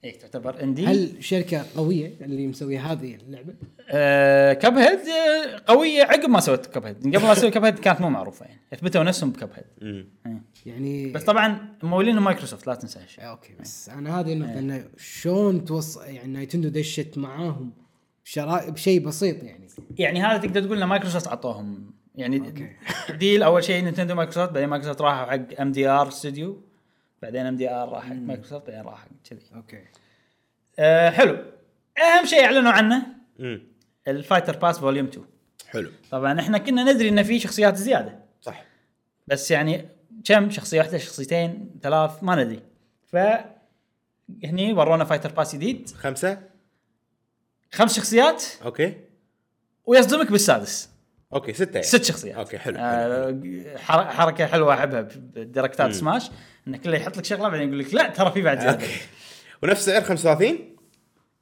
Speaker 1: اي إيه، تعتبر اندي
Speaker 2: هل شركة قوية اللي مسوية هذه اللعبة؟
Speaker 1: آه كاب هيد آه، قويه عقب ما سوت كاب هيد قبل ما اسوي كاب هيد كانت مو معروفه يعني اثبتوا نفسهم بكاب هيد
Speaker 3: أمم.
Speaker 2: يعني
Speaker 1: بس طبعا مولينهم مايكروسوفت لا تنسى هالشيء
Speaker 2: اوكي بس انا هذه النقطة انه شلون توصل يعني نايتندو دشت معاهم بشرا... بشيء بسيط يعني
Speaker 1: يعني هذا تقدر تقول ان مايكروسوفت عطوهم يعني
Speaker 2: أوكي.
Speaker 1: ديل اول شيء نينتندو مايكروسوفت بعدين مايكروسوفت راحوا حق ام دي ار ستوديو بعدين ام دي ار راح حق مايكروسوفت بعدين راح حق كذي
Speaker 2: اوكي
Speaker 1: آه حلو اهم شيء اعلنوا عنه
Speaker 3: أمم.
Speaker 1: الفايتر باس فوليوم 2
Speaker 3: حلو
Speaker 1: طبعا احنا كنا ندري ان في شخصيات زياده
Speaker 3: صح
Speaker 1: بس يعني كم شخصيه واحده شخصيتين ثلاث ما ندري ف هني ورونا فايتر باس جديد
Speaker 3: خمسه
Speaker 1: خمس شخصيات
Speaker 3: اوكي
Speaker 1: ويصدمك بالسادس
Speaker 3: اوكي سته يعني.
Speaker 1: ست شخصيات
Speaker 3: اوكي، حلو،
Speaker 1: آه حر- حركه حلوه احبها بالديركتات سماش ان كله يحط لك شغله بعدين يقول لك لا ترى في بعد زياده
Speaker 3: اوكي ونفس سعر 35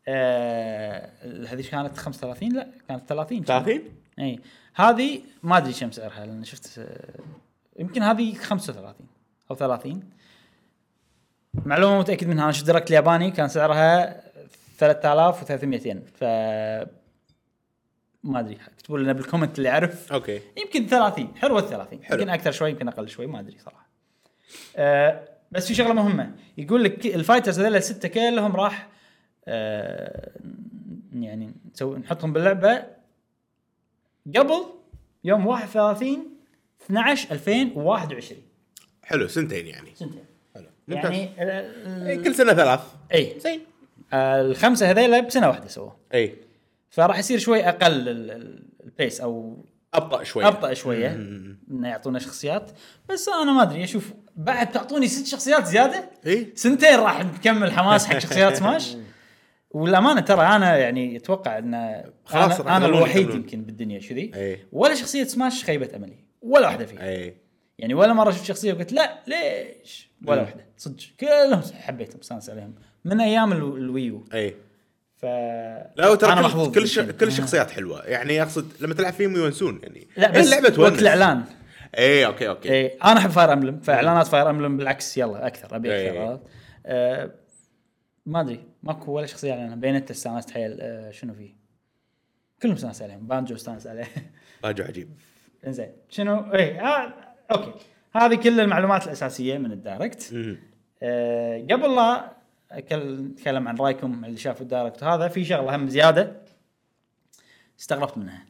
Speaker 1: آه هذه كانت 35 لا كانت 30
Speaker 3: 30
Speaker 1: اي هذه ما ادري كم سعرها لان شفت آه، يمكن هذه 35 او 30 معلومه متاكد منها انا شفت دركت الياباني كان سعرها 3300 ين ف ما ادري اكتبوا لنا بالكومنت اللي يعرف
Speaker 3: اوكي
Speaker 1: يمكن 30 حلوه 30
Speaker 3: حلو.
Speaker 1: يمكن اكثر شوي يمكن اقل شوي ما ادري صراحه آه بس في شغله مهمه يقول لك الفايترز هذول السته كلهم راح آه يعني نسوي نحطهم باللعبه قبل يوم 31 12 2021
Speaker 3: حلو سنتين يعني
Speaker 1: سنتين
Speaker 3: حلو ممتاز
Speaker 1: يعني آه،
Speaker 3: إيه، كل سنه ثلاث
Speaker 1: اي
Speaker 3: زين إيه.
Speaker 1: آه الخمسه هذيلا بسنه واحده سووه
Speaker 3: اي
Speaker 1: فراح يصير شوي اقل ال- ال- البيس او
Speaker 3: ابطا شوي
Speaker 1: ابطا شويه انه يعطونا شخصيات بس انا ما ادري اشوف بعد تعطوني ست شخصيات زياده
Speaker 3: اي
Speaker 1: سنتين راح نكمل حماس حق شخصيات
Speaker 3: <laughs>
Speaker 1: سماش والامانه ترى انا يعني اتوقع ان
Speaker 3: خلاص راح
Speaker 1: انا, أنا
Speaker 3: يخلون
Speaker 1: الوحيد
Speaker 3: يكملون.
Speaker 1: يمكن بالدنيا كذي
Speaker 3: إيه.
Speaker 1: ولا شخصيه سماش خيبت املي ولا واحده فيها
Speaker 3: اي
Speaker 1: يعني ولا مره شفت شخصيه وقلت لا ليش ولا
Speaker 3: مم.
Speaker 1: واحده صدق كلهم حبيتهم استانس عليهم من ايام الو- الويو
Speaker 3: اي
Speaker 1: ف
Speaker 3: إيه. لا
Speaker 1: أنا
Speaker 3: وترى
Speaker 1: محظوظ
Speaker 3: كل- كل ش...
Speaker 1: يمكن.
Speaker 3: كل الشخصيات حلوه يعني اقصد لما تلعب فيهم يونسون يعني
Speaker 1: لا
Speaker 3: إيه،
Speaker 1: بس
Speaker 3: اللعبه
Speaker 1: وقت
Speaker 3: تونس إيه،
Speaker 1: الاعلان
Speaker 3: اي اوكي اوكي
Speaker 1: ايه انا احب فاير امبلم فاعلانات فاير امبلم بالعكس يلا اكثر ابي
Speaker 3: إيه.
Speaker 1: اكثر عرفت؟ آه ما ادري ماكو ولا شخصيه اعلانها بينت استانست حيل آه شنو فيه؟ كلهم استانس عليهم بانجو استانس <laughs> عليه
Speaker 3: راجع عجيب
Speaker 1: انزين شنو ايه آه اوكي هذه كل المعلومات الاساسيه من الدايركت
Speaker 3: مم.
Speaker 1: آه قبل لا أكل- نتكلم عن رايكم اللي شافوا الدايركت هذا في شغله هم زياده استغربت منها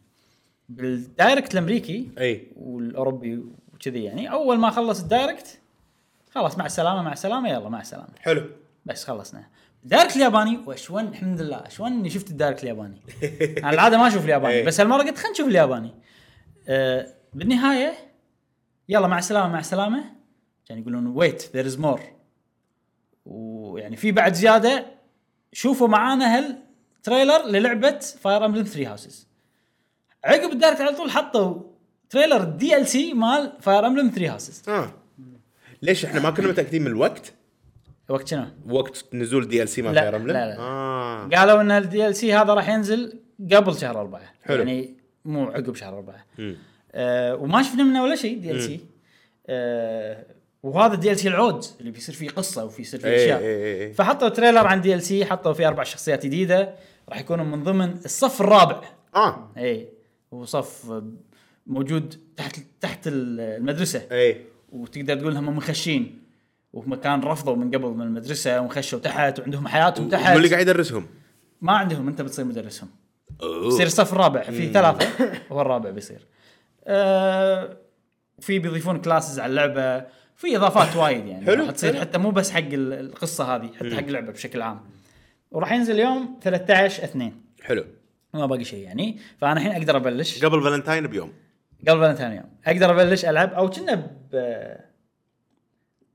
Speaker 1: بالدايركت الامريكي
Speaker 3: اي
Speaker 1: والاوروبي وكذي يعني اول ما خلص الدايركت خلاص مع السلامه مع السلامه يلا مع السلامه
Speaker 3: حلو
Speaker 1: بس خلصنا الدايركت الياباني وشون الحمد لله شون اني شفت الدايركت الياباني انا العاده ما اشوف الياباني
Speaker 3: إيه.
Speaker 1: بس هالمره قلت خلينا نشوف الياباني آه بالنهايه يلا مع السلامه مع السلامه كان يقولون ويت ذير از مور ويعني في بعد زياده شوفوا معانا هالتريلر للعبه فاير امبلم 3 هاوسز عقب الدايركت على طول حطوا تريلر الدي ال سي مال فاير امبلم 3 هاوسز
Speaker 3: اه ليش احنا ما كنا متاكدين من الوقت
Speaker 1: وقت شنو؟
Speaker 3: وقت نزول دي ال سي مال
Speaker 1: لا،
Speaker 3: فاير امبلم
Speaker 1: لا، لا.
Speaker 3: اه
Speaker 1: قالوا ان الدي ال سي هذا راح ينزل قبل شهر أربعة
Speaker 3: حلو.
Speaker 1: يعني مو عقب شهر أربعة
Speaker 3: مم.
Speaker 1: آه وما شفنا منه ولا شيء دي ال سي آه وهذا الدي ال سي العود اللي بيصير فيه قصه وفي يصير فيه
Speaker 3: إيه،
Speaker 1: اشياء
Speaker 3: إيه، إيه، إيه.
Speaker 1: فحطوا تريلر عن دي ال سي حطوا فيه اربع شخصيات جديده راح يكونوا من ضمن الصف الرابع
Speaker 3: اه
Speaker 1: اي وصف موجود تحت تحت المدرسه
Speaker 3: اي
Speaker 1: وتقدر تقول هم منخشين وهم كان رفضوا من قبل من المدرسه وانخشوا تحت وعندهم حياتهم
Speaker 3: ومن
Speaker 1: تحت
Speaker 3: اللي قاعد يدرسهم
Speaker 1: ما عندهم انت بتصير مدرسهم
Speaker 3: أوه.
Speaker 1: بصير الصف الرابع في ثلاثة هو الرابع بيصير آه في بيضيفون كلاسز على اللعبة في اضافات وايد يعني
Speaker 3: حلو،
Speaker 1: راح تصير
Speaker 3: حلو.
Speaker 1: حتى مو بس حق ال- القصة هذه حتى حق اللعبة بشكل عام وراح ينزل يوم 13 2
Speaker 3: حلو
Speaker 1: ما باقي شيء يعني فانا الحين اقدر ابلش
Speaker 3: قبل فالنتاين بيوم
Speaker 1: قبل فالنتين يوم اقدر ابلش العب او كنا ب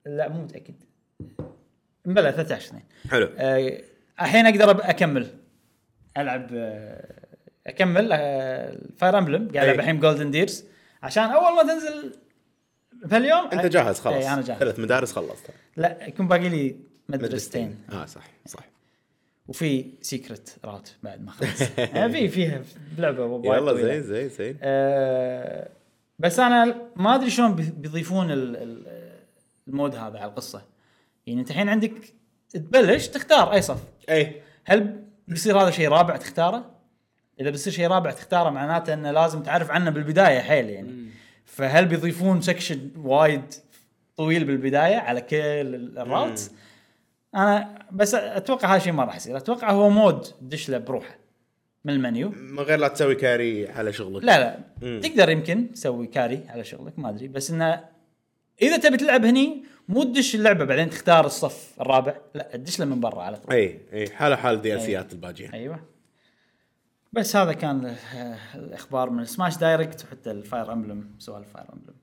Speaker 1: لا مو متاكد بلى 13 2
Speaker 3: حلو
Speaker 1: آه، الحين اقدر أب- اكمل العب آه، اكمل فاير امبلم قاعد
Speaker 3: أي.
Speaker 1: العب الحين جولدن ديرز عشان اول ما تنزل بهاليوم
Speaker 3: انت جاهز خلاص
Speaker 1: اي انا إيه، جاهز
Speaker 3: ثلاث مدارس خلصت
Speaker 1: لا يكون باقي لي مدرستين
Speaker 3: اه صح صح
Speaker 1: وفي سيكرت رات بعد ما
Speaker 3: <laughs>
Speaker 1: خلص آه، في فيها لعبه وايد
Speaker 3: يلا
Speaker 1: طويلة.
Speaker 3: زين زين زين
Speaker 1: آه، بس انا ما ادري شلون بي- بيضيفون ال- ال- المود هذا على القصه يعني انت الحين عندك تبلش تختار اي صف
Speaker 3: اي
Speaker 1: هل بيصير هذا شيء رابع تختاره؟ اذا بيصير شيء رابع تختاره معناته انه لازم تعرف عنه بالبدايه حيل يعني فهل بيضيفون سكشن وايد طويل بالبدايه على كل ال- الرات؟ انا بس اتوقع هذا الشيء ما راح يصير اتوقع هو مود دش له بروحه من المنيو
Speaker 3: من غير لا تسوي كاري على شغلك
Speaker 1: لا لا
Speaker 3: مم.
Speaker 1: تقدر يمكن تسوي كاري على شغلك ما ادري بس انه اذا تبي تلعب هني مو تدش اللعبه بعدين تختار الصف الرابع لا تدش له من برا على طول
Speaker 3: اي اي إيه، حاله حال
Speaker 1: إيه.
Speaker 3: دي السيات الباجيه
Speaker 1: ايوه بس هذا كان ال- الاخبار من سماش دايركت وحتى الفاير امبلم سؤال الفاير امبلم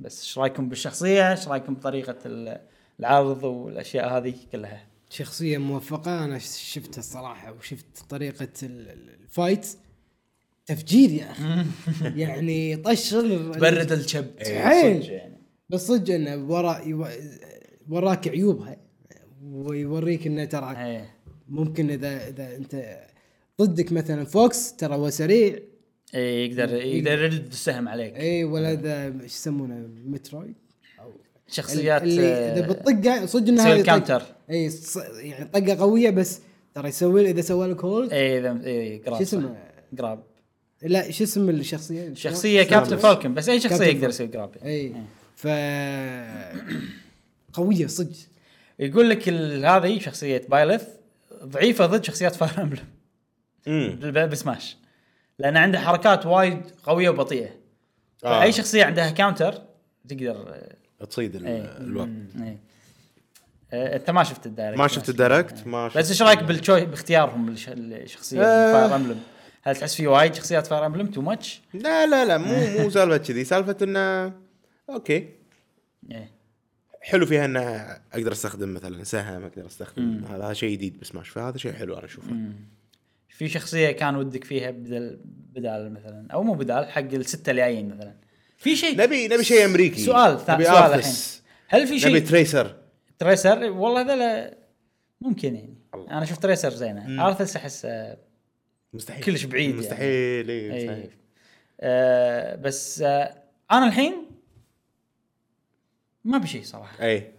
Speaker 1: بس ايش رايكم بالشخصيه؟ ايش رايكم بطريقه ال- العرض والاشياء هذه كلها؟
Speaker 2: شخصية موفقة أنا ش- شفتها الصراحة وشفت طريقة ال- ال- الفايت تفجير يا أخي
Speaker 1: <laughs>
Speaker 2: يعني طشر ال-
Speaker 1: برد الشب
Speaker 2: إيه.
Speaker 1: صدق يعني
Speaker 2: بس صدق انه ورا يو- وراك عيوبها ويوريك انه ترى
Speaker 1: إيه.
Speaker 2: ممكن اذا اذا انت ضدك مثلا فوكس ترى هو سريع
Speaker 1: ايه يقدر
Speaker 2: إيه.
Speaker 1: يقدر يرد السهم عليك
Speaker 2: اي ولا اذا شو يسمونه مترويد
Speaker 1: شخصيات
Speaker 2: اللي
Speaker 1: آه،
Speaker 2: اذا بتطقه صدق انها
Speaker 1: تسوي
Speaker 2: هذه طق-
Speaker 1: الكاونتر.
Speaker 2: اي ص- يعني طقه قويه بس ترى يسوي اذا سوى لك هولد
Speaker 1: ايه اذا ايه قراب
Speaker 2: شو اسمه؟
Speaker 1: صح. قراب
Speaker 2: لا شو اسم الشخصيه؟
Speaker 1: شخصيه كابتن فولكن بس اي شخصيه
Speaker 2: كابتن
Speaker 1: يقدر يسوي قراب يعني.
Speaker 2: اي ف قويه صدق
Speaker 1: يقول لك ال- هذه شخصيه بايلث ضعيفه ضد شخصيات فاير امبلم
Speaker 3: امم
Speaker 1: بالب- بسماش لان عنده حركات وايد قويه وبطيئه
Speaker 3: آه.
Speaker 1: آه. اي شخصيه عندها كاونتر تقدر
Speaker 3: تصيد ال-
Speaker 1: إيه.
Speaker 3: الوقت
Speaker 1: إيه. آه، انت ما شفت الدايركت إيه.
Speaker 3: ما شفت الدايركت ما شفت
Speaker 1: بس ايش رايك بالتشوي باختيارهم للش- للشخصيه
Speaker 3: آه.
Speaker 1: فاير امبلم هل تحس في وايد شخصيات فاير امبلم تو ماتش؟
Speaker 3: لا لا لا مو
Speaker 1: <laughs>
Speaker 3: مو سالفه كذي سالفه انه اوكي
Speaker 1: إيه.
Speaker 3: حلو فيها انه اقدر استخدم مثلا سهم اقدر استخدم هذا هذا شيء جديد بسماش فهذا شيء حلو انا اشوفه
Speaker 1: في شخصيه كان ودك فيها بدل بدال مثلا او مو بدال حق السته اللي جايين مثلا في شيء
Speaker 3: نبي نبي شيء امريكي
Speaker 1: سؤال ثا-
Speaker 3: نبي
Speaker 1: سؤال الحين
Speaker 3: أرثس.
Speaker 1: هل في
Speaker 3: نبي
Speaker 1: شيء
Speaker 3: تريسر
Speaker 1: تريسر والله هذا ممكن يعني انا شفت تريسر زينه ارثس احس آه،
Speaker 3: مستحيل
Speaker 1: كلش بعيد يعني.
Speaker 3: مستحيل يعني.
Speaker 1: إيه.
Speaker 3: مستحيل
Speaker 1: آه بس آه انا الحين ما بشيء صراحه
Speaker 3: اي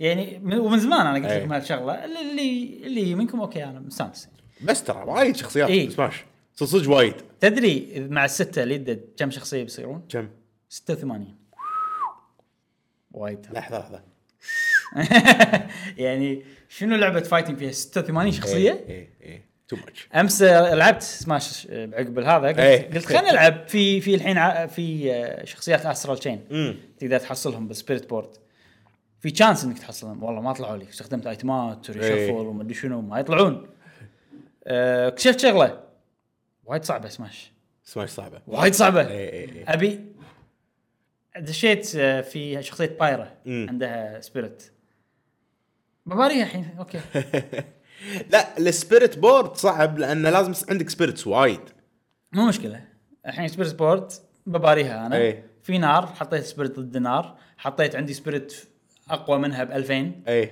Speaker 1: يعني من- ومن زمان انا قلت
Speaker 3: إيه.
Speaker 1: لكم هالشغله اللي اللي اللي منكم اوكي انا مستانس
Speaker 3: <laughs> بس ترى وايد شخصيات
Speaker 1: إيه.
Speaker 3: سماش صدق- صدق وايد
Speaker 1: تدري مع السته اللي يدد كم شخصيه بيصيرون؟
Speaker 3: كم
Speaker 1: 86 وايد
Speaker 3: لحظه لحظه إيه.
Speaker 1: يعني شنو لعبه فايتنج فيها 86 شخصيه؟
Speaker 3: اي اي تو ماتش
Speaker 1: امس آه، لعبت سماش بعقب هذا
Speaker 3: إيه.
Speaker 1: قلت, قلت خلينا نلعب في في الحين ع- في آه، شخصيات استرال تشين
Speaker 3: امم
Speaker 1: تقدر تحصلهم بالسبيريت بورد في تشانس انك تحصلهم والله ما طلعوا لي استخدمت ايتمات
Speaker 3: إيه.
Speaker 1: وريشفل ومدري شنو ما يطلعون آه، اكتشفت شغله وايد صعبه سماش
Speaker 3: سماش صعبه
Speaker 1: وايد صعبه
Speaker 3: إيه، إيه، إيه.
Speaker 1: ابي دشيت آه، في شخصيه بايرا
Speaker 3: مم.
Speaker 1: عندها سبيريت بباريها الحين اوكي
Speaker 3: لا السبيريت بورد صعب لانه لازم يصير عندك سبيريتس وايد
Speaker 1: مو مشكله الحين سبيرت بورد بباريها انا
Speaker 3: إيه.
Speaker 1: في نار حطيت سبيرت ضد نار حطيت عندي سبيرت اقوى منها ب 2000
Speaker 3: اي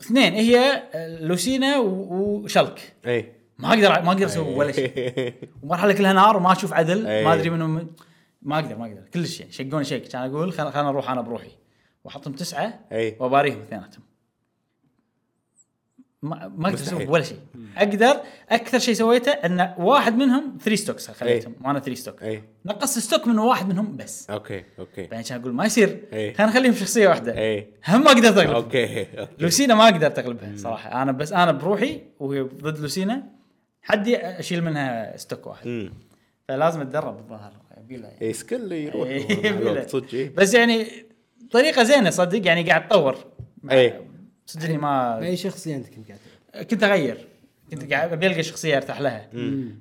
Speaker 1: اثنين هي لوسينا و- وشلك
Speaker 3: اي
Speaker 1: ما اقدر ما اقدر اسوي ولا شيء ومرحله كلها نار وما اشوف عدل
Speaker 3: إيه.
Speaker 1: ما ادري منو من- ما اقدر ما اقدر كلش يعني شقوني شيك كان اقول خل- خلنا نروح انا بروحي واحطهم تسعه
Speaker 3: <laughs> إيه.
Speaker 1: واباريهم اثنيناتهم ما ما اقدر اسوي
Speaker 3: مستحيل.
Speaker 1: ولا شيء اقدر اكثر شيء سويته ان واحد منهم 3 ستوكس خليتهم وانا 3 ستوك
Speaker 3: إيه.
Speaker 1: نقصت ستوك من واحد منهم بس
Speaker 3: اوكي
Speaker 1: <laughs>
Speaker 3: اوكي
Speaker 1: بعدين كان اقول ما يصير
Speaker 3: إيه.
Speaker 1: خلينا نخليهم شخصيه واحده
Speaker 3: إيه.
Speaker 1: هم ما اقدر اغلب
Speaker 3: اوكي اوكي
Speaker 1: لوسينا ما اقدر تغلبها صراحه انا بس انا بروحي وهي ضد لوسينا حدي اشيل منها ستوك واحد
Speaker 3: امم
Speaker 1: فلازم اتدرب الظاهر يبيلها يعني.
Speaker 3: اي سكيل يروح
Speaker 1: إيه،
Speaker 3: مع الوقت،
Speaker 1: بلا.
Speaker 3: صدق إيه.
Speaker 1: بس يعني طريقه زينه صدق يعني قاعد اتطور مع-
Speaker 3: إيه.
Speaker 1: صدقني ما
Speaker 2: باي شخصيه انت كنت قاعد تلعب؟
Speaker 1: كنت اغير كنت قاعد ابي القى شخصيه ارتاح لها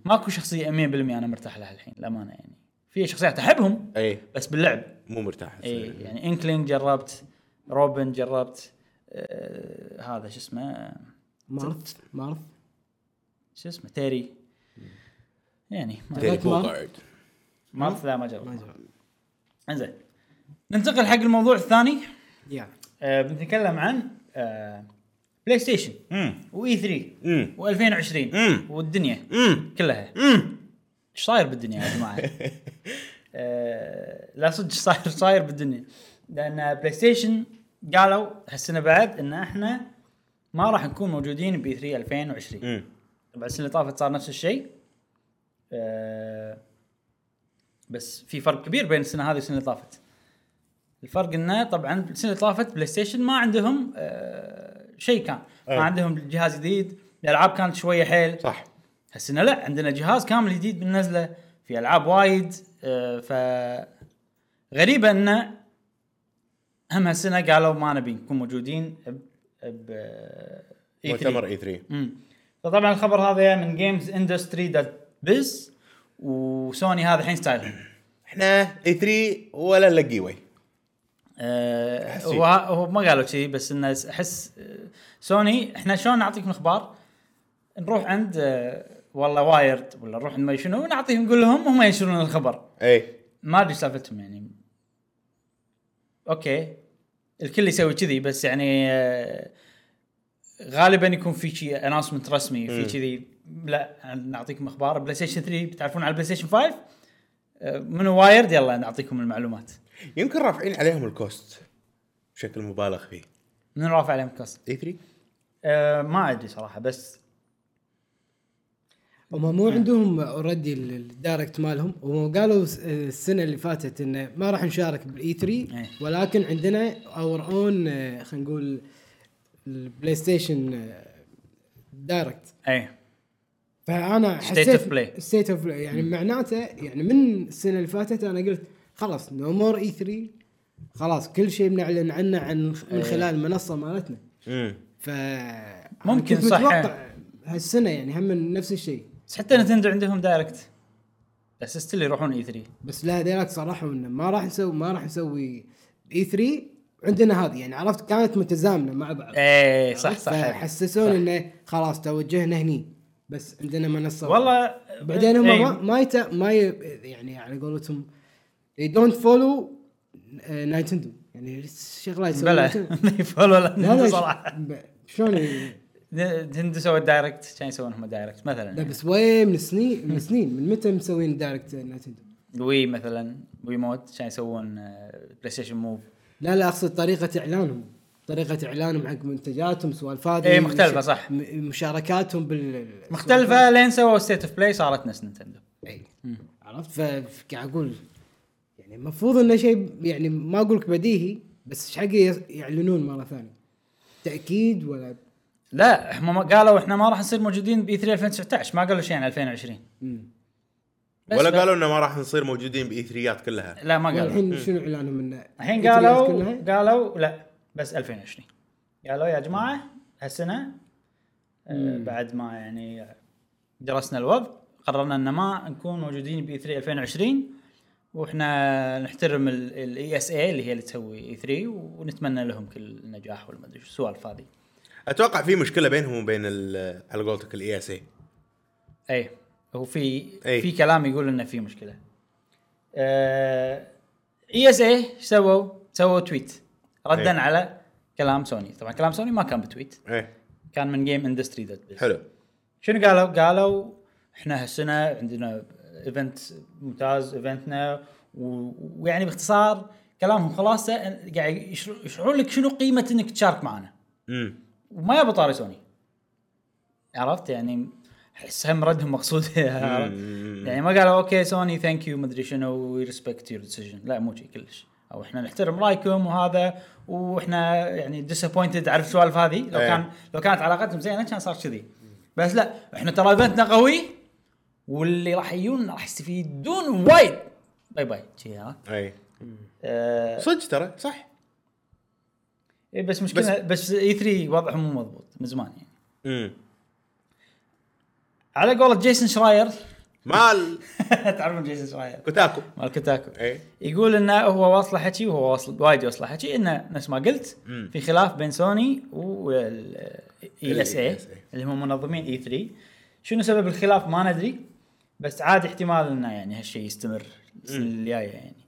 Speaker 1: ماكو شخصيه 100% انا مرتاح لها الحين للامانه يعني في شخصيات احبهم
Speaker 3: اي
Speaker 1: بس باللعب
Speaker 3: إيه، مو مرتاح
Speaker 1: اي يعني انكلينج جربت روبن جربت آه هذا شو اسمه
Speaker 2: مارث مارث
Speaker 1: شو اسمه تيري يعني ما-
Speaker 3: تيري
Speaker 2: جربت ما؟
Speaker 3: بوغارد.
Speaker 1: مارث لا ما
Speaker 2: ما
Speaker 1: جربت
Speaker 2: جرب
Speaker 1: انزين ننتقل حق الموضوع الثاني
Speaker 2: يا
Speaker 1: آه بنتكلم عن آه بلاي ستيشن
Speaker 3: امم
Speaker 1: واي 3
Speaker 3: امم
Speaker 1: و2020
Speaker 3: مم.
Speaker 1: والدنيا
Speaker 3: امم
Speaker 1: كلها
Speaker 3: امم
Speaker 1: ايش صاير بالدنيا يا جماعه؟ آه، لا صدق إيش صاير صاير بالدنيا لان بلاي ستيشن قالوا هالسنه بعد ان احنا ما راح نكون موجودين ب 3 2020
Speaker 3: امم
Speaker 1: طبعا السنه اللي طافت صار نفس الشيء آه، بس في فرق كبير بين السنه هذه والسنه اللي طافت الفرق انه طبعا السنه اللي طافت بلاي ستيشن ما عندهم آه، شيء كان ما
Speaker 3: أي.
Speaker 1: عندهم جهاز جديد الالعاب كانت شويه حيل
Speaker 3: صح
Speaker 1: هالسنه لا عندنا جهاز كامل جديد بالنزله في العاب وايد آه، ف غريبه انه هم هالسنه قالوا ما نبي نكون موجودين ب ب E E3.
Speaker 3: مؤتمر إيه اي 3
Speaker 1: مم. فطبعا الخبر هذا من جيمز اندستري دوت بز وسوني هذا الحين ستايلهم
Speaker 3: احنا اي 3 إيه ولا لقي واي
Speaker 1: آه،
Speaker 3: أحس
Speaker 1: هو هو ما قالوا شيء بس انه احس آه، سوني احنا شلون نعطيكم اخبار؟ نروح عند آه، والله وايرد ولا نروح عند ما شنو ونعطيهم نقول لهم هم ينشرون الخبر
Speaker 3: اي
Speaker 1: ما ادري سالفتهم يعني اوكي الكل يسوي كذي بس يعني آه، غالبا يكون في شيء اناونسمنت رسمي في
Speaker 3: مم.
Speaker 1: كذي لا نعطيكم اخبار بلاي ستيشن 3 بتعرفون على بلاي ستيشن 5 آه، من وايرد يلا نعطيكم المعلومات
Speaker 3: يمكن رافعين عليهم الكوست بشكل مبالغ فيه إيه
Speaker 1: من رافع عليهم كاست
Speaker 3: اي 3
Speaker 1: أه ما ادري صراحه بس
Speaker 2: هم مو عندهم اوريدي الدايركت مالهم هم قالوا س- السنه اللي فاتت انه ما راح نشارك بالاي 3
Speaker 1: إيه.
Speaker 2: ولكن عندنا اور اون خلينا نقول البلاي ستيشن دايركت
Speaker 1: اي
Speaker 2: فانا
Speaker 1: State
Speaker 2: حسيت
Speaker 1: of play.
Speaker 2: ستيت اوف بلاي يعني معناته يعني من السنه اللي فاتت انا قلت خلاص نو مور اي 3 خلاص كل شيء بنعلن عنه عن
Speaker 1: إيه.
Speaker 2: من خلال المنصه مالتنا
Speaker 3: امم
Speaker 2: ف
Speaker 1: ممكن
Speaker 2: كنت
Speaker 1: صح.
Speaker 2: متوقع هالسنه يعني هم نفس الشيء
Speaker 1: بس حتى نتندو عندهم دايركت بس ستيل يروحون E اي 3
Speaker 2: بس لا هذيلاك صرحوا انه ما راح نسوي ما راح نسوي اي 3 عندنا هذه يعني عرفت كانت متزامنه مع بعض
Speaker 1: اي إيه، صح صح
Speaker 2: فحسسون انه خلاص توجهنا هني بس عندنا منصه
Speaker 1: والله
Speaker 2: بعدين هم
Speaker 1: إيه.
Speaker 2: ما ما, يت... ما ي... يعني على قولتهم they don't follow نايتندو يعني شغله يسوون
Speaker 1: <laughs>
Speaker 2: <laughs>
Speaker 1: بلا
Speaker 2: Nintendo.
Speaker 1: فولو لا
Speaker 2: لا
Speaker 1: نتندو
Speaker 2: لا
Speaker 1: صراحه
Speaker 2: ب- شلون ي-
Speaker 1: نتندو سوت دايركت كان يسوون هم دايركت
Speaker 2: لا
Speaker 1: مثلا
Speaker 2: بس وين من سنين من سنين من متى مسوين دايركت نايتندو؟
Speaker 1: وي مثلا وي موت كان يسوون آه، بلاي ستيشن موف
Speaker 2: لا لا اقصد طريقه اعلانهم طريقه اعلانهم حق منتجاتهم سوالف هذه
Speaker 1: إيه، مختلفة، صح.
Speaker 2: م- مشاركاتهم بال
Speaker 1: مختلفه لين سووا ستيت اوف بلاي صارت نفس نتندو
Speaker 2: إي. إيه. عرفت فقاعد اقول يعني المفروض انه شيء يعني ما اقول لك بديهي بس ايش حق يعلنون مره ثانيه؟ تاكيد ولا
Speaker 1: لا هم ما- قالوا احنا ما راح نصير موجودين باي 3 2019 ما قالوا شيء عن 2020 بس
Speaker 3: ولا
Speaker 1: ف-
Speaker 3: قالوا انه ما راح نصير موجودين باي 3 كلها
Speaker 1: لا ما قالوا
Speaker 2: الحين شنو اعلانهم انه
Speaker 1: الحين
Speaker 2: التدريبات
Speaker 1: قالوا
Speaker 2: كلها؟
Speaker 1: قالوا لا بس 2020 قالوا يا جماعه هالسنه آه، بعد ما يعني درسنا الوضع قررنا ان ما نكون موجودين E باي 3 2020 واحنا نحترم الاي اس اي اللي هي اللي تسوي اي 3 ونتمنى لهم كل النجاح والمدري شو السوالف هذه
Speaker 3: اتوقع في مشكله بينهم وبين ال- إيه. على قولتك الاي اس اي
Speaker 1: اي إيه. هو في
Speaker 3: أي.
Speaker 1: في كلام يقول انه في آه، مشكله اي اس اي إيه سووا سووا تويت ردا
Speaker 3: أي.
Speaker 1: على كلام سوني طبعا كلام سوني ما كان بتويت
Speaker 3: ايه
Speaker 1: كان من جيم اندستري دوت بيز
Speaker 3: حلو
Speaker 1: شنو قالوا؟ قالوا احنا هالسنه عندنا ايفنت ممتاز ايفنتنا و- ويعني باختصار كلامهم خلاصه إن- قاعد يشر- يشرحون لك شنو قيمه انك تشارك معنا
Speaker 3: امم
Speaker 1: وما يبى طاري سوني عرفت يعني احس هم ردهم مقصود <laughs> يعني ما قالوا اوكي سوني ثانك يو مدري شنو وي ريسبكت يور ديسيجن لا مو شي كلش او احنا نحترم رايكم وهذا واحنا يعني ديسابوينتد عرفت السوالف هذه لو
Speaker 3: إيه.
Speaker 1: كان لو كانت علاقتهم زينه كان صار كذي بس لا احنا ترى ايفنتنا قوي واللي راح يجون راح يستفيدون وايد باي باي شي ها
Speaker 3: اي
Speaker 1: آه،
Speaker 3: إيه. صدق ترى صح
Speaker 1: إيه، بس مشكله بس اي 3 وضعهم مو مضبوط من زمان يعني
Speaker 3: امم
Speaker 1: على قولة جيسون شراير
Speaker 3: مال
Speaker 1: <laughs> تعرفون جيسون شراير
Speaker 3: كوتاكو
Speaker 1: مال كوتاكو
Speaker 3: اي
Speaker 1: يقول انه هو واصله حكي وهو واصل وايد واصله حكي انه نفس ما قلت
Speaker 3: مم.
Speaker 1: في خلاف بين سوني والاي اس اي
Speaker 3: ال ESA.
Speaker 1: اللي هم منظمين اي 3 شنو سبب الخلاف ما ندري بس عادي احتمال انه يعني هالشيء يستمر السنه الجايه يعني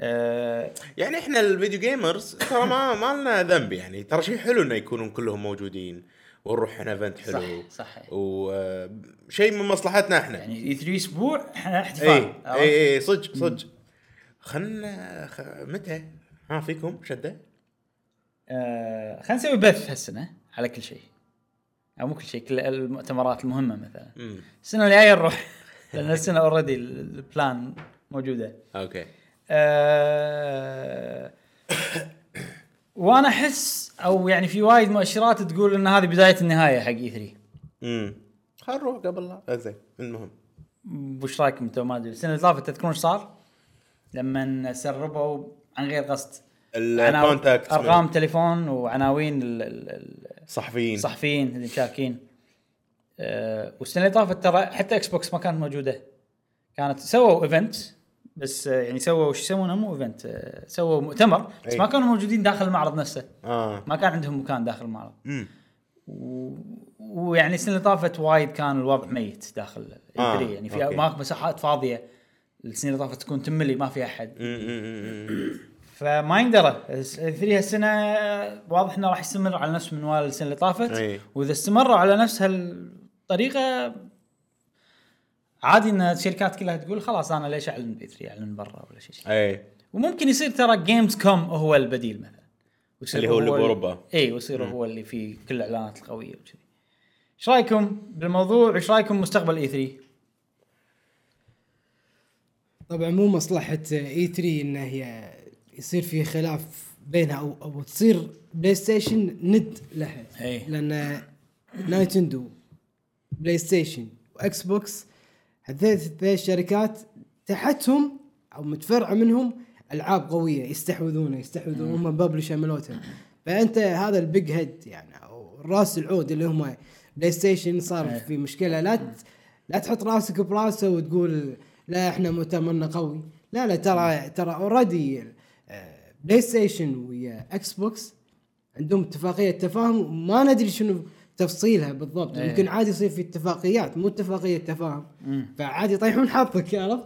Speaker 1: آه،
Speaker 3: يعني احنا الفيديو جيمرز ترى ما ما لنا ذنب يعني ترى شيء حلو انه يكونون كلهم موجودين ونروح هنا ايفنت حلو
Speaker 1: صح صح
Speaker 3: وشيء من مصلحتنا احنا
Speaker 1: يعني اي 3 اسبوع احنا احتفال
Speaker 3: اي
Speaker 1: عرفت؟
Speaker 3: اي اي إيه، صدق صدق خلنا خ... متى؟ ها فيكم شده؟
Speaker 1: آه، خلينا نسوي بث هالسنه على كل شيء او مو كل شيء كل المؤتمرات المهمه مثلا
Speaker 3: امم
Speaker 1: السنه الجايه نروح لان السنه اوريدي البلان موجوده
Speaker 3: اوكي
Speaker 1: <coughs> أه وانا احس او يعني في وايد مؤشرات تقول ان هذه بدايه النهايه حق E اي 3
Speaker 3: امم خلنا نروح قبل لا آه، زين المهم
Speaker 1: وش رايكم انتم ما ادري السنه اللي طافت تذكرون ايش صار؟ لما سربوا عن غير قصد عنا-
Speaker 3: الكونتاكت
Speaker 1: ارقام تليفون وعناوين ال- ال- ال-
Speaker 3: صحفيين صح
Speaker 1: الصحفيين اللي مشاركين أه والسنه اللي طافت ترى حتى اكس بوكس ما كانت موجوده كانت سووا ايفنت بس آه، يعني سووا شو يسمونه مو ايفنت آه، سووا مؤتمر بس
Speaker 3: أي.
Speaker 1: ما كانوا موجودين داخل المعرض نفسه
Speaker 3: اه
Speaker 1: ما كان عندهم مكان داخل المعرض
Speaker 3: امم
Speaker 1: و... ويعني السنه اللي طافت وايد كان الوضع ميت داخل ال
Speaker 3: آه،
Speaker 1: 3 يعني في
Speaker 3: أوكي.
Speaker 1: ماك مساحات فاضيه السنه اللي طافت تكون تملي ما فيها احد فما يندرى 3 هالسنه واضح انه راح يستمر على نفس منوال السنه اللي طافت
Speaker 3: أي.
Speaker 1: واذا استمروا على نفس هالطريقه عادي ان الشركات كلها تقول خلاص انا ليش اعلن بي 3 اعلن برا ولا شيء
Speaker 3: اي
Speaker 1: وممكن يصير ترى جيمز كوم هو البديل مثلا ويصير
Speaker 3: اللي هو اللي
Speaker 1: ال-
Speaker 3: بأوروبا.
Speaker 1: اي ويصير هو اللي فيه كل الاعلانات القويه وكذي ايش رايكم بالموضوع ايش رايكم مستقبل E اي 3
Speaker 2: طبعا مو مصلحه اي 3 ان هي يصير في خلاف بينها او او تصير بلاي ستيشن ند لها
Speaker 1: إي.
Speaker 2: لان نايتندو بلاي ستيشن واكس بوكس هذه الشركات تحتهم او متفرعه منهم العاب قويه يستحوذونها يستحوذون هم ببلشر ملوتها فانت هذا البيج هيد يعني او راس العود اللي هم بلاي ستيشن صار
Speaker 1: إيه.
Speaker 2: في مشكله لا ت... لا تحط راسك براسه وتقول لا احنا مؤتمرنا قوي لا لا ترى ترى اوريدي بلاي ستيشن ويا اكس بوكس عندهم اتفاقيه تفاهم ما ندري شنو تفصيلها بالضبط
Speaker 1: إيه.
Speaker 2: يمكن عادي يصير في اتفاقيات مو اتفاقيه تفاهم فعادي يطيحون حظك عرفت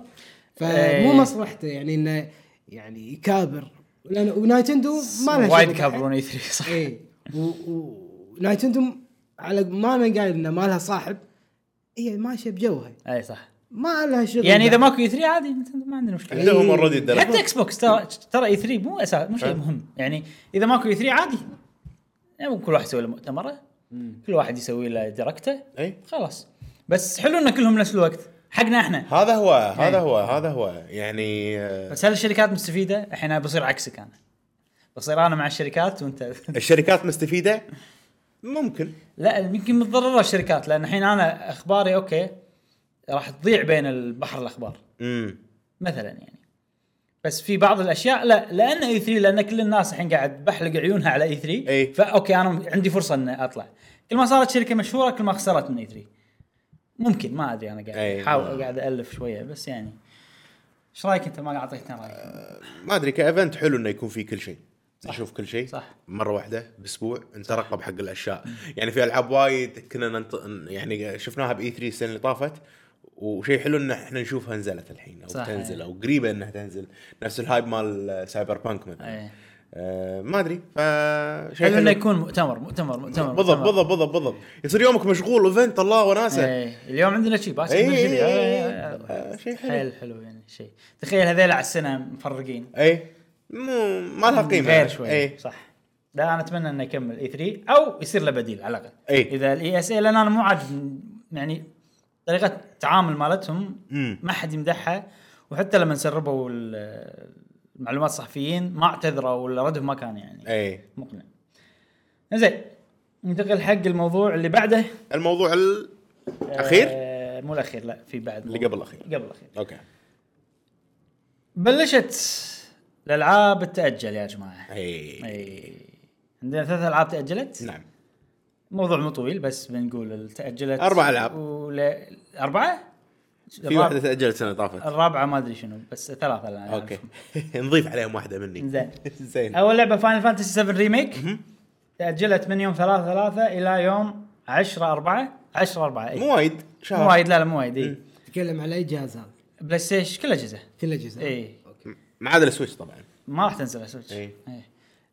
Speaker 2: فمو
Speaker 1: إيه.
Speaker 2: مصلحته يعني انه يعني يكابر لأن- ونايتندو ما لها
Speaker 1: وايد
Speaker 2: شغل.
Speaker 1: كابرون اي 3 صح
Speaker 2: اي و- و- ونايتندو على ما انا قايل انه ما لها صاحب هي ماشيه بجوها
Speaker 1: اي صح
Speaker 2: ما لها شغل
Speaker 1: يعني اذا ماكو اي 3 عادي ما عندنا مشكله
Speaker 3: عندهم اوريدي
Speaker 1: حتى
Speaker 3: الدرجه
Speaker 1: اكس بوكس ترى ترى اي 3 مو اساس مو شيء مهم يعني اذا ماكو اي 3 عادي يعني كل واحد يسوي له مؤتمره كل واحد يسوي له دركته
Speaker 3: اي
Speaker 1: خلاص بس حلو ان كلهم نفس الوقت حقنا احنا
Speaker 3: هذا هو
Speaker 1: إيه.
Speaker 3: هذا هو هذا هو يعني آه،
Speaker 1: بس هل الشركات مستفيده؟ الحين أنا بصير عكسك انا. بصير انا مع الشركات وانت
Speaker 3: الشركات مستفيده ممكن
Speaker 1: <laughs> لا يمكن متضرره الشركات لان الحين انا اخباري اوكي راح تضيع بين البحر الاخبار
Speaker 3: امم
Speaker 1: مثلا يعني بس في بعض الاشياء لا لان اي 3 لان كل الناس الحين قاعد بحلق عيونها على اي 3
Speaker 3: إي.
Speaker 1: فاوكي انا عندي فرصه اني اطلع كل ما صارت شركه مشهوره كل ما خسرت من اي 3 ممكن ما ادري انا قاعد
Speaker 3: إي.
Speaker 1: احاول قاعد الف شويه بس يعني ايش رايك انت ما اعطيتنا
Speaker 3: آه،
Speaker 1: رايك
Speaker 3: ما ادري كايفنت حلو انه يكون فيه كل شيء نشوف كل شيء
Speaker 1: صح.
Speaker 3: مره واحده باسبوع نترقب حق الاشياء يعني في العاب وايد كنا ننط... يعني شفناها باي 3 السنه اللي طافت وشيء حلو ان احنا نشوفها نزلت الحين او
Speaker 1: صح.
Speaker 3: تنزل او قريبه انها تنزل نفس الهايب مال سايبر بانك مثلا
Speaker 1: إيه.
Speaker 3: آه ما ادري فشيء
Speaker 1: حلو انه
Speaker 3: حلو
Speaker 1: يكون مؤتمر مؤتمر مؤتمر
Speaker 3: بالضبط
Speaker 1: مؤتمر.
Speaker 3: بالضبط بالضبط بالضبط يصير يومك مشغول ايفنت الله وناسه
Speaker 1: إيه. اليوم عندنا شيء باسل
Speaker 3: إيه،
Speaker 1: عندنا شي.
Speaker 3: إيه، إيه،
Speaker 1: آه،
Speaker 3: إيه.
Speaker 1: آه،
Speaker 3: آه، شيء حلو.
Speaker 1: حيل حلو يعني شيء تخيل هذيل على السنه مفرقين
Speaker 3: اي مو ما لها يعني. إيه. قيمه
Speaker 1: إيه؟ غير شوي
Speaker 3: اي
Speaker 1: صح لا انا اتمنى انه يكمل اي 3 او يصير له بديل على الاقل
Speaker 3: إيه.
Speaker 1: اذا الاي اس اي لان انا مو عاد يعني طريقه التعامل مالتهم
Speaker 3: مم.
Speaker 1: ما حد يمدحها وحتى لما سربوا ال- المعلومات الصحفيين ما اعتذروا ولا ردهم ما كان يعني
Speaker 3: اي
Speaker 1: مقنع زين ننتقل حق الموضوع اللي بعده
Speaker 3: الموضوع الاخير
Speaker 1: آه مو الاخير لا في بعد
Speaker 3: اللي
Speaker 1: موضوع.
Speaker 3: قبل الأخير.
Speaker 1: قبل الاخير
Speaker 3: اوكي
Speaker 1: بلشت الالعاب تاجل يا جماعه
Speaker 3: اي
Speaker 1: اي إيه. عندنا ثلاث العاب تاجلت
Speaker 3: إيه. نعم
Speaker 1: موضوع مو طويل بس بنقول تاجلت
Speaker 3: أربع ألعاب.
Speaker 1: ولا اربعه؟
Speaker 3: في واحده تاجلت السنه اللي طافت
Speaker 1: الرابعه ما ادري شنو بس يعني ثلاثه الان
Speaker 3: اوكي <laughs> نضيف عليهم واحده مني
Speaker 1: زين
Speaker 3: <laughs> زين
Speaker 1: اول لعبه فاينل فانتسي 7 ريميك تاجلت من يوم 3 3 الى يوم 10 4 10 4 اي
Speaker 3: مو وايد شهر
Speaker 1: إيه. مو وايد لا لا مو وايد اي
Speaker 2: تتكلم على اي جهاز هذا
Speaker 1: بلاي ستيشن كل إيه. اجهزه
Speaker 2: كل اجهزه
Speaker 1: اي
Speaker 3: ما عدا السويتش طبعا
Speaker 1: ما راح تنزل على سويتش
Speaker 3: إي.
Speaker 1: إي.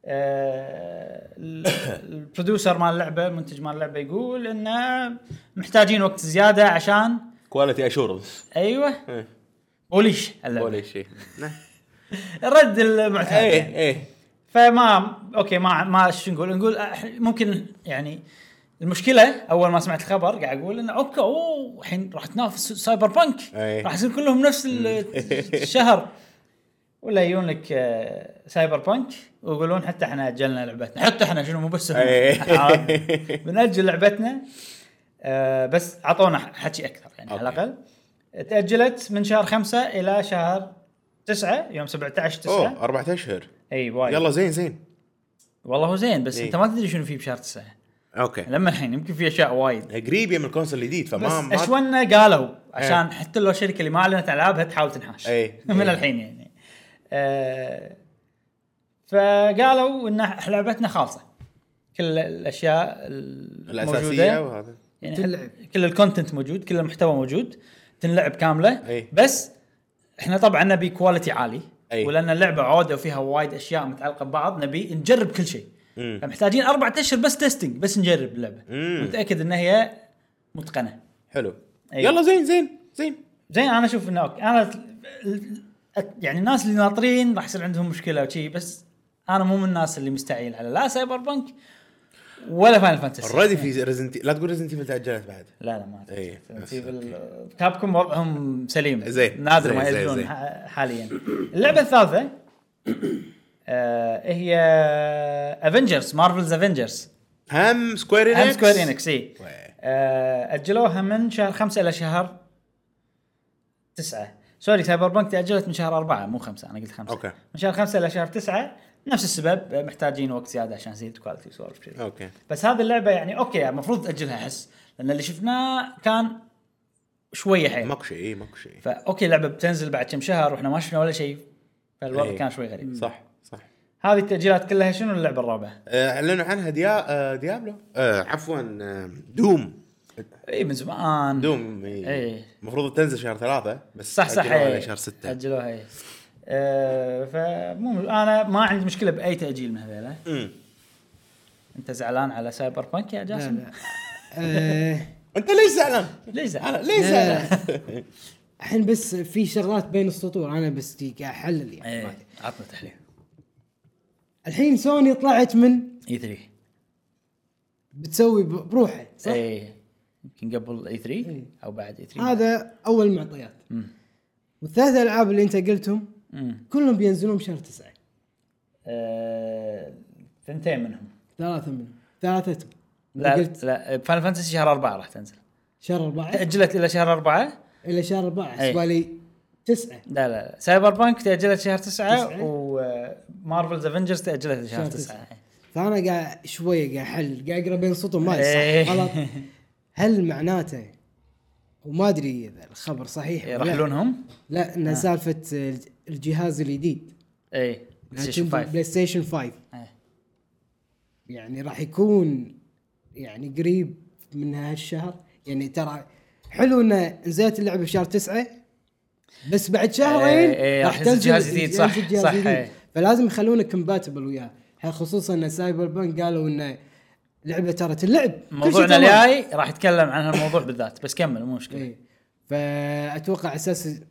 Speaker 1: آه، ال- <coughs> البروديوسر مال اللعبه المنتج مال اللعبه يقول انه محتاجين وقت زياده عشان
Speaker 3: كواليتي اشورنس
Speaker 1: ايوه
Speaker 3: إيه.
Speaker 1: بوليش اللعبة.
Speaker 3: ولا شيء
Speaker 1: <laughs> الرد المعتاد يعني.
Speaker 3: اي اي
Speaker 1: فما اوكي ما ما شو نقول نقول أح- ممكن يعني المشكله اول ما سمعت الخبر قاعد اقول انه اوكي اوه الحين راح تنافس سايبر بانك
Speaker 3: أي.
Speaker 1: راح يصير كلهم نفس ال- <laughs> الشهر ولا يجون لك آه، سايبر بانك ويقولون حتى احنا اجلنا لعبتنا حتى احنا شنو مو بس هم. <laughs>
Speaker 3: أي.
Speaker 1: بناجل لعبتنا آه، بس اعطونا حكي اكثر يعني على
Speaker 3: أوكي.
Speaker 1: الاقل تاجلت من شهر خمسة الى شهر تسعة يوم 17
Speaker 3: اوه
Speaker 1: 9
Speaker 3: اربع اشهر
Speaker 1: اي وايد
Speaker 3: يلا زين زين
Speaker 1: والله هو زين بس
Speaker 3: إيه.
Speaker 1: انت ما تدري شنو فيه بشهر تسعه
Speaker 3: اوكي
Speaker 1: لما الحين يمكن في اشياء وايد
Speaker 3: قريب من الكونسول الجديد
Speaker 1: بس
Speaker 3: فما ما-
Speaker 1: اشونا قالوا عشان حتى لو الشركه اللي ما اعلنت العابها تحاول تنحاش
Speaker 3: إيه.
Speaker 1: <laughs> من
Speaker 3: إيه.
Speaker 1: الحين يعني آه فقالوا ان إح- لعبتنا خالصه كل الاشياء
Speaker 3: الاساسيه
Speaker 1: الاساسيه
Speaker 3: وهذا
Speaker 1: يعني
Speaker 2: تلعب.
Speaker 1: كل الكونتنت موجود كل المحتوى موجود تنلعب كامله
Speaker 3: إيه.
Speaker 1: بس احنا طبعا نبي كواليتي عالي
Speaker 3: إيه.
Speaker 1: ولان اللعبه عوده وفيها وايد اشياء متعلقه ببعض نبي نجرب كل شيء
Speaker 3: مم.
Speaker 1: فمحتاجين اربع اشهر بس تيستنج بس نجرب اللعبه
Speaker 3: مم.
Speaker 1: متاكد ان هي متقنه
Speaker 3: حلو
Speaker 1: أي.
Speaker 3: يلا زين زين زين
Speaker 1: زين انا اشوف انه اوكي انا ال- ال- يعني الناس اللي ناطرين راح يصير عندهم مشكله وشي بس انا مو من الناس اللي مستعجل على لا سايبر بنك ولا فاينل فانتسي
Speaker 3: اوريدي في ريزنت لا تقول ريزنت ايفل تاجلت بعد
Speaker 1: لا لا ما
Speaker 3: إيه.
Speaker 1: كابكم وضعهم سليم
Speaker 3: زين.
Speaker 1: نادر
Speaker 3: زين،
Speaker 1: ما
Speaker 3: زين،
Speaker 1: ينزلون
Speaker 3: زين.
Speaker 1: ح- حاليا اللعبه الثالثه آه هي افنجرز مارفلز افنجرز
Speaker 3: هم سكوير انكس
Speaker 1: هم سكوير انكس اي
Speaker 3: وي.
Speaker 1: إيه. آه، اجلوها من شهر خمسة الى شهر تسعة سوري سايبر بانك تاجلت من شهر أربعة مو خمسة انا قلت خمسة
Speaker 3: أوكي.
Speaker 1: من شهر خمسة الى شهر تسعة نفس السبب آه، محتاجين وقت زياده عشان يزيد كواليتي وسوالف كذي
Speaker 3: اوكي
Speaker 1: بس هذه اللعبه يعني اوكي المفروض تاجلها احس لان اللي شفناه كان شويه حيل
Speaker 3: ماكو شيء إي، ماكو شيء
Speaker 1: فاوكي اللعبه بتنزل بعد كم شهر واحنا ما شفنا ولا شيء فالوضع
Speaker 3: إيه.
Speaker 1: كان شوي غريب
Speaker 3: صح صح
Speaker 1: هذه التاجيلات كلها شنو اللعبه الرابعه؟
Speaker 3: آه، اعلنوا عنها ديا... آه، ديابلو آه، عفوا آه، دوم إيه،
Speaker 1: اي من زمان
Speaker 3: دوم
Speaker 1: إيه.
Speaker 3: المفروض تنزل شهر ثلاثة بس
Speaker 1: صح صح
Speaker 3: أجلوها
Speaker 1: إيه.
Speaker 3: إلى شهر ستة
Speaker 1: اجلوها اي أه فمو انا ما عندي مشكله باي تاجيل من هذيلا
Speaker 3: مم.
Speaker 1: انت زعلان على سايبر بانك يا
Speaker 2: لا
Speaker 1: جاسم؟
Speaker 2: لا آه،
Speaker 3: انت ليش زعلان؟
Speaker 1: <laughs> ليش زعلان؟
Speaker 3: انا ليش
Speaker 2: لا،
Speaker 3: زعلان؟
Speaker 1: <laughs>
Speaker 2: الحين بس في شغلات بين السطور انا بس قاعد احلل يعني ما أدري.
Speaker 1: ايه عطنا تحليل
Speaker 2: الحين سوني طلعت من
Speaker 1: اي 3
Speaker 2: بتسوي ب- بروحه صح؟
Speaker 1: اي إيه. يمكن قبل اي 3
Speaker 2: إيه.
Speaker 1: او بعد اي 3
Speaker 2: هذا اول معطيات
Speaker 1: مم.
Speaker 2: والثلاث العاب اللي انت قلتهم
Speaker 1: مم.
Speaker 2: كلهم بينزلون بشهر تسعه
Speaker 1: آه، ثنتين منهم
Speaker 2: ثلاثه منهم ثلاثتهم
Speaker 1: لا
Speaker 2: قلت
Speaker 1: لا فاينل فانتسي شهر أربعة راح تنزل
Speaker 2: شهر أربعة
Speaker 1: تأجلت إلى شهر أربعة
Speaker 2: إلى شهر أربعة
Speaker 1: إي.
Speaker 2: حسبالي تسعة
Speaker 1: لا لا لا. سايبر بانك تأجلت شهر تسعة
Speaker 2: تسعة.
Speaker 1: ومارفلز افنجرز تأجلت لشهر
Speaker 2: شهر
Speaker 1: تسعة
Speaker 2: فأنا قاعد شوية قاعد أحل قاعد أقرأ بين صوتهم ما أدري
Speaker 1: إي.
Speaker 2: صح غلط
Speaker 1: <laughs>
Speaker 2: هل معناته وما أدري إذا الخبر صحيح
Speaker 1: إيه،
Speaker 2: ولا لا.
Speaker 1: يرحلونهم
Speaker 2: لا
Speaker 1: آه.
Speaker 2: إنها سالفة الج- الجهاز الجديد
Speaker 1: اي
Speaker 2: لكن
Speaker 1: ستيشن 5
Speaker 2: بلاي ستيشن 5
Speaker 1: إيه.
Speaker 2: يعني راح يكون يعني قريب من هالشهر يعني ترى حلو ان نزلت اللعبه بشهر تسعة بس بعد شهرين
Speaker 1: إيه، إيه، راح ينزل جهاز جديد، صح،
Speaker 2: ينزل جهاز
Speaker 1: صح،
Speaker 2: جديد.
Speaker 1: إيه.
Speaker 2: فلازم يخلونه كومباتبل وياه خصوصا ان سايبر بانك قالوا انه لعبه ترى تلعب كل شيء
Speaker 1: موضوعنا
Speaker 2: تمام.
Speaker 1: الجاي راح يتكلم عن هالموضوع بالذات بس كمل مو مشكلة
Speaker 2: إيه. فاتوقع اساس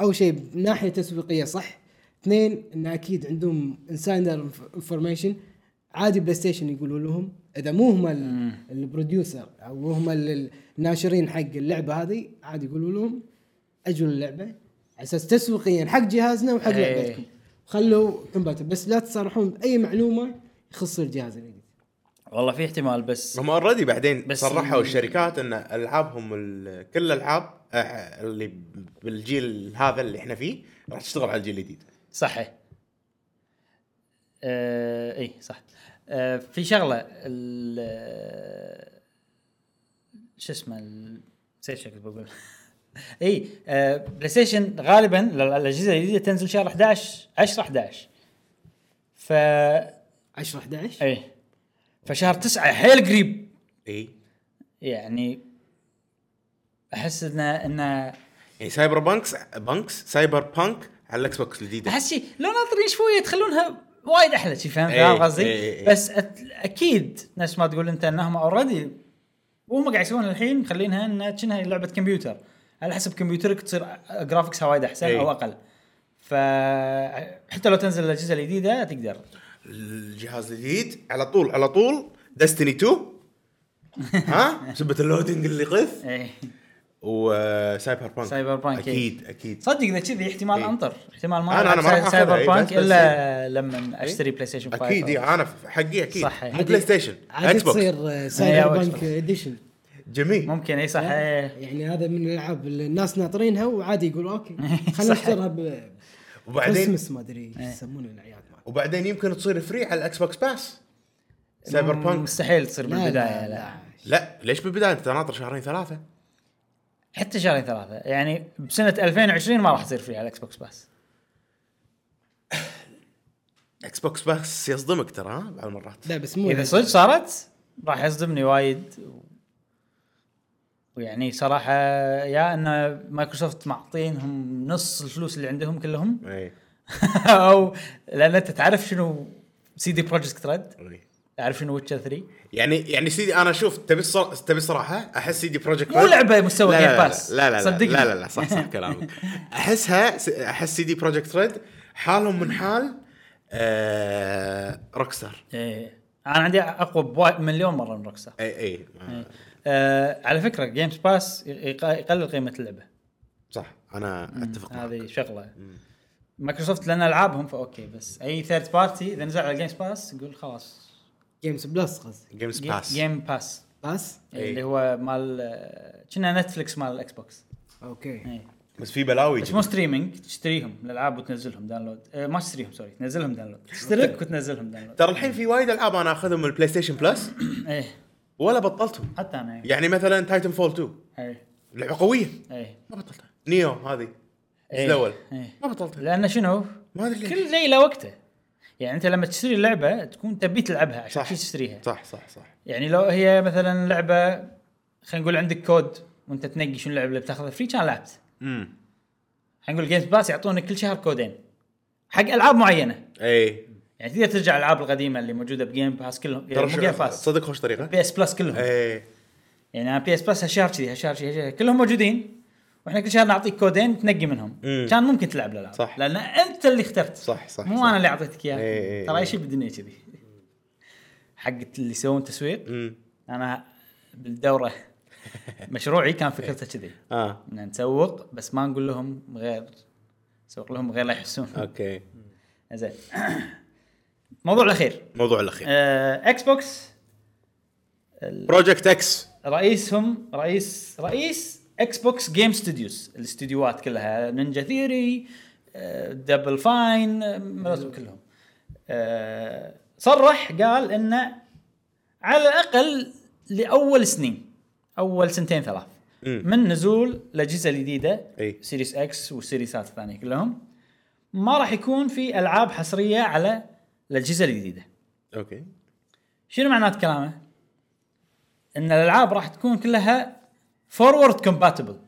Speaker 2: اول شيء من ناحيه تسويقيه صح اثنين ان اكيد عندهم انسايدر انفورميشن عادي بلاي ستيشن يقولوا لهم اذا مو هم ال- البروديوسر او مو هم ال- الناشرين حق اللعبه هذه عادي يقولوا لهم اجلوا اللعبه على اساس تسويقيا حق جهازنا وحق
Speaker 1: إيه.
Speaker 2: لعبتكم خلوا كومباتبل بس لا تصرحون باي معلومه يخص الجهاز الجديد
Speaker 1: والله في احتمال بس
Speaker 3: هم اوريدي بعدين
Speaker 1: بس-
Speaker 3: بس صرحوا الشركات ان العابهم ال- كل الالعاب آه، اللي بالجيل هذا اللي احنا فيه راح تشتغل على الجيل الجديد
Speaker 1: صحيح آه اي صح آه في شغله ال- شو اسمه ال- نسيت شو كنت بقول <laughs> اي آه بلاي ستيشن غالبا ال- الاجهزه الجديده تنزل شهر 11 10 11 ف
Speaker 2: 10 11
Speaker 1: اي فشهر 9 حيل قريب
Speaker 3: اي
Speaker 1: يعني احس انه انه
Speaker 3: يعني سايبر بانكس بانكس سايبر بانك على الاكس بوكس الجديده
Speaker 1: احس شي لو ناطرين شويه تخلونها وايد احلى شي فاهم
Speaker 3: إيه،
Speaker 1: فاهم
Speaker 3: إيه،
Speaker 1: قصدي؟
Speaker 3: إيه.
Speaker 1: بس أت- اكيد نفس ما تقول انت انهم اوريدي وهم قاعد يسوون الحين مخلينها انها كأنها لعبه كمبيوتر على حسب كمبيوترك تصير جرافكسها وايد احسن
Speaker 3: إيه.
Speaker 1: او اقل ف حتى لو تنزل الاجهزه الجديده تقدر
Speaker 3: الجهاز الجديد على طول على طول دستني
Speaker 2: <laughs>
Speaker 3: 2 ها سبة اللودنج اللي قث
Speaker 1: إيه.
Speaker 3: وسايبر بانك
Speaker 1: سايبر بانك،
Speaker 2: إيه.
Speaker 3: اكيد اكيد
Speaker 1: صدق اذا كذي احتمال
Speaker 3: إيه.
Speaker 1: انطر احتمال ما
Speaker 3: أنا-
Speaker 1: ألعب
Speaker 3: أنا ما راح
Speaker 1: ساي-
Speaker 3: آخذها،
Speaker 1: سايبر
Speaker 3: إيه،
Speaker 1: بانك
Speaker 3: بس- بس
Speaker 1: الا لما
Speaker 2: أيوه.
Speaker 1: اشتري بلاي ستيشن 5
Speaker 3: اكيد
Speaker 1: أو-
Speaker 3: إيه، انا ف- حقي اكيد
Speaker 1: صح، إيه.
Speaker 3: مو بلاي ستيشن
Speaker 2: عادي
Speaker 3: اكس بوكس
Speaker 2: تصير آه،
Speaker 1: إيه،
Speaker 2: سايبر
Speaker 1: أو
Speaker 2: بانك
Speaker 1: Xbox.
Speaker 2: اديشن
Speaker 3: جميل
Speaker 1: ممكن اي صح إيه.
Speaker 2: يعني هذا من الالعاب اللي الناس ناطرينها وعادي يقولوا
Speaker 1: <laughs>
Speaker 2: اوكي خلينا
Speaker 1: صح.
Speaker 2: نشتريها ب
Speaker 3: وبعدين
Speaker 2: كريسمس ما ادري
Speaker 1: إيه.
Speaker 2: ايش يسمونه الاعياد ما
Speaker 3: وبعدين يمكن تصير فري على الاكس بوكس باس سايبر بانك
Speaker 1: مستحيل تصير بالبدايه لا.
Speaker 3: لا ليش بالبدايه انت ناطر شهرين ثلاثه
Speaker 1: حتى شهرين ثلاثة يعني بسنة 2020 ما راح تصير فيها الاكس بوكس باس
Speaker 3: اكس بوكس باس يصدمك ترى ها بعض المرات
Speaker 2: لا بس مو
Speaker 1: إذا صدق صارت راح يصدمني وايد و- ويعني صراحة يا أن مايكروسوفت معطينهم نص الفلوس اللي عندهم كلهم <laughs>
Speaker 3: اي
Speaker 1: أو لأن أنت تعرف شنو سي دي بروجكت ريد
Speaker 3: إي.
Speaker 1: تعرف شنو ويتشر 3
Speaker 3: يعني يعني سيدي انا شوف تبي الصرا- تبي صراحه احس سيدي بروجكت
Speaker 1: مو لعبة مستوى
Speaker 3: لا
Speaker 1: Game
Speaker 3: لا لا
Speaker 1: Pass.
Speaker 3: لا لا لا,
Speaker 1: صدقني.
Speaker 3: لا لا لا صح صح
Speaker 1: <laughs>
Speaker 3: كلامك احسها س- احس سيدي بروجكت ريد حالهم من حال آه روكستار
Speaker 1: إيه أنا عندي أقوى بوا- مليون مرة من روكسا
Speaker 3: اي اي آه،
Speaker 1: أه على فكرة جيمز باس يقلل قيمة اللعبة
Speaker 3: صح انا اتفق معك
Speaker 1: هذه شغله مايكروسوفت لان العابهم فاوكي بس اي ثيرد بارتي اذا نزل على جيمز باس يقول خلاص
Speaker 2: جيمس بلس قصدي
Speaker 3: جيمز باس
Speaker 1: جيم باس
Speaker 2: بس
Speaker 3: إي.
Speaker 1: اللي هو مال آه، كنا نتفلكس مال الاكس بوكس
Speaker 2: اوكي
Speaker 1: إي.
Speaker 3: بس في بلاوي
Speaker 1: بس مو ستريمينج تشتريهم الالعاب وتنزلهم داونلود آه، ما تشتريهم سوري تنزلهم داونلود تشترك وتنزلهم داونلود
Speaker 3: ترى الحين في وايد العاب انا اخذهم من البلاي ستيشن بلس
Speaker 1: ايه
Speaker 3: ولا بطلتهم
Speaker 1: حتى إيه، انا
Speaker 3: يعني مثلا تايتن فول 2
Speaker 1: ايه
Speaker 3: لعبه قويه
Speaker 1: ايه
Speaker 3: ما بطلتها نيو هذه
Speaker 1: إيه.
Speaker 3: الأول.
Speaker 1: إيه.
Speaker 3: ما بطلتها
Speaker 1: لان شنو؟
Speaker 3: ما أدري ليش.
Speaker 1: كل شيء له وقته يعني انت لما تشتري اللعبه تكون تبي تلعبها عشان
Speaker 3: صح.
Speaker 1: شي تشتريها
Speaker 3: صح صح صح
Speaker 1: يعني لو هي مثلا لعبه خلينا نقول عندك كود وانت تنقي شنو اللعبه اللي بتاخذها فري كان لعبت
Speaker 3: امم
Speaker 1: خلينا نقول جيمز باس يعطونك كل شهر كودين حق العاب معينه
Speaker 3: اي
Speaker 1: يعني تقدر ترجع الالعاب القديمه اللي موجوده بجيم باس كلهم يعني
Speaker 3: ترى
Speaker 1: مو جيم
Speaker 3: شو-
Speaker 1: باس
Speaker 3: صدق إيه. خوش طريقه
Speaker 1: بي اس بلس كلهم
Speaker 3: اي
Speaker 1: يعني انا بي اس بلس هالشهر كذي هالشهر كذي هالشهر كلهم موجودين واحنا كل شهر نعطيك كودين تنقي منهم
Speaker 3: مم.
Speaker 1: كان ممكن تلعب الالعاب
Speaker 3: صح.
Speaker 1: لان انت اللي اخترت
Speaker 3: صح صح
Speaker 1: مو
Speaker 3: صح.
Speaker 1: انا اللي اعطيتك
Speaker 3: طيب، إيه،
Speaker 1: اياها
Speaker 3: إيه،
Speaker 1: ترى اي
Speaker 3: إيه.
Speaker 1: شيء بالدنيا كذي حق اللي يسوون تسويق
Speaker 3: امم
Speaker 1: انا بالدوره مشروعي كان فكرته كذي
Speaker 3: اه
Speaker 1: ان نسوق بس ما نقول لهم غير نسوق لهم غير لا يحسون
Speaker 3: اوكي
Speaker 1: زين الموضوع الاخير أه.
Speaker 3: الموضوع الاخير
Speaker 1: آه، اكس بوكس ال-
Speaker 3: بروجكت اكس
Speaker 1: رئيسهم رئيس رئيس اكس بوكس جيم ستوديوز الاستديوهات كلها نينجا ثيري دبل فاين آه، ملازم كلهم آه، صرح قال انه على الاقل لاول سنين اول سنتين ثلاث من نزول الاجهزه الجديده
Speaker 3: إي.
Speaker 1: سيريس اكس والسيريسات الثانيه كلهم ما راح يكون في العاب حصريه على الاجهزه الجديده
Speaker 3: اوكي
Speaker 1: شنو معنات كلامه؟ ان الالعاب راح تكون كلها فورورد كومباتبل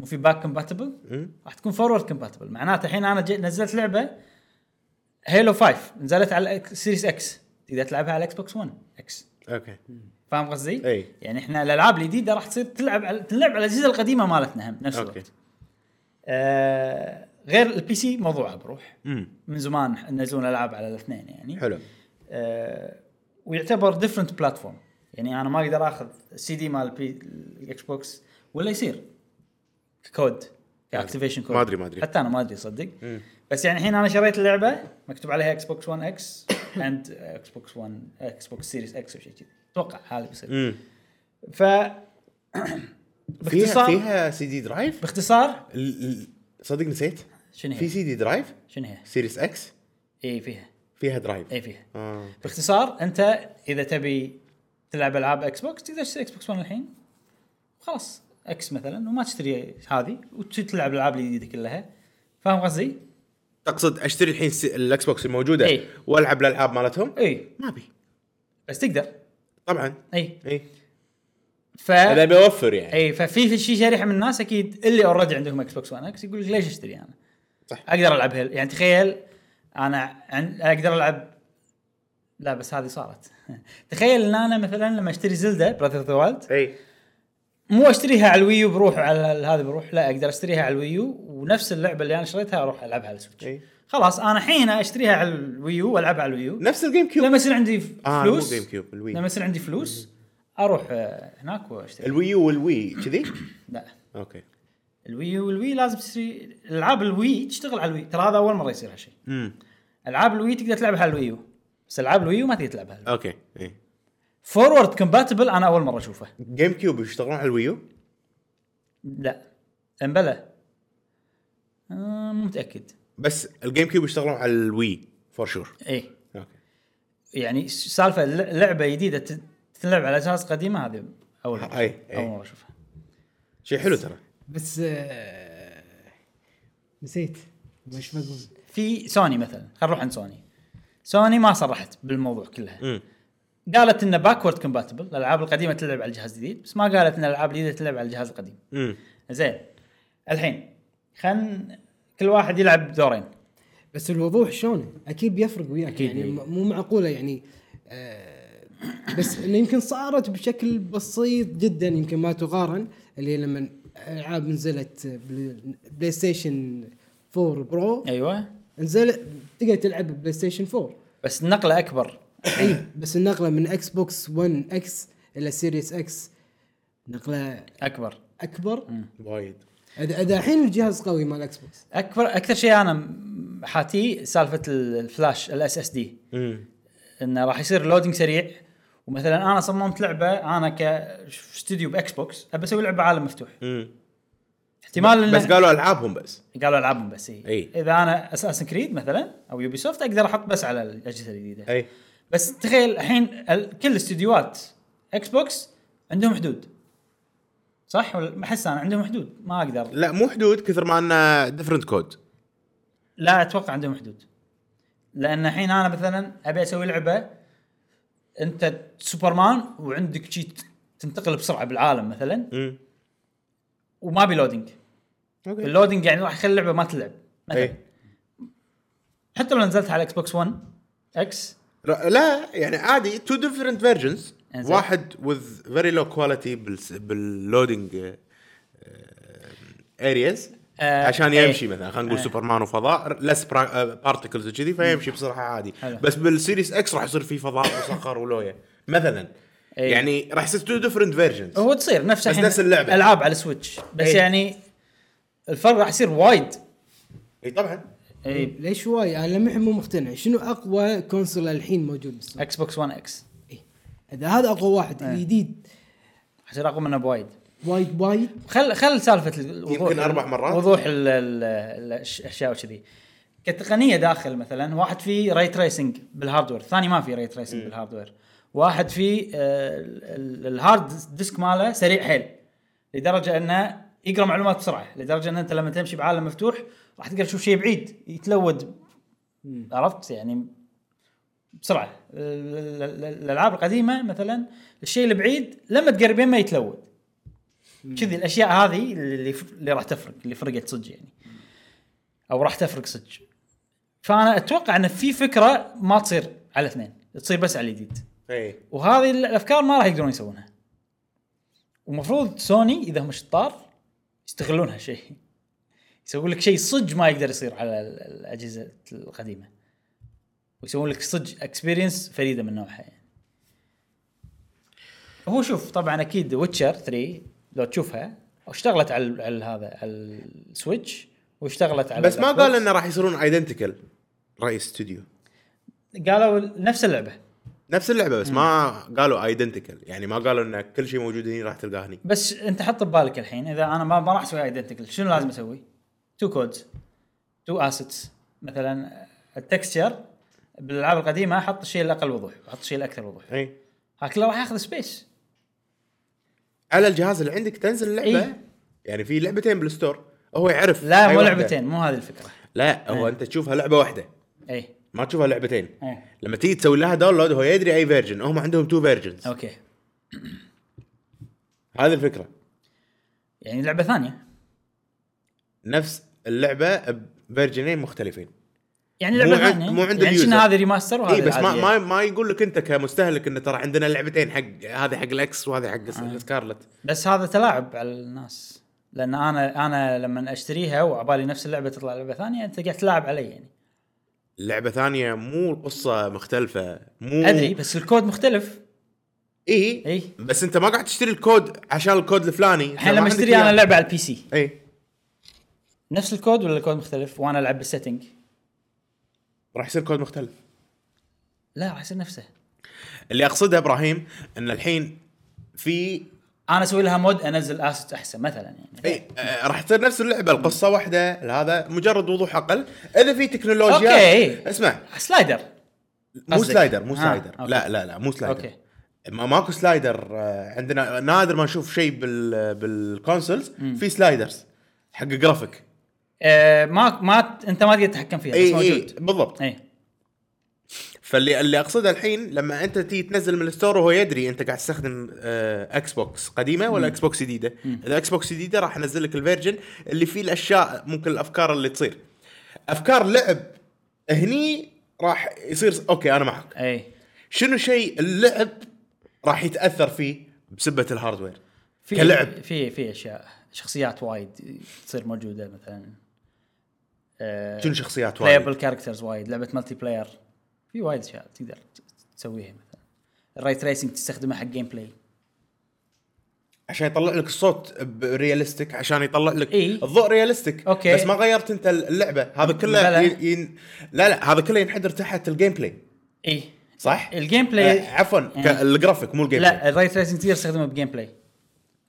Speaker 1: مو في باك كومباتبل
Speaker 3: مم.
Speaker 1: راح تكون فورورد كومباتبل معناته الحين انا جي- نزلت لعبه هيلو 5 نزلت على سيريس اكس تقدر تلعبها على اكس بوكس 1 اكس
Speaker 3: اوكي
Speaker 1: فاهم قصدي؟
Speaker 3: أي.
Speaker 1: يعني احنا الالعاب الجديده راح تصير تلعب على تلعب على الاجهزه القديمه مالتنا هم نفس
Speaker 3: اوكي
Speaker 1: الوقت. آه غير البي سي موضوعه بروح
Speaker 3: امم
Speaker 1: من زمان نزلون العاب على الاثنين يعني.
Speaker 3: حلو
Speaker 1: آه، ويعتبر ديفرنت بلاتفورم يعني انا ما اقدر اخذ السي دي مال بي الاكس بوكس ولا يصير كود اكتيفيشن كود
Speaker 3: ما أدري- ما أدري.
Speaker 1: حتى انا ما ادري صدق بس يعني الحين انا شريت اللعبه مكتوب عليها اكس بوكس 1 اكس اند اكس بوكس 1 اكس بوكس سيريس اكس او شيء كذي اتوقع هذا بيصير
Speaker 3: امم
Speaker 1: ف
Speaker 3: فيها
Speaker 1: باختصار
Speaker 3: فيها سي دي درايف
Speaker 1: باختصار
Speaker 3: ال- ال- صدق نسيت
Speaker 1: شنو
Speaker 3: في
Speaker 1: هي؟
Speaker 3: سي دي درايف
Speaker 1: شنو هي؟
Speaker 3: سيريس اكس
Speaker 1: اي فيها
Speaker 3: فيها درايف
Speaker 1: اي فيها
Speaker 3: اه
Speaker 1: باختصار انت اذا تبي تلعب العاب اكس بوكس تقدر تشتري اكس بوكس 1 الحين خلاص اكس مثلا وما تشتري هذه وتلعب الالعاب الجديده كلها فاهم قصدي؟
Speaker 3: تقصد اشتري الحين س- الاكس بوكس الموجوده
Speaker 1: إيه.
Speaker 3: والعب الالعاب مالتهم
Speaker 1: اي
Speaker 3: ما إيه. ابي
Speaker 1: بس تقدر
Speaker 3: طبعا
Speaker 1: اي
Speaker 3: اي
Speaker 1: ف
Speaker 3: انا ابي اوفر يعني
Speaker 1: اي ففي في شي شريحه من الناس اكيد اللي اوريدي عندهم اكس بوكس 1 اكس يقول لك ليش اشتري انا؟
Speaker 3: صح.
Speaker 1: اقدر العب هيل يعني تخيل انا عن... اقدر العب لا بس هذه صارت <laughs> تخيل ان انا مثلا لما اشتري زلده براذر اوف ذا وايلد
Speaker 3: اي
Speaker 1: مو اشتريها على الويو بروح على ال- هذا بروح لا اقدر اشتريها على الويو ونفس اللعبه اللي انا شريتها اروح العبها على
Speaker 3: إي.
Speaker 1: السويتش خلاص انا الحين اشتريها على الويو والعبها على الويو
Speaker 3: نفس الجيم كيوب
Speaker 1: لما يصير عندي
Speaker 3: اه مو
Speaker 1: فلوس
Speaker 3: جيم كيوب الوي
Speaker 1: لما يصير عندي فلوس اروح آه، هناك واشتري
Speaker 3: الويو والوي
Speaker 1: <coughs>
Speaker 3: كذي
Speaker 1: لا
Speaker 3: اوكي
Speaker 1: الويو والوي لازم تشتري العاب الوي تشتغل على الوي ترى هذا اول مره يصير هالشيء
Speaker 3: امم
Speaker 1: العاب الوي تقدر تلعبها على الويو بس العاب الويو ما تقدر تلعبها على الويو.
Speaker 3: اوكي اي
Speaker 1: فورورد كومباتبل انا اول مره اشوفه
Speaker 3: جيم كيوب يشتغلون على الويو
Speaker 1: لا امبلا آه، مو متاكد
Speaker 3: بس الجيم كيوب يشتغلون على الوي فور شور
Speaker 1: ايه
Speaker 3: اوكي
Speaker 1: يعني سالفه ل- لعبه جديده ت- تلعب على اساس قديمه هذه اول مره
Speaker 3: أي، أي.
Speaker 1: اول مره اشوفها
Speaker 3: شيء حلو ترى
Speaker 2: بس آه، نسيت مش بقول
Speaker 1: في سوني مثلا خلينا نروح عند سوني سوني ما صرحت بالموضوع كلها
Speaker 3: امم
Speaker 1: قالت انه باكورد كومباتبل الالعاب القديمه تلعب على الجهاز الجديد بس ما قالت ان الالعاب الجديده تلعب على الجهاز القديم
Speaker 3: امم
Speaker 1: زين الحين خلينا كل واحد يلعب دورين
Speaker 2: بس الوضوح شلون اكيد بيفرق وياك
Speaker 1: أكيد.
Speaker 2: أكيد يعني م- مو معقوله يعني آه بس انه يمكن صارت بشكل بسيط جدا يمكن ما تقارن اللي هي لما العاب نزلت بل- بلاي ستيشن 4 برو
Speaker 1: ايوه
Speaker 2: نزل تقدر تلعب بلاي ستيشن 4
Speaker 1: بس النقله
Speaker 3: <coughs>
Speaker 1: اكبر
Speaker 2: اي بس النقله من اكس بوكس 1 اكس الى سيريس اكس نقله
Speaker 1: اكبر
Speaker 2: اكبر
Speaker 3: وايد
Speaker 2: اذا اذا الحين الجهاز قوي مال اكس بوكس
Speaker 1: اكبر اكثر شيء انا م- حاتيه سالفه ال- الفلاش الاس اس دي
Speaker 3: امم
Speaker 1: انه راح يصير لودينج سريع ومثلا انا صممت لعبه انا كاستوديو باكس بوكس ابى اسوي لعبه عالم مفتوح
Speaker 3: امم
Speaker 1: احتمال إنه-
Speaker 3: بس قالوا العابهم بس
Speaker 1: قالوا العابهم بس إيه.
Speaker 3: إي.
Speaker 1: اي اذا انا اساسن كريد مثلا او يوبي سوفت اقدر احط بس على الاجهزه الجديده
Speaker 3: اي
Speaker 1: بس تخيل الحين ال- كل استديوهات اكس بوكس عندهم حدود صح ولا احس انا عندهم حدود ما اقدر
Speaker 3: لا مو حدود كثر ما انه ديفرنت كود
Speaker 1: لا اتوقع عندهم حدود لان الحين انا مثلا ابي اسوي لعبه انت سوبرمان وعندك شيء تنتقل بسرعه بالعالم مثلا
Speaker 3: امم
Speaker 1: وما بي لودينج
Speaker 3: اوكي
Speaker 1: اللودينج يعني راح يخلي اللعبه ما تلعب مثلا
Speaker 3: اي
Speaker 1: حتى لو نزلتها على اكس بوكس 1 اكس
Speaker 3: ر- لا يعني عادي تو ديفرنت فيرجنز
Speaker 1: إنزين.
Speaker 3: واحد وذ فيري لو كواليتي باللودنج ارياز
Speaker 1: آه،
Speaker 3: آه، عشان
Speaker 1: إيه.
Speaker 3: يمشي مثلا خلينا نقول سوبرمان وفضاء لس بارتكلز وكذي فيمشي بسرعه عادي
Speaker 1: حلو.
Speaker 3: بس بالسيريس اكس راح يصير في فضاء
Speaker 1: <laughs>
Speaker 3: وصخر ولويه مثلا
Speaker 1: إيه.
Speaker 3: يعني راح يصير تو ديفرنت فيرجنز
Speaker 1: هو تصير نفس
Speaker 3: بس
Speaker 1: الحين
Speaker 3: نفس اللعبة.
Speaker 1: العاب على سويتش بس
Speaker 3: إيه.
Speaker 1: يعني الفرق راح يصير وايد
Speaker 3: اي طبعا إيه.
Speaker 1: اي
Speaker 2: ليش واي انا لمحي مو مقتنع شنو اقوى كونسول الحين موجود بالسوق
Speaker 1: اكس بوكس 1 اكس
Speaker 2: اذا هذا اقوى واحد
Speaker 1: إيه.
Speaker 2: الجديد
Speaker 1: عشان رقم منه بوايد
Speaker 2: وايد وايد
Speaker 1: خل خل سالفه الوضوح
Speaker 3: يمكن أربع مرات.
Speaker 1: وضوح ال- ال- ال- الاشياء وكذي كتقنيه داخل مثلا واحد فيه ري تريسنج بالهاردوير الثاني ما فيه ري تريسنج بالهاردوير واحد فيه آه، ال- ال- الهارد ديسك ماله سريع حيل لدرجه انه يقرا معلومات بسرعه لدرجه ان انت لما تمشي بعالم مفتوح راح تقدر تشوف شيء بعيد يتلود عرفت يعني بسرعه ال- ال- ال- الالعاب القديمه مثلا الشيء البعيد لما تقربين ما يتلود كذي الاشياء هذه اللي اللي راح تفرق اللي فرقت صدق يعني او راح تفرق صدق فانا اتوقع ان في فكره ما تصير على الاثنين تصير بس على الجديد
Speaker 3: اي
Speaker 1: وهذه الافكار ما راح يقدرون يسوونها ومفروض سوني اذا هم شطار يستغلون هالشيء يسوون لك شيء صدق ما يقدر يصير على ال- الاجهزه القديمه ويسوون لك صدق اكسبيرينس فريده من نوعها يعني هو شوف طبعا اكيد ويتشر 3 لو تشوفها اشتغلت على ال- على هذا على السويتش واشتغلت على
Speaker 3: بس ما
Speaker 1: الأكس بوكس.
Speaker 3: قال انه راح يصيرون ايدنتيكال رئيس استوديو
Speaker 1: قالوا نفس اللعبه
Speaker 3: نفس اللعبه بس ما قالوا ايدنتيكال يعني ما قالوا ان كل شيء موجود هنا راح تلقاه هني
Speaker 1: بس انت حط ببالك الحين اذا انا ما ما راح اسوي ايدنتيكال شنو لازم اسوي؟ تو كودز تو اسيتس مثلا التكستشر بالالعاب القديمه احط الشيء الاقل وضوح احط الشيء الاكثر وضوح
Speaker 3: اي
Speaker 1: هذا كله راح ياخذ سبيس
Speaker 3: على الجهاز اللي عندك تنزل اللعبه
Speaker 1: إي.
Speaker 3: يعني في لعبتين بالستور هو يعرف
Speaker 1: إيه. لا
Speaker 3: أي
Speaker 1: مو
Speaker 3: واحدة.
Speaker 1: لعبتين إيه. مو هذه إيه. الفكره
Speaker 3: لا هو انت تشوفها لعبه واحده
Speaker 1: اي
Speaker 3: ما تشوفها لعبتين
Speaker 1: أي.
Speaker 3: لما تيجي تسوي لها داونلود هو يدري اي فيرجن هم عندهم تو فيرجنز
Speaker 1: اوكي
Speaker 3: هذه الفكره
Speaker 1: يعني لعبه ثانيه
Speaker 3: نفس اللعبه بفيرجنين مختلفين
Speaker 1: يعني لعبه
Speaker 3: مو عند-
Speaker 1: ثانيه
Speaker 3: مو عند
Speaker 1: يعني شنو
Speaker 3: اليوزر.
Speaker 1: هذه ريماستر وهذه
Speaker 3: اي بس ما
Speaker 1: العادية.
Speaker 3: ما ما يقول لك انت كمستهلك انه ترى عندنا لعبتين حق هذه حق الاكس وهذه حق
Speaker 1: آه.
Speaker 3: السكارلت
Speaker 1: بس هذا تلاعب على الناس لان انا انا لما اشتريها وعبالي نفس اللعبه تطلع لعبه ثانيه انت قاعد تلاعب علي يعني
Speaker 3: لعبه ثانيه مو القصه مختلفه مو
Speaker 1: ادري بس الكود مختلف
Speaker 3: اي
Speaker 1: إي.
Speaker 3: بس انت ما قاعد تشتري الكود عشان الكود الفلاني
Speaker 1: الحين لما اشتري انا لعبه على البي سي
Speaker 3: اي
Speaker 1: نفس الكود ولا الكود مختلف وانا العب بالسيتنج؟
Speaker 3: راح يصير كود مختلف
Speaker 1: لا راح يصير نفسه
Speaker 3: اللي اقصده ابراهيم ان الحين في
Speaker 1: انا اسوي لها مود انزل اسيت احسن مثلا يعني
Speaker 3: اي آه، راح تصير نفس اللعبه القصه واحده هذا مجرد وضوح اقل اذا في تكنولوجيا
Speaker 1: أوكي.
Speaker 3: اسمع
Speaker 1: سلايدر
Speaker 3: مو
Speaker 1: قصدك.
Speaker 3: سلايدر مو
Speaker 1: آه،
Speaker 3: سلايدر
Speaker 1: أوكي.
Speaker 3: لا لا لا مو سلايدر
Speaker 1: أوكي.
Speaker 3: ما ماكو سلايدر آه، عندنا نادر ما نشوف شيء بال بالكونسولز في سلايدرز حق جرافيك
Speaker 1: آه ما ما ت- انت ما تقدر تتحكم فيها بس
Speaker 3: اي اي
Speaker 1: موجود
Speaker 3: بالضبط
Speaker 1: اي
Speaker 3: فاللي اللي اقصده الحين لما انت تيجي تنزل من الستور وهو يدري انت قاعد تستخدم آه، اكس بوكس قديمه ولا اكس بوكس جديده اذا اكس بوكس جديده راح انزل لك الفيرجن اللي فيه الاشياء ممكن الافكار اللي تصير افكار لعب هني راح يصير اوكي انا معك
Speaker 1: اي
Speaker 3: شنو شيء اللعب راح يتاثر فيه بسبه الهاردوير
Speaker 1: في
Speaker 3: كلعب.
Speaker 1: في في اشياء شخصيات وايد تصير موجوده مثلا
Speaker 3: شنو شخصيات
Speaker 1: بلايبل
Speaker 3: وايد
Speaker 1: كاركترز وايد لعبه مالتي بلاير في وايد اشياء تقدر ت- تسويها مثلا الرايت ريسنج تستخدمه حق جيم بلاي
Speaker 3: عشان يطلع لك الصوت ريالستيك عشان يطلع لك
Speaker 1: إي.
Speaker 3: الضوء ريالستيك
Speaker 1: أوكي.
Speaker 3: بس ما غيرت انت اللعبه هذا كله
Speaker 1: بلى.
Speaker 3: ين... ين... لا لا هذا كله ينحدر تحت الجيم بلاي
Speaker 1: اي
Speaker 3: صح؟
Speaker 1: الجيم بلاي-
Speaker 3: آه، عفوا ك-
Speaker 1: إيه.
Speaker 3: الجرافيك مو الجيم بلاي
Speaker 1: لا الري تريسنج تقدر تستخدمه بجيم بلاي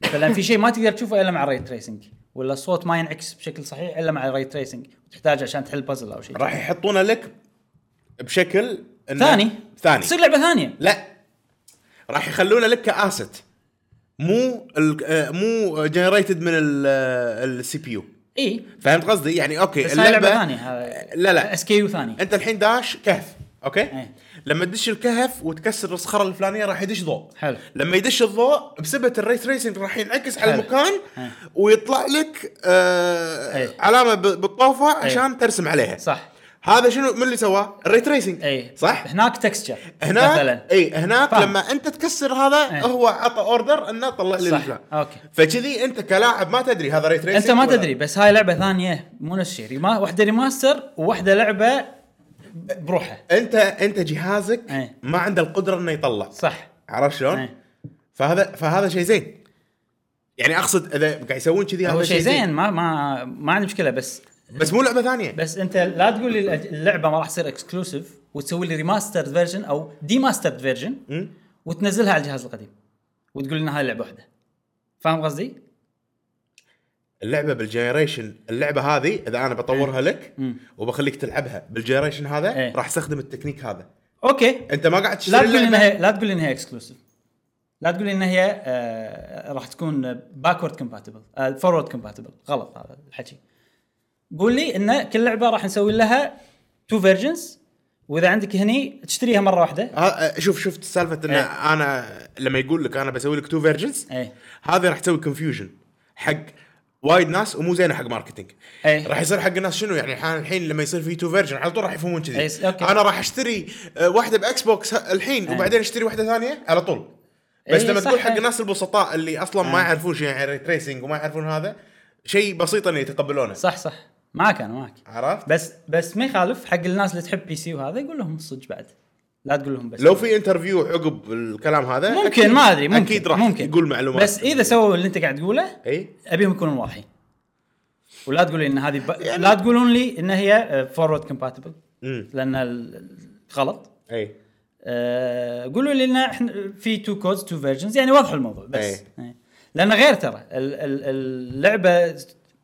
Speaker 1: مثلا في شيء ما تقدر تشوفه الا مع الري تريسنج ولا الصوت ما ينعكس بشكل صحيح الا مع الري تريسنج تحتاج عشان تحل بازل او شيء
Speaker 3: راح يحطونه لك بشكل إنه-
Speaker 1: ثاني
Speaker 3: ثاني
Speaker 1: تصير لعبه ثانيه
Speaker 3: لا راح يخلونه لك كاسيت مو ال... آه، مو جنريتد من آه، السي بي يو
Speaker 1: اي
Speaker 3: فهمت قصدي؟ يعني اوكي
Speaker 1: بس هاي لعبه ثانيه هذا
Speaker 3: لا لا
Speaker 1: اس كيو ثاني
Speaker 3: انت الحين داش كهف اوكي
Speaker 1: ايه.
Speaker 3: لما تدش الكهف وتكسر الصخره الفلانيه راح يدش ضوء
Speaker 1: حلو.
Speaker 3: لما يدش الضوء بسبه الريس ريسنج راح ينعكس على
Speaker 1: حلو.
Speaker 3: المكان
Speaker 1: ايه.
Speaker 3: ويطلع لك آه
Speaker 1: ايه.
Speaker 3: علامه ب- بالطوفه
Speaker 1: ايه.
Speaker 3: عشان ترسم عليها
Speaker 1: صح
Speaker 3: هذا شنو من اللي سواه الري تريسنج
Speaker 1: اي
Speaker 3: صح
Speaker 1: هناك تكستشر
Speaker 3: هناك
Speaker 1: مثلا
Speaker 3: اي هناك
Speaker 1: إيه. فاهم.
Speaker 3: لما انت تكسر هذا
Speaker 1: ايه.
Speaker 3: هو عطى اوردر انه طلع لي
Speaker 1: صح.
Speaker 3: الفلان.
Speaker 1: اوكي.
Speaker 3: فكذي انت كلاعب ما تدري هذا ري تريسنج
Speaker 1: انت ما
Speaker 3: ولا لا.
Speaker 1: تدري بس هاي لعبه ثانيه مو نفس الشيء ريما... واحده ريماستر وواحده لعبه بروحها
Speaker 3: انت انت جهازك
Speaker 1: ايه.
Speaker 3: ما عنده القدره انه يطلع
Speaker 1: صح
Speaker 3: عرفت شلون؟
Speaker 1: ايه.
Speaker 3: فهذا فهذا شيء زين يعني اقصد اذا قاعد يسوون كذي
Speaker 1: هو
Speaker 3: هذا
Speaker 1: شيء زين ما ما ما عندي مشكله بس
Speaker 3: بس مو لعبه ثانيه
Speaker 1: بس انت لا تقول لي اللعبه ما راح تصير اكسكلوسيف وتسوي لي ريماسترد فيرجن او ديماسترد فيرجن وتنزلها على الجهاز القديم وتقول لنا هاي لعبه واحده فاهم قصدي؟
Speaker 3: اللعبه بالجنريشن اللعبه هذه اذا انا بطورها لك
Speaker 1: إيه. مم.
Speaker 3: وبخليك تلعبها بالجنريشن هذا
Speaker 1: إيه.
Speaker 3: راح استخدم التكنيك هذا
Speaker 1: اوكي
Speaker 3: انت ما قاعد
Speaker 1: لا
Speaker 3: تشتري
Speaker 1: تقول لي
Speaker 3: اللعبه
Speaker 1: انها لا تقول لي انها اكسكلوسيف لا تقول لي انها هي آه، راح تكون باكورد كومباتبل فورورد كومباتبل غلط هذا الحكي قول لي ان كل لعبه راح نسوي لها تو فيرجنز واذا عندك هني تشتريها مره واحده
Speaker 3: ها- شوف شفت سالفه ان
Speaker 1: إيه.
Speaker 3: انا لما يقول لك انا بسوي لك تو فيرجنز
Speaker 1: ايه
Speaker 3: هذه راح تسوي كونفيوجن حق وايد ناس ومو زينه حق ماركتينج
Speaker 1: ايه
Speaker 3: راح يصير حق الناس شنو يعني الحين الحين لما يصير في تو فيرجن على طول راح يفهمون
Speaker 1: أي،
Speaker 3: كذي
Speaker 1: إيه، أوكي.
Speaker 3: انا راح اشتري آه، واحده باكس بوكس ه- الحين
Speaker 1: أي.
Speaker 3: وبعدين اشتري واحده ثانيه على طول بس
Speaker 1: أي،
Speaker 3: لما
Speaker 1: إيه، صح، إيه.
Speaker 3: تقول حق
Speaker 1: أي.
Speaker 3: الناس البسطاء اللي اصلا ما يعرفون شيء يعني ريتريسنج وما يعرفون هذا شيء بسيط انه يتقبلونه
Speaker 1: صح صح معك انا معك
Speaker 3: عرفت؟
Speaker 1: بس بس ما يخالف حق الناس اللي تحب بي سي وهذا يقول لهم الصج بعد لا تقول لهم بس
Speaker 3: لو في انترفيو عقب الكلام هذا أكيد-
Speaker 1: ممكن ما ادري ممكن
Speaker 3: اكيد راح
Speaker 1: ممكن
Speaker 3: يقول معلومات
Speaker 1: بس اذا سووا اللي انت قاعد تقوله
Speaker 3: اي
Speaker 1: ابيهم يكونون واضحين ولا تقول لي ان هذه ب...
Speaker 3: يعني
Speaker 1: لا تقولون لي ان هي آه، فورورد كومباتبل
Speaker 3: امم
Speaker 1: لان ال- غلط
Speaker 3: اي
Speaker 1: أه... قولوا لي ان احنا في تو كودز تو فيرجنز يعني وضحوا الموضوع بس
Speaker 3: إيه.
Speaker 1: إيه. لان غير ترى ال... ال... اللعبه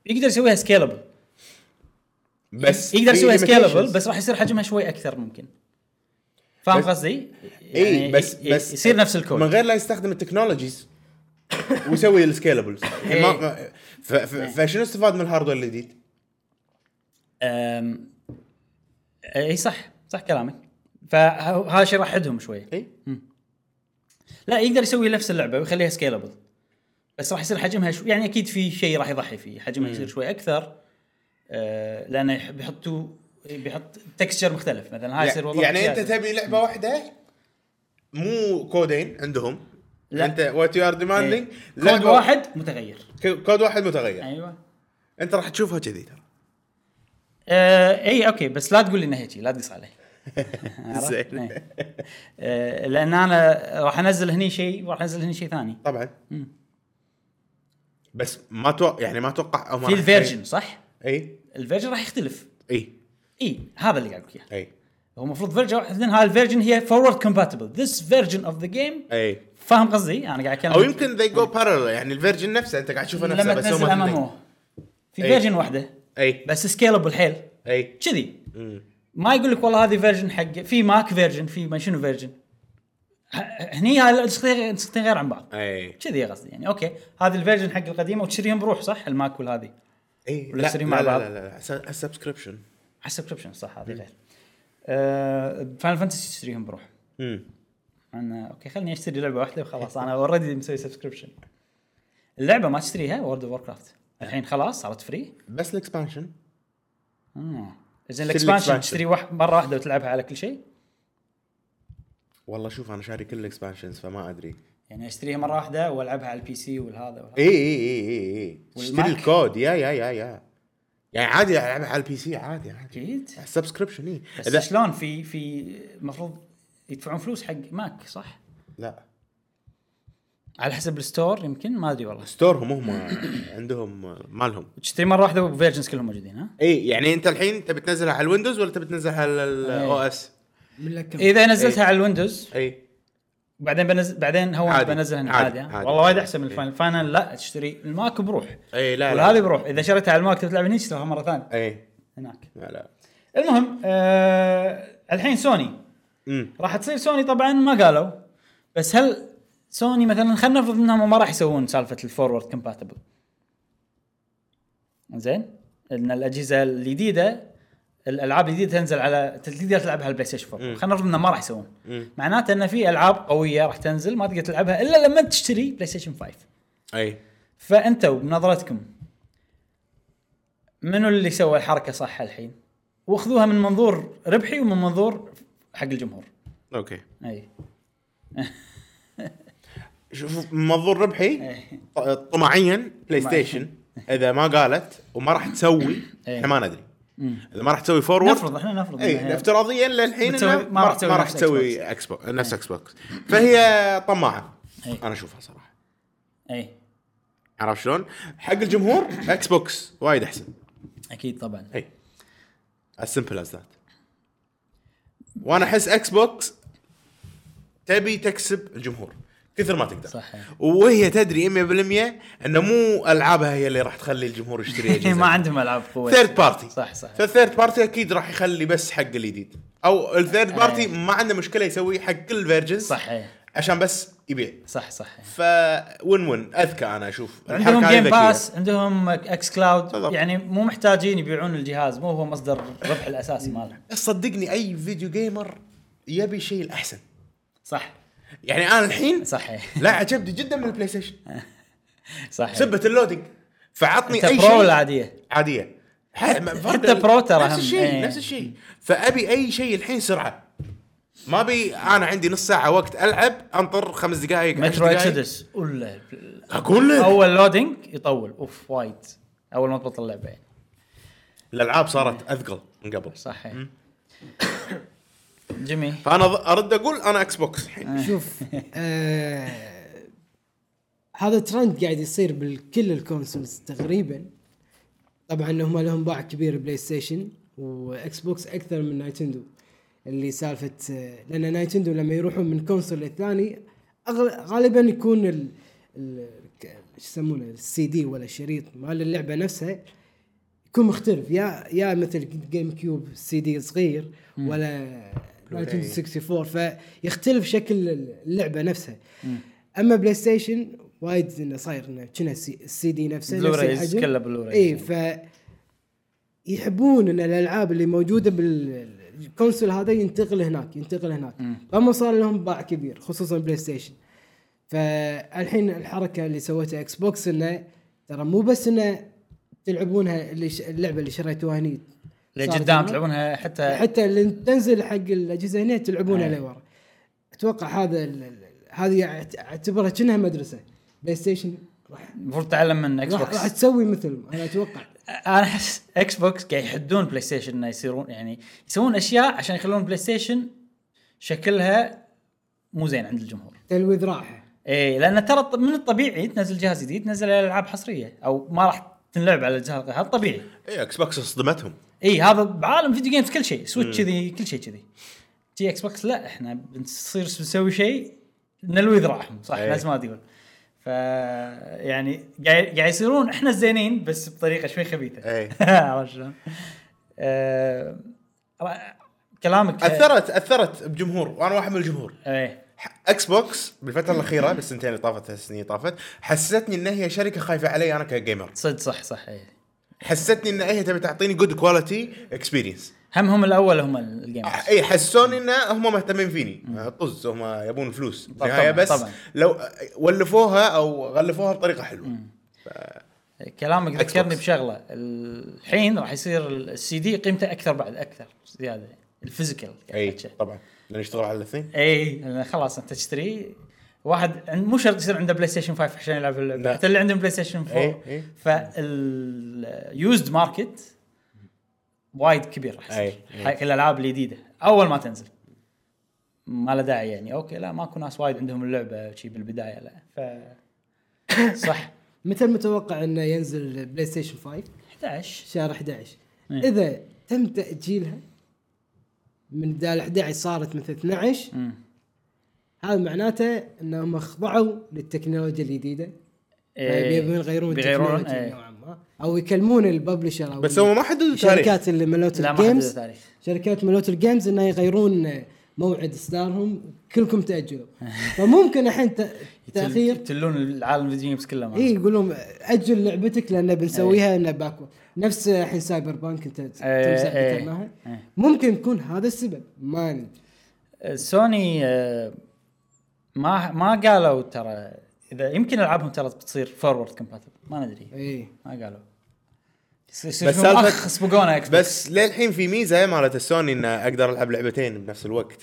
Speaker 1: يقدر يسويها سكيلبل
Speaker 3: بس
Speaker 1: يقدر
Speaker 3: في
Speaker 1: يسويها سكيلبل
Speaker 3: limitations.
Speaker 1: بس راح يصير حجمها شوي اكثر ممكن فاهم
Speaker 3: بس-
Speaker 1: قصدي؟ يعني
Speaker 3: اي إيه، بس
Speaker 1: ي-
Speaker 3: بس
Speaker 1: يصير نفس
Speaker 3: من
Speaker 1: الكود
Speaker 3: غير لا يستخدم التكنولوجيز ويسوي السكيلبلز
Speaker 1: <laughs> إيه.
Speaker 3: ما ما- ف- ف- فشنو استفاد من الهاردوير الجديد؟
Speaker 1: أم، اي صح صح كلامك فهذا الشيء راح يحدهم شوي
Speaker 3: اي
Speaker 1: لا يقدر يسوي نفس اللعبه ويخليها سكيلبل بس راح يصير حجمها شو يعني اكيد في شيء راح يضحي فيه حجمها يصير شوي اكثر أه لانه يح- بيحطوا بيحط تكستشر مختلف مثلا هاي آه، يصير وضع
Speaker 3: يعني انت
Speaker 1: سياسي.
Speaker 3: تبي لعبه واحده مو كودين عندهم
Speaker 1: لا.
Speaker 3: لا. انت وات يو ار ديماندينج
Speaker 1: إيه. كود واحد متغير
Speaker 3: كود واحد متغير
Speaker 1: ايوه
Speaker 3: انت راح تشوفها كذي ترى
Speaker 1: آه اي اوكي بس لا تقول لي انه هيجي لا تقص علي عرفت؟
Speaker 3: زين.
Speaker 1: إيه. آه لان انا راح انزل هني شيء وراح انزل هني شيء ثاني
Speaker 3: طبعا
Speaker 1: مم.
Speaker 3: بس ما تو يعني ما اتوقع هم
Speaker 1: في
Speaker 3: راح- إيه؟
Speaker 1: الفيرجن صح؟
Speaker 3: اي
Speaker 1: الفيرجن راح يختلف
Speaker 3: اي
Speaker 1: اي هذا اللي قاعد اقول إياه.
Speaker 3: اي
Speaker 1: هو المفروض فيرجن واحد لان هاي الفيرجن هي فورورد كومباتبل ذيس فيرجن اوف ذا جيم
Speaker 3: اي
Speaker 1: فاهم قصدي؟ انا قاعد اتكلم
Speaker 3: او يمكن they go parallel يعني الفيرجن نفسه انت قاعد تشوفه نفسه
Speaker 1: لما
Speaker 3: بس هو
Speaker 1: تنزل ام
Speaker 3: ما
Speaker 1: ام او
Speaker 3: تنزل.
Speaker 1: في
Speaker 3: إيه.
Speaker 1: فيرجن واحده
Speaker 3: اي
Speaker 1: بس سكيلبل حيل
Speaker 3: اي
Speaker 1: كذي
Speaker 3: إيه. مم.
Speaker 1: ما يقول لك والله هذه فيرجن حق في ماك فيرجن في ما شنو فيرجن ه- هني هاي النسختين النسختين غير عن بعض
Speaker 3: اي
Speaker 1: كذي قصدي يعني اوكي هذه الفيرجن حق القديمه وتشتريهم بروح صح الماك والهذه
Speaker 3: اي
Speaker 1: ولا
Speaker 3: إيه. لا
Speaker 1: يصير مع
Speaker 3: لا لا
Speaker 1: بعض؟
Speaker 3: لا لا السبسكريبشن
Speaker 1: على السبسكربشن صح هذه غير آه فاينل فانتسي تشتريهم بروح انا اوكي خلني اشتري لعبه واحده وخلاص انا اوريدي مسوي سبسكربشن اللعبه ما تشتريها وورد اوف كرافت الحين خلاص صارت فري
Speaker 3: بس الاكسبانشن
Speaker 1: زين
Speaker 3: تشتري
Speaker 1: الاكسبانشن
Speaker 3: الexpansion.
Speaker 1: تشتري واحد مره واحده وتلعبها على كل شيء
Speaker 3: والله شوف انا شاري كل الاكسبانشنز فما ادري
Speaker 1: يعني اشتريها مره واحده والعبها على البي سي والهذا والهذا
Speaker 3: اي اي اي اي اي إيه، اشتري
Speaker 1: والماك؟
Speaker 3: الكود يا يا يا يا يعني عادي العبها على البي سي عادي عادي إيه.
Speaker 1: اكيد
Speaker 3: السبسكريبشن اي
Speaker 1: بس
Speaker 3: اذا
Speaker 1: شلون في في المفروض يدفعون فلوس حق ماك صح؟
Speaker 3: لا
Speaker 1: على حسب الستور يمكن ما ادري والله
Speaker 3: ستورهم هم عندهم مالهم
Speaker 1: تشتري مره واحده وفيرجنز كلهم موجودين ها؟
Speaker 3: اي يعني انت الحين تبي تنزلها على الويندوز ولا تبي تنزلها على الاو
Speaker 1: إيه.
Speaker 3: اس؟
Speaker 2: من لك كم
Speaker 1: اذا نزلتها
Speaker 3: إيه.
Speaker 1: على الويندوز
Speaker 3: اي
Speaker 1: بعدين بنزل بعدين هو
Speaker 3: عادي.
Speaker 1: بنزلها هنا عادي,
Speaker 3: عادي.
Speaker 1: ها؟
Speaker 3: عادي.
Speaker 1: والله وايد احسن من الفاينل فاينل لا تشتري الماك بروح
Speaker 3: اي إيه، لا لا
Speaker 1: والهذه بروح اذا شريتها على الماك تبي تلعب هنا تشتريها مره ثانيه
Speaker 3: اي
Speaker 1: هناك
Speaker 3: لا لا
Speaker 1: المهم آه الحين سوني
Speaker 3: امم
Speaker 1: راح تصير سوني طبعا ما قالوا بس هل سوني مثلا خلينا نفرض انهم ما راح يسوون سالفه الفورورد كومباتبل زين ان الاجهزه الجديده الالعاب الجديده تنزل على تقدر تلعبها على البلاي ستيشن 4
Speaker 3: مم.
Speaker 1: خلينا نفرض انهم ما راح يسوون
Speaker 3: مم.
Speaker 1: معناته ان في العاب قويه راح تنزل ما تقدر تلعبها الا لما تشتري بلاي ستيشن 5
Speaker 3: اي
Speaker 1: فانتوا بنظرتكم منو اللي سوى الحركه صح الحين؟ واخذوها من منظور ربحي ومن منظور حق الجمهور
Speaker 3: اوكي
Speaker 1: اي
Speaker 3: شوف من منظور ربحي
Speaker 1: إيه.
Speaker 3: ط- طمعيا بلاي ستيشن اذا ما قالت وما راح تسوي
Speaker 1: إيه.
Speaker 3: احنا ما ندري اذا ما راح تسوي فورورد
Speaker 1: نفرض احنا نفرض إنها
Speaker 3: اي
Speaker 1: هي-
Speaker 3: افتراضيا للحين
Speaker 1: بتسوي-
Speaker 3: إنه ما راح تسوي ما راح
Speaker 1: نفس
Speaker 3: تسوي اكس بوكس نفس اكس بوكس فهي طماعه
Speaker 1: إيه.
Speaker 3: انا اشوفها صراحه
Speaker 1: اي
Speaker 3: عرفت شلون؟ حق الجمهور اكس بوكس وايد احسن
Speaker 1: اكيد طبعا
Speaker 3: اي از سمبل از ذات وانا احس اكس بوكس تبي تكسب الجمهور كثر ما تقدر
Speaker 1: صحيح.
Speaker 3: وهي تدري 100% انه مو العابها هي اللي راح تخلي
Speaker 1: <laughs>
Speaker 3: الجمهور يشتري اجهزه
Speaker 1: ما عندهم العاب قوه
Speaker 3: ثيرد بارتي
Speaker 1: صح صح
Speaker 3: فالثيرد بارتي اكيد راح يخلي بس حق الجديد او الثيرد
Speaker 1: آه.
Speaker 3: بارتي ما عنده مشكله يسوي حق كل الفيرجنز
Speaker 1: صح إيه.
Speaker 3: عشان بس يبيع
Speaker 1: صح صح
Speaker 3: ف وين وين اذكى انا اشوف
Speaker 1: عندهم
Speaker 3: الحركة هذه
Speaker 1: جيم
Speaker 3: ذكية.
Speaker 1: باس عندهم اكس كلاود
Speaker 3: بالضبط.
Speaker 1: يعني مو محتاجين يبيعون الجهاز مو هو مصدر الربح الاساسي ماله
Speaker 3: بس صدقني اي فيديو جيمر يبي شيء الاحسن
Speaker 1: صح
Speaker 3: يعني انا الحين
Speaker 1: صح إيه.
Speaker 3: لا عجبني جدا من البلاي ستيشن
Speaker 1: صح إيه.
Speaker 3: سبه اللودينج فعطني
Speaker 1: انت برو
Speaker 3: اي يعني شيء يعني
Speaker 1: العاديه
Speaker 3: عاديه ح- ما- فرق-
Speaker 1: برو ترى
Speaker 3: نفس
Speaker 1: هم.
Speaker 3: الشيء
Speaker 1: إيه.
Speaker 3: نفس الشيء فابي اي شيء الحين سرعه ما بي انا عندي نص ساعه وقت العب انطر خمس دقائق
Speaker 1: مترو اكسدس ولا
Speaker 3: اقول لك
Speaker 1: اول لودينج يطول اوف وايد اول ما تبطل اللعبه يعني
Speaker 3: الالعاب صارت اثقل من قبل
Speaker 1: صح إيه. جميل
Speaker 3: فانا ض- ارد اقول انا اكس بوكس الحين
Speaker 2: شوف آه هذا ترند قاعد يصير بكل الكونسولز تقريبا طبعا هم لهم باع كبير بلاي ستيشن واكس بوكس اكثر من نايتندو اللي سالفه آه، لان نايتندو لما يروحون من كونسول للثاني أغل- غالبا يكون ال ال- ك- شو يسمونه السي دي ولا الشريط مال اللعبه نفسها يكون مختلف يا يا مثل جيم كيوب سي دي صغير ولا نايتندو 64 فيختلف شكل اللعبه نفسها اما بلاي ستيشن وايد انه صاير انه كنا السي دي نفسه نفس
Speaker 1: بلورايز،
Speaker 2: الحجم.
Speaker 1: كله بلورايز.
Speaker 2: اي ف يحبون ان الالعاب اللي موجوده بالكونسول هذا ينتقل هناك ينتقل هناك فما صار لهم باع كبير خصوصا بلاي ستيشن فالحين الحركه اللي سوتها اكس بوكس انه ترى مو بس انه تلعبونها اللي ش... اللعبه اللي شريتوها هني
Speaker 1: اللي
Speaker 2: صارت
Speaker 1: قدام
Speaker 2: هناك.
Speaker 1: تلعبونها إيه. حتى
Speaker 2: حتى اللي تنزل حق الاجهزه هنا تلعبونها
Speaker 1: أي.
Speaker 2: لورا اتوقع هذا ال- ال- هذه أعت- اعتبرها كأنها مدرسه بلاي ستيشن راح
Speaker 1: المفروض تعلم من اكس
Speaker 2: راح,
Speaker 1: بوكس
Speaker 2: راح تسوي مثلهم انا اتوقع
Speaker 1: انا احس اكس بوكس قاعد يحدون بلاي ستيشن انه يصيرون يعني يسوون اشياء عشان يخلون بلاي ستيشن شكلها مو زين عند الجمهور.
Speaker 2: تلوي ذراعها
Speaker 1: اي لان ترى الط- من الطبيعي تنزل جهاز جديد تنزل العاب حصريه او ما راح تنلعب على الجهاز هذا طبيعي.
Speaker 3: اي اكس بوكس إيه، صدمتهم
Speaker 1: اي هذا بعالم فيديو جيمز كل شيء سويتش كذي كل شيء كذي. جي اكس بوكس لا احنا بنصير نسوي شيء نلوي ذراعهم صح
Speaker 3: إيه.
Speaker 1: لازم ما تقول. ف يعني قاعد قاعد يصيرون احنا الزينين بس بطريقه شوي خبيثه.
Speaker 3: اي
Speaker 1: <laughs> عرفت شلون؟ آه، را- كلامك
Speaker 3: اثرت اثرت بجمهور وانا واحد من الجمهور
Speaker 1: ايه
Speaker 3: ح- اكس بوكس بالفتره الاخيره بالسنتين اللي طافت ثلاث سنين طافت حسستني ان هي شركه خايفه علي انا كجيمر
Speaker 1: صدق صح صح ايه
Speaker 3: حسستني ان هي تبي تعطيني جود كواليتي اكسبيرينس
Speaker 1: هم هم الاول هم ال- الجيمرز
Speaker 3: اي حسوني ان هم مهتمين فيني طز هم يبون فلوس بالنهايه
Speaker 1: طبعاً،
Speaker 3: بس
Speaker 1: طبعاً.
Speaker 3: لو ولفوها او غلفوها بطريقه حلوه
Speaker 1: إيه، كلامك
Speaker 3: Xbox.
Speaker 1: ذكرني بشغله الحين راح يصير السي دي قيمته اكثر بعد اكثر زياده الفيزيكال
Speaker 3: اي طبعا لان يشتغل على الاثنين
Speaker 1: اي إيه، لأن خلاص انت تشتري واحد عن- مو شرط يصير عنده بلاي ستيشن 5 عشان يلعب اللعبه
Speaker 3: لا.
Speaker 1: حتى اللي عندهم بلاي ستيشن 4
Speaker 3: إي، إي.
Speaker 1: فاليوزد ماركت وايد كبير راح يصير
Speaker 3: إي، إي.
Speaker 1: حق الالعاب الجديده اول ما تنزل ما له داعي يعني اوكي لا ماكو ناس وايد عندهم اللعبه شي بالبدايه لا ف صح
Speaker 2: متى المتوقع انه ينزل بلاي ستيشن 5
Speaker 1: 11
Speaker 2: شهر 11
Speaker 1: إيه.
Speaker 2: اذا تم تاجيلها من دال 11 صارت مثل 12
Speaker 1: مم.
Speaker 2: هذا معناته انهم خضعوا للتكنولوجيا الجديده
Speaker 1: إيه.
Speaker 2: يبون يغيرون
Speaker 1: بيغيرون،
Speaker 2: التكنولوجيا
Speaker 1: إيه.
Speaker 2: نوعا ما او يكلمون الببلشر او
Speaker 3: بس هم ما حددوا تاريخ
Speaker 2: الشركات اللي ملوت
Speaker 1: لا ما حددوا
Speaker 2: الجيمز
Speaker 1: تاريخ
Speaker 2: شركات ملوت الجيمز انه يغيرون موعد اصدارهم كلكم
Speaker 1: <laughs>
Speaker 2: تاجلوا فممكن الحين ت- تاخير
Speaker 1: تلون العالم الفيديو جيمز كله ما
Speaker 2: اي يقول لهم اجل إيه، لعبتك لان بنسويها انه باكو نفس الحين سايبر بانك انت تمسح
Speaker 1: إيه.
Speaker 2: ذكرناها
Speaker 1: إيه.
Speaker 2: ممكن يكون هذا السبب ما ندري
Speaker 1: سوني آه، ما ما قالوا ترى اذا يمكن العابهم ترى بتصير فورورد كومباتبل ما ندري
Speaker 2: اي
Speaker 1: ما قالوا يصير يصير
Speaker 3: بس
Speaker 1: فيهم
Speaker 3: سالفة-
Speaker 1: اخ سبقونا اكس بوكس
Speaker 3: بس للحين في ميزه مالت السوني ان اقدر العب لعبتين بنفس الوقت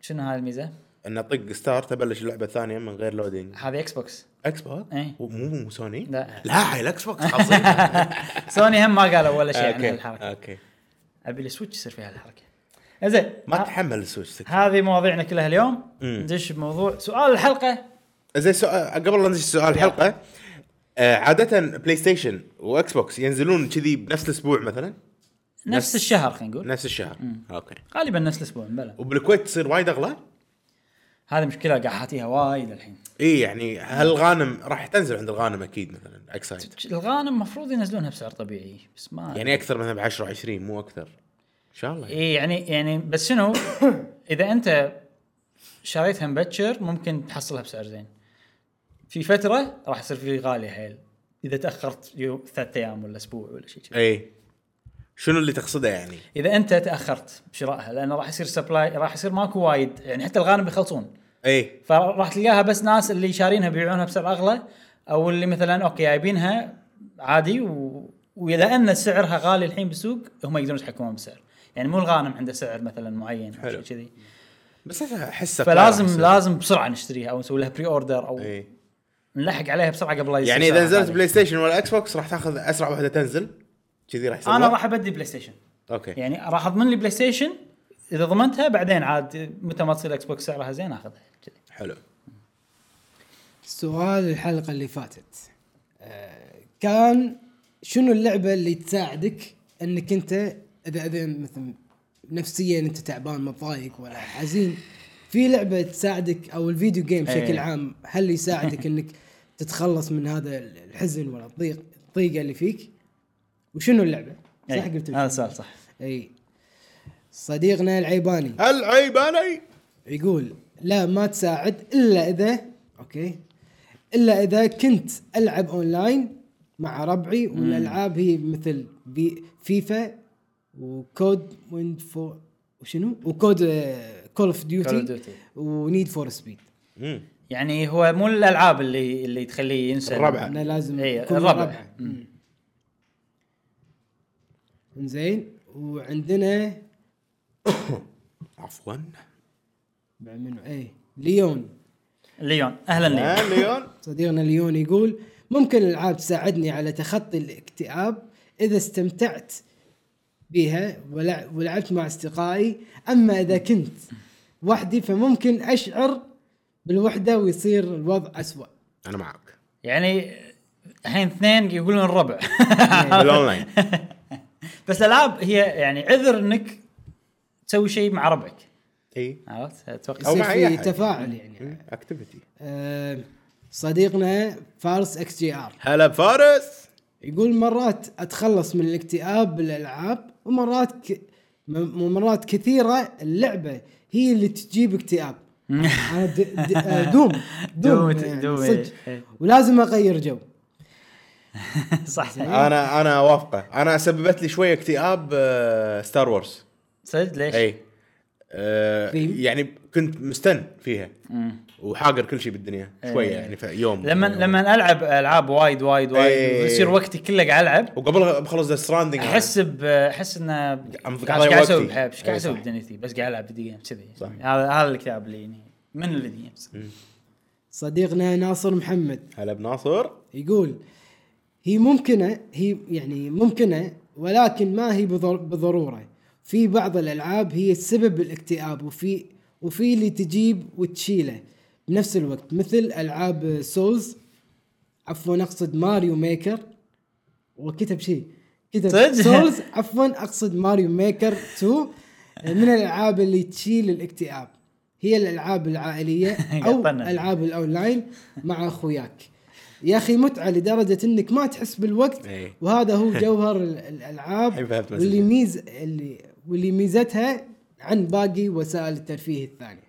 Speaker 1: شنو هاي الميزه؟
Speaker 3: ان اطق ستارت ابلش اللعبه الثانيه من غير لودينج
Speaker 1: هذه اكس بوكس
Speaker 3: اكس بوكس
Speaker 1: إيه.
Speaker 3: مو مو سوني
Speaker 1: لا.
Speaker 3: لا هاي الاكس
Speaker 1: <laughs>
Speaker 3: بوكس خاصين
Speaker 1: سوني هم ما قالوا ولا شيء عن
Speaker 3: اوكي
Speaker 1: هالحركه
Speaker 3: اوكي
Speaker 1: ابي السويتش يصير فيها الحركه زين
Speaker 3: ما
Speaker 1: ه-
Speaker 3: تحمل السويتش 6
Speaker 1: هذه مواضيعنا كلها اليوم
Speaker 3: مم.
Speaker 1: ندش بموضوع سؤال الحلقه
Speaker 3: زي سؤال آه، قبل لا نجي سؤال الحلقه آه عاده بلاي ستيشن واكس بوكس ينزلون كذي بنفس الاسبوع مثلا
Speaker 1: نفس
Speaker 3: نفس-
Speaker 1: الشهر خلينا نقول
Speaker 3: نفس الشهر اوكي
Speaker 1: غالبا نفس الاسبوع بلى
Speaker 3: وبالكويت تصير وايد اغلى
Speaker 1: هذه مشكله قاعد حاتيها وايد الحين
Speaker 3: اي يعني هالغانم راح تنزل عند الغانم اكيد مثلا اكسايد
Speaker 1: الغانم المفروض ينزلونها بسعر طبيعي بس ما
Speaker 3: يعني اكثر مثلا ب 10 20 مو اكثر ان شاء الله يعني.
Speaker 1: اي يعني يعني بس شنو اذا انت شريتها مبكر ممكن تحصلها بسعر زين في فتره راح يصير في غالي حيل اذا تاخرت يوم ثلاث ايام ولا اسبوع ولا شيء كذي
Speaker 3: اي شنو اللي تقصده يعني؟
Speaker 1: اذا انت تاخرت بشرائها لانه راح يصير سبلاي راح يصير ماكو وايد يعني حتى الغانم يخلصون
Speaker 3: اي
Speaker 1: فراح تلقاها بس ناس اللي شارينها بيبيعونها بسعر اغلى او اللي مثلا اوكي جايبينها عادي و... ولان سعرها غالي الحين بالسوق هم يقدرون يتحكمون بالسعر يعني مو الغانم عنده سعر مثلا معين او شيء
Speaker 3: حلو.
Speaker 1: كذي
Speaker 3: بس احسه
Speaker 1: فلازم لازم بسرعه نشتريها او نسوي لها بري اوردر او
Speaker 3: اي
Speaker 1: نلحق عليها بسرعه قبل لا يصير
Speaker 3: إيه. يعني اذا
Speaker 1: سعرها
Speaker 3: نزلت
Speaker 1: غالي.
Speaker 3: بلاي ستيشن ولا اكس بوكس راح تاخذ اسرع واحده تنزل كذي راح يصير
Speaker 1: انا
Speaker 3: وقت؟
Speaker 1: راح ابدي بلاي ستيشن
Speaker 3: اوكي
Speaker 1: يعني راح اضمن لي بلاي ستيشن اذا ضمنتها بعدين عاد متى ما تصير اكس بوكس سعرها زين اخذها كذي.
Speaker 3: حلو
Speaker 2: سؤال الحلقه اللي فاتت آه، كان شنو اللعبه اللي تساعدك انك انت اذا اذا مثلا نفسيا انت تعبان متضايق ولا حزين في لعبه تساعدك او الفيديو جيم بشكل
Speaker 1: إيه.
Speaker 2: عام هل يساعدك انك تتخلص من هذا الحزن ولا الضيق الضيقه اللي فيك وشنو اللعبه؟ صح
Speaker 1: إي،
Speaker 2: قلت
Speaker 1: هذا السؤال يعني آه، صح
Speaker 2: اي صديقنا العيباني
Speaker 3: العيب علي
Speaker 2: يقول لا ما تساعد الا اذا اوكي الا اذا كنت العب اونلاين مع ربعي والالعاب هي مثل بي فيفا وكود ويند فور وشنو uh, وكود كول اوف
Speaker 1: Call of
Speaker 2: ديوتي
Speaker 1: Duty.
Speaker 2: ونيد فور سبيد
Speaker 3: مم.
Speaker 1: يعني هو مو الالعاب اللي اللي تخليه ينسى
Speaker 3: الربع.
Speaker 2: انا لازم
Speaker 1: إيه،
Speaker 2: أكون
Speaker 1: الربع.
Speaker 2: ربع. مم. زين وعندنا
Speaker 3: عفوا
Speaker 2: بعد منو ايه ليون
Speaker 1: ليون اهلا ليون
Speaker 3: مليون
Speaker 2: صديقنا ليون يقول ممكن الالعاب تساعدني على تخطي الاكتئاب اذا استمتعت بها ولع- ولعبت مع اصدقائي اما اذا كنت وحدي فممكن اشعر بالوحده ويصير الوضع اسوا
Speaker 3: انا معك
Speaker 1: يعني الحين اثنين يقولون الربع
Speaker 3: بالاونلاين
Speaker 1: <laughs>
Speaker 3: <laughs>
Speaker 1: بس الالعاب هي يعني عذر انك تسوي شيء مع ربعك
Speaker 3: اي
Speaker 1: عرفت اتوقع
Speaker 3: أو
Speaker 2: يصير
Speaker 3: مع أي
Speaker 2: في
Speaker 3: أحد.
Speaker 2: تفاعل يعني
Speaker 3: اكتيفيتي
Speaker 2: آه، صديقنا فارس اكس جي ار
Speaker 3: هلا بفارس
Speaker 2: يقول مرات اتخلص من الاكتئاب بالالعاب ومرات ك... م- ومرات كثيره اللعبه هي اللي
Speaker 1: <laughs>
Speaker 2: تجيب اكتئاب أنا د... د... آه، دوم دوم,
Speaker 1: دوم-
Speaker 2: يعني
Speaker 1: دوم،
Speaker 2: صدق
Speaker 1: إيه.
Speaker 2: ولازم اغير جو
Speaker 1: <laughs> صح
Speaker 3: انا انا وافقه انا سببت لي شويه اكتئاب آه، ستار وورز
Speaker 1: صدق ليش؟
Speaker 3: اي إيه. آه،
Speaker 2: Theme.
Speaker 3: يعني كنت مستن فيها وحاقر كل شيء بالدنيا شويه
Speaker 1: إيه.
Speaker 3: يعني في يوم
Speaker 1: لما لما العب العاب وايد وايد وايد
Speaker 3: إيه.
Speaker 1: ويصير وقتي كله قاعد العب
Speaker 3: وقبلها بخلص ذا ستراندنج
Speaker 1: احس ب احس انه
Speaker 3: ضيع
Speaker 1: قاعد
Speaker 3: وقتي.
Speaker 1: اسوي بحياتي ايش
Speaker 3: إيه،
Speaker 1: قاعد اسوي
Speaker 3: صح.
Speaker 1: بدنيتي بس قاعد العب فيديو جيمز كذي
Speaker 3: صح.
Speaker 1: هذا هذا الكتاب اللي يعني من الفيديو جيمز
Speaker 2: صديقنا ناصر محمد
Speaker 3: هلا بناصر
Speaker 2: يقول هي ممكنه هي يعني ممكنه ولكن ما هي بضر... بضروره في بعض الالعاب هي السبب بالاكتئاب وفي وفي اللي تجيب وتشيله بنفس الوقت مثل العاب سولز عفوا اقصد ماريو ميكر وكتب شيء <laughs> كتب
Speaker 1: صدق؟
Speaker 2: سولز عفوا اقصد ماريو ميكر 2 من الالعاب اللي تشيل الاكتئاب هي الالعاب العائليه او
Speaker 1: قطنا.
Speaker 2: العاب الاونلاين مع اخوياك يا اخي متعه لدرجه انك ما تحس بالوقت
Speaker 3: إيه.
Speaker 2: وهذا
Speaker 3: <laughs>
Speaker 2: هو جوهر ال- الالعاب
Speaker 3: الحين فهمت
Speaker 2: واللي ميز اللي واللي ميزتها عن باقي وسائل الترفيه الثانيه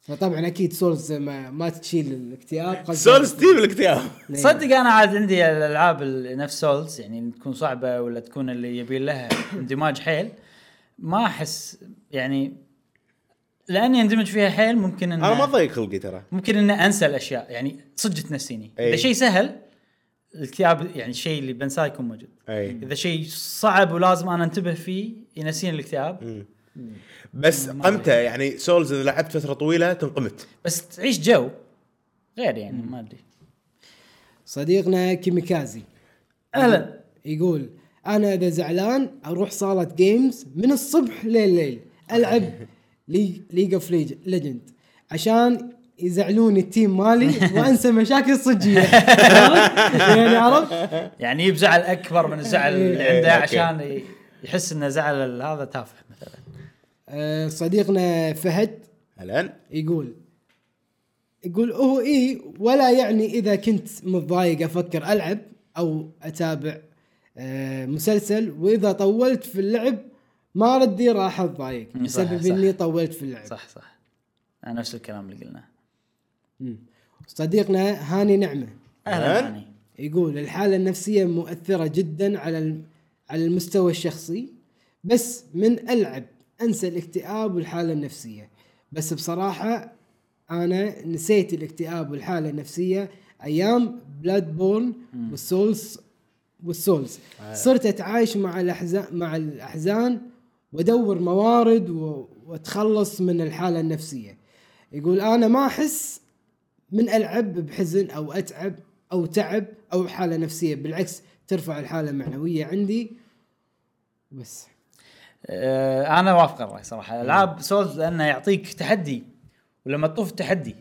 Speaker 2: فطبعا اكيد سولز ما, ما تشيل الاكتئاب قصداً-
Speaker 3: سول ستيف الاكتئاب
Speaker 2: نعم.
Speaker 1: صدق انا عاد عندي الالعاب ال- نفس سولز يعني اللي تكون صعبه ولا تكون اللي يبي لها اندماج حيل ما احس يعني لاني اندمج فيها حيل ممكن ان
Speaker 3: انا ما ضيق خلقي ترى
Speaker 1: ممكن ان انسى الاشياء يعني صدق تنسيني
Speaker 3: أي.
Speaker 1: اذا شيء سهل الاكتئاب يعني الشيء اللي بنساه يكون موجود
Speaker 3: اي
Speaker 1: اذا شيء صعب ولازم انا انتبه فيه ينسيني الاكتئاب
Speaker 3: بس قمته يعني سولز اذا لعبت فتره طويله تنقمت
Speaker 1: بس تعيش جو غير يعني ما ادري
Speaker 2: صديقنا كيميكازي
Speaker 1: اهلا
Speaker 2: يقول انا اذا زعلان اروح صاله جيمز من الصبح لليل العب ليج اوف ليجند عشان يزعلون التيم مالي
Speaker 1: <laughs>
Speaker 2: وانسى مشاكل صجيه يعني عرفت؟
Speaker 1: يعني يجيب زعل اكبر من الزعل اللي
Speaker 3: أي،
Speaker 1: عنده
Speaker 3: أوكي.
Speaker 1: عشان ي- يحس انه زعل ال- هذا تافه مثلا
Speaker 2: آه، صديقنا فهد
Speaker 3: هلا
Speaker 2: يقول يقول هو اي ولا يعني اذا كنت متضايق افكر العب او اتابع آه، مسلسل واذا طولت في اللعب ما ردي راح اتضايق
Speaker 1: صح،
Speaker 2: بسبب
Speaker 1: صح.
Speaker 2: اني طولت في اللعب
Speaker 1: صح صح انا نفس الكلام اللي قلناه
Speaker 2: مم. صديقنا هاني نعمه
Speaker 1: اهلا
Speaker 3: أهلاً.
Speaker 1: هاني
Speaker 2: يقول الحاله النفسيه مؤثره جدا على الم- على المستوى الشخصي بس من العب انسى الاكتئاب والحاله النفسيه بس بصراحه انا نسيت الاكتئاب والحاله النفسيه ايام بلاد بورن والسولز والسولز صرت اتعايش مع الاحزان مع الاحزان وادور موارد و... واتخلص من الحاله النفسيه يقول انا ما احس من العب بحزن او اتعب او تعب او حاله نفسيه بالعكس ترفع الحاله المعنويه عندي بس
Speaker 1: آه، انا وافق الراي صراحه الالعاب سولز لانه يعطيك تحدي ولما تطوف التحدي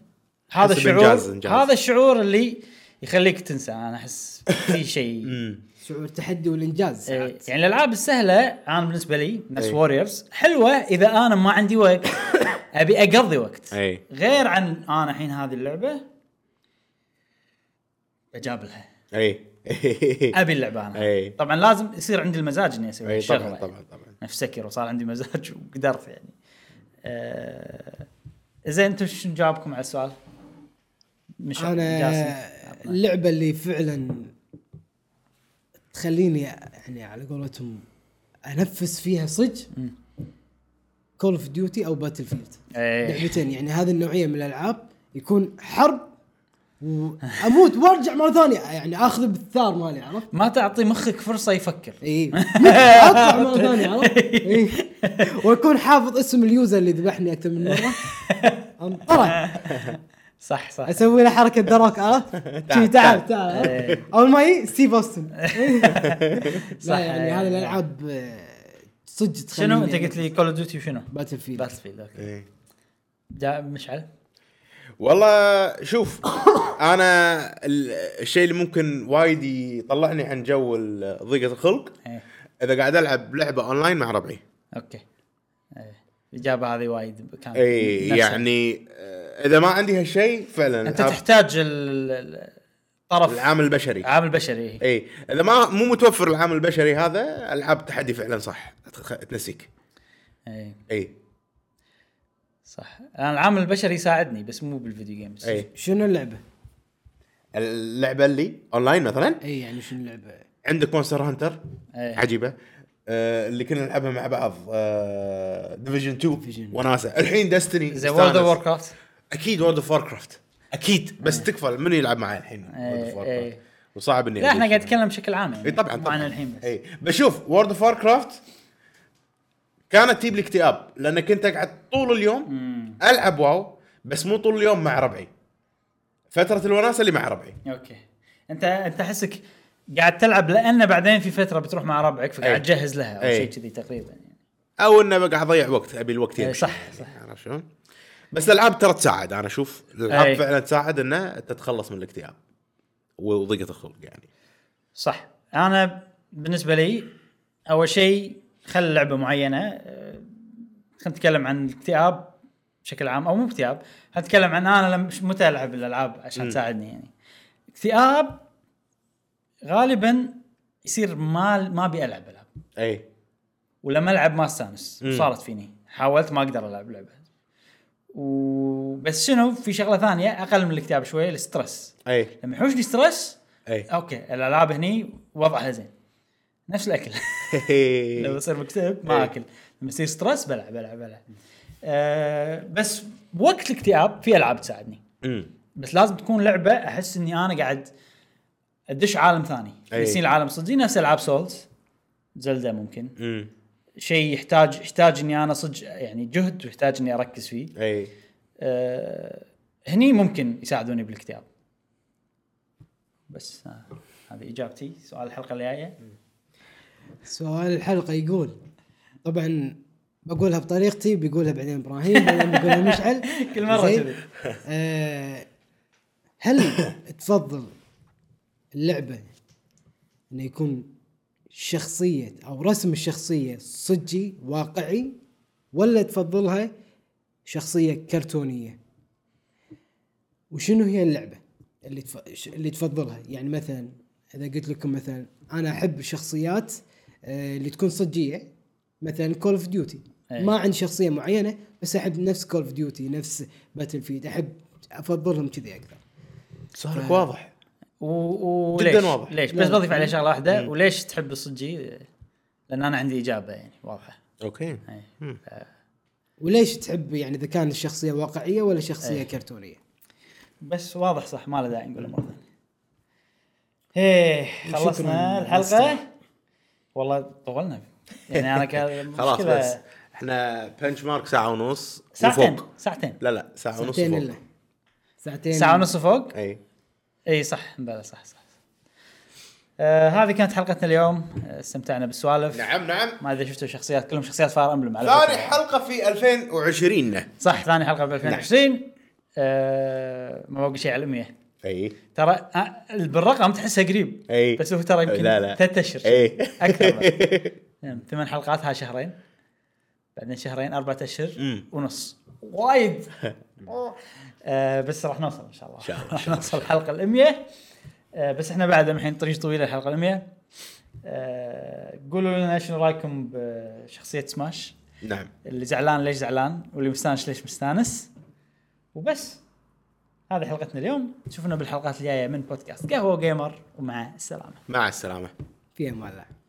Speaker 1: هذا
Speaker 3: حسب
Speaker 1: الشعور
Speaker 3: إنجاز- إنجاز.
Speaker 1: هذا الشعور اللي يخليك تنسى انا احس في شيء
Speaker 3: امم
Speaker 2: شعور التحدي والانجاز
Speaker 1: إيه،
Speaker 2: ساعات.
Speaker 1: يعني الالعاب السهله انا بالنسبه لي نفس
Speaker 3: إيه.
Speaker 1: ووريرز حلوه اذا انا ما عندي وقت ابي اقضي وقت
Speaker 3: اي
Speaker 1: غير عن انا الحين هذه اللعبه بجابلها
Speaker 3: اي <laughs>
Speaker 1: ابي اللعبه انا
Speaker 3: إيه.
Speaker 1: طبعا لازم يصير عندي المزاج اني اسوي
Speaker 3: اي
Speaker 1: الشغله
Speaker 3: طبعا
Speaker 1: يعني.
Speaker 3: طبعا طبعا
Speaker 1: نفس سكر وصار عندي مزاج وقدرت يعني. آه زين انتم شنو جوابكم على السؤال؟ مش
Speaker 2: انا
Speaker 1: جاسم.
Speaker 2: اللعبه اللي فعلا تخليني يعني على قولتهم انفس فيها صج كول اوف ديوتي او باتل فيلد
Speaker 1: إيه.
Speaker 2: لعبتين يعني هذه النوعيه من الالعاب يكون حرب واموت وارجع مره ثانيه يعني اخذ بالثار مالي عرفت؟
Speaker 1: ما تعطي مخك فرصه يفكر <laughs>
Speaker 2: اي اطلع مره ثانيه عرفت؟
Speaker 1: إيه.
Speaker 2: اي واكون حافظ اسم اليوزر اللي ذبحني اكثر من
Speaker 1: <laughs>
Speaker 2: مره انطرح
Speaker 1: صح صح
Speaker 2: اسوي له حركه دراك عرفت؟ شي تعال تعال
Speaker 1: إيه.
Speaker 2: اول ما يجي
Speaker 1: <laughs>
Speaker 2: ستيف اوستن
Speaker 1: صح
Speaker 2: لا يعني هذه الالعاب آه، صدق تخليني
Speaker 1: شنو انت قلت لي كول اوف ديوتي وشنو؟
Speaker 2: باتل فيلد
Speaker 1: باتل فيلد اوكي
Speaker 3: اي
Speaker 1: جا مشعل
Speaker 3: والله شوف انا ال- الشيء اللي ممكن وايد يطلعني عن جو ال- ضيقه الخلق
Speaker 1: إيه.
Speaker 3: اذا قاعد العب لعبه اونلاين مع ربعي
Speaker 1: اوكي إيه. الاجابه هذه وايد كانت
Speaker 3: اي
Speaker 1: نفسها.
Speaker 3: يعني آه، اذا ما عندي هالشيء فعلا
Speaker 1: انت
Speaker 3: ألعب
Speaker 1: تحتاج ال- ال- الطرف
Speaker 3: العامل البشري
Speaker 1: عامل بشري
Speaker 3: اي اذا إيه. ما مو متوفر العامل البشري هذا العاب تحدي فعلا صح تخ- تنسيك إيه.
Speaker 1: اي
Speaker 3: اي
Speaker 1: إيه، صح انا العامل البشري يساعدني بس مو بالفيديو جيمز
Speaker 3: اي
Speaker 2: شنو اللعبه؟
Speaker 3: اللعبه إيه. اللي اونلاين مثلا
Speaker 2: اي يعني شنو اللعبه؟
Speaker 3: عندك مونستر هانتر
Speaker 1: إيه.
Speaker 3: عجيبه آه اللي كنا نلعبها مع بعض آه ديفيجن 2
Speaker 2: Division.
Speaker 3: وناسه الحين ديستني
Speaker 1: زي وورد اوف وور كرافت
Speaker 3: اكيد وورد اوف كرافت اكيد بس تكفى من يلعب معي الحين وورد اوف
Speaker 1: إيه.
Speaker 3: كرافت وصعب اني
Speaker 1: لا احنا
Speaker 3: أدش
Speaker 1: قاعد
Speaker 3: فيها.
Speaker 1: نتكلم بشكل عام يعني
Speaker 3: اي طبعا
Speaker 1: مو
Speaker 3: طبعا
Speaker 1: عن الحين بس
Speaker 3: اي إيه، بشوف وورد اوف كرافت كانت تجيب لي اكتئاب لان كنت اقعد طول اليوم العب واو بس مو طول اليوم مع ربعي فتره الوناسه اللي مع ربعي
Speaker 1: اوكي انت انت احسك قاعد تلعب لان بعدين في فتره بتروح مع ربعك
Speaker 3: إيه.
Speaker 1: فقاعد تجهز لها او
Speaker 3: إيه.
Speaker 1: شيء كذي تقريبا يعني
Speaker 3: او انه بقى اضيع وقت ابي الوقت
Speaker 1: إيه،
Speaker 3: يمشي
Speaker 1: صح،
Speaker 3: يعني،
Speaker 1: صح.
Speaker 3: عرفت شلون؟ بس الالعاب ترى تساعد انا اشوف الالعاب
Speaker 1: إيه.
Speaker 3: فعلا تساعد انه تتخلص من الاكتئاب وضيقه الخلق يعني
Speaker 1: صح انا بالنسبه لي اول شيء خل لعبه معينه أه، خلينا نتكلم عن الاكتئاب بشكل عام او مو اكتئاب خلينا نتكلم عن انا لم- متى العب الالعاب عشان تساعدني يعني اكتئاب غالبا يصير ما ما ابي العب العاب
Speaker 3: اي
Speaker 1: ولما العب ما استانس
Speaker 3: مم.
Speaker 1: صارت فيني حاولت ما اقدر العب لعبه وبس شنو في شغله ثانيه اقل من الاكتئاب شويه الستريس
Speaker 3: اي
Speaker 1: لما يحوشني ستريس <laughs>
Speaker 3: <laughs> اي
Speaker 1: اوكي الالعاب هني وضعها زين نفس
Speaker 3: <laughs>
Speaker 1: الاكل لو يصير مكتئب ما
Speaker 3: إيه.
Speaker 1: اكل لما يصير ستريس بلعب بلعب بلعب أه بس وقت الاكتئاب في العاب تساعدني
Speaker 3: أمم.
Speaker 1: بس لازم تكون لعبه احس اني انا قاعد ادش عالم ثاني
Speaker 3: إيه.
Speaker 1: يصير العالم صدق نفس العاب سولز زلدا ممكن
Speaker 3: أمم.
Speaker 1: شيء يحتاج يحتاج اني انا صدق يعني جهد ويحتاج اني اركز فيه
Speaker 3: اي
Speaker 1: أه هني ممكن يساعدوني بالاكتئاب بس آه، هذه اجابتي سؤال الحلقه الجايه
Speaker 2: سؤال الحلقة يقول طبعا بقولها بطريقتي بيقولها بعدين ابراهيم بعدين بيقولها مشعل
Speaker 1: <laughs> كل مرة
Speaker 2: زين؟
Speaker 1: كذي.
Speaker 2: آه هل تفضل اللعبة انه يكون شخصية او رسم الشخصية صجي واقعي ولا تفضلها شخصية كرتونية؟ وشنو هي اللعبه اللي تف... اللي تفضلها يعني مثلا اذا قلت لكم مثلا انا احب الشخصيات آه، اللي تكون صجيه مثلا كول اوف ديوتي
Speaker 1: إيه.
Speaker 2: ما عندي شخصيه معينه بس احب نفس كول اوف ديوتي نفس باتل فيد احب افضلهم كذي اكثر
Speaker 3: سؤالك واضح
Speaker 1: و...
Speaker 3: جداً
Speaker 1: وليش
Speaker 3: واضح.
Speaker 1: ليش
Speaker 2: لا،
Speaker 1: بس
Speaker 2: لا.
Speaker 1: بضيف عليه شغله واحده وليش تحب الصجي لان انا عندي اجابه يعني واضحه
Speaker 3: اوكي
Speaker 1: إيه.
Speaker 2: وليش تحب يعني اذا كان الشخصيه واقعيه ولا شخصيه
Speaker 1: إيه.
Speaker 2: كرتونيه
Speaker 1: بس واضح صح ما له داعي نقوله مره ثانيه. ايه
Speaker 2: وشكراً
Speaker 1: خلصنا الحلقه
Speaker 2: للسماع.
Speaker 1: والله طولنا يعني انا كان
Speaker 3: <laughs> خلاص
Speaker 1: مشكلة-
Speaker 3: بس احنا بنش مارك ساعه ونص
Speaker 1: ساعتين
Speaker 3: وفوق.
Speaker 1: ساعتين
Speaker 3: لا لا ساعه ونص
Speaker 2: ساعتين الا
Speaker 3: فوق
Speaker 2: ساعتين
Speaker 1: ساعه ونص فوق
Speaker 3: اي
Speaker 1: اي صح بلا صح صح آه هذه كانت حلقتنا اليوم آه، استمتعنا بالسوالف
Speaker 3: نعم نعم
Speaker 1: ما ادري شفتوا شخصيات كلهم شخصيات فاير امبلم على
Speaker 3: ثاني
Speaker 1: فكرة.
Speaker 3: حلقه في 2020
Speaker 1: صح ثاني حلقه
Speaker 3: نعم.
Speaker 1: ب 2020 آه ما بقى شيء على 100
Speaker 3: اي
Speaker 1: ترى آه بالرقم تحسه قريب
Speaker 3: إي.
Speaker 1: بس هو ترى يمكن
Speaker 3: لا، لا.
Speaker 1: ثلاث اشهر
Speaker 3: إي.
Speaker 1: اكثر بعد.
Speaker 3: <laughs>
Speaker 1: نعم، ثمان حلقات ها شهرين بعدين شهرين أربعة أشهر
Speaker 3: مم.
Speaker 1: ونص
Speaker 3: <laughs>
Speaker 1: وايد آه بس راح نوصل ان شاء الله
Speaker 3: إن شاء الله، إن
Speaker 1: راح
Speaker 3: شاء الله،
Speaker 1: نوصل الحلقه ال 100 آه بس احنا بعد الحين طريق طويله الحلقه ال 100 آه قولوا لنا شنو رايكم بشخصيه سماش
Speaker 3: نعم
Speaker 1: اللي زعلان ليش زعلان واللي مستانس ليش مستانس وبس هذه حلقتنا اليوم نشوفنا بالحلقات الجايه من بودكاست قهوه جيمر ومع السلامه
Speaker 3: مع السلامه
Speaker 2: في امان الله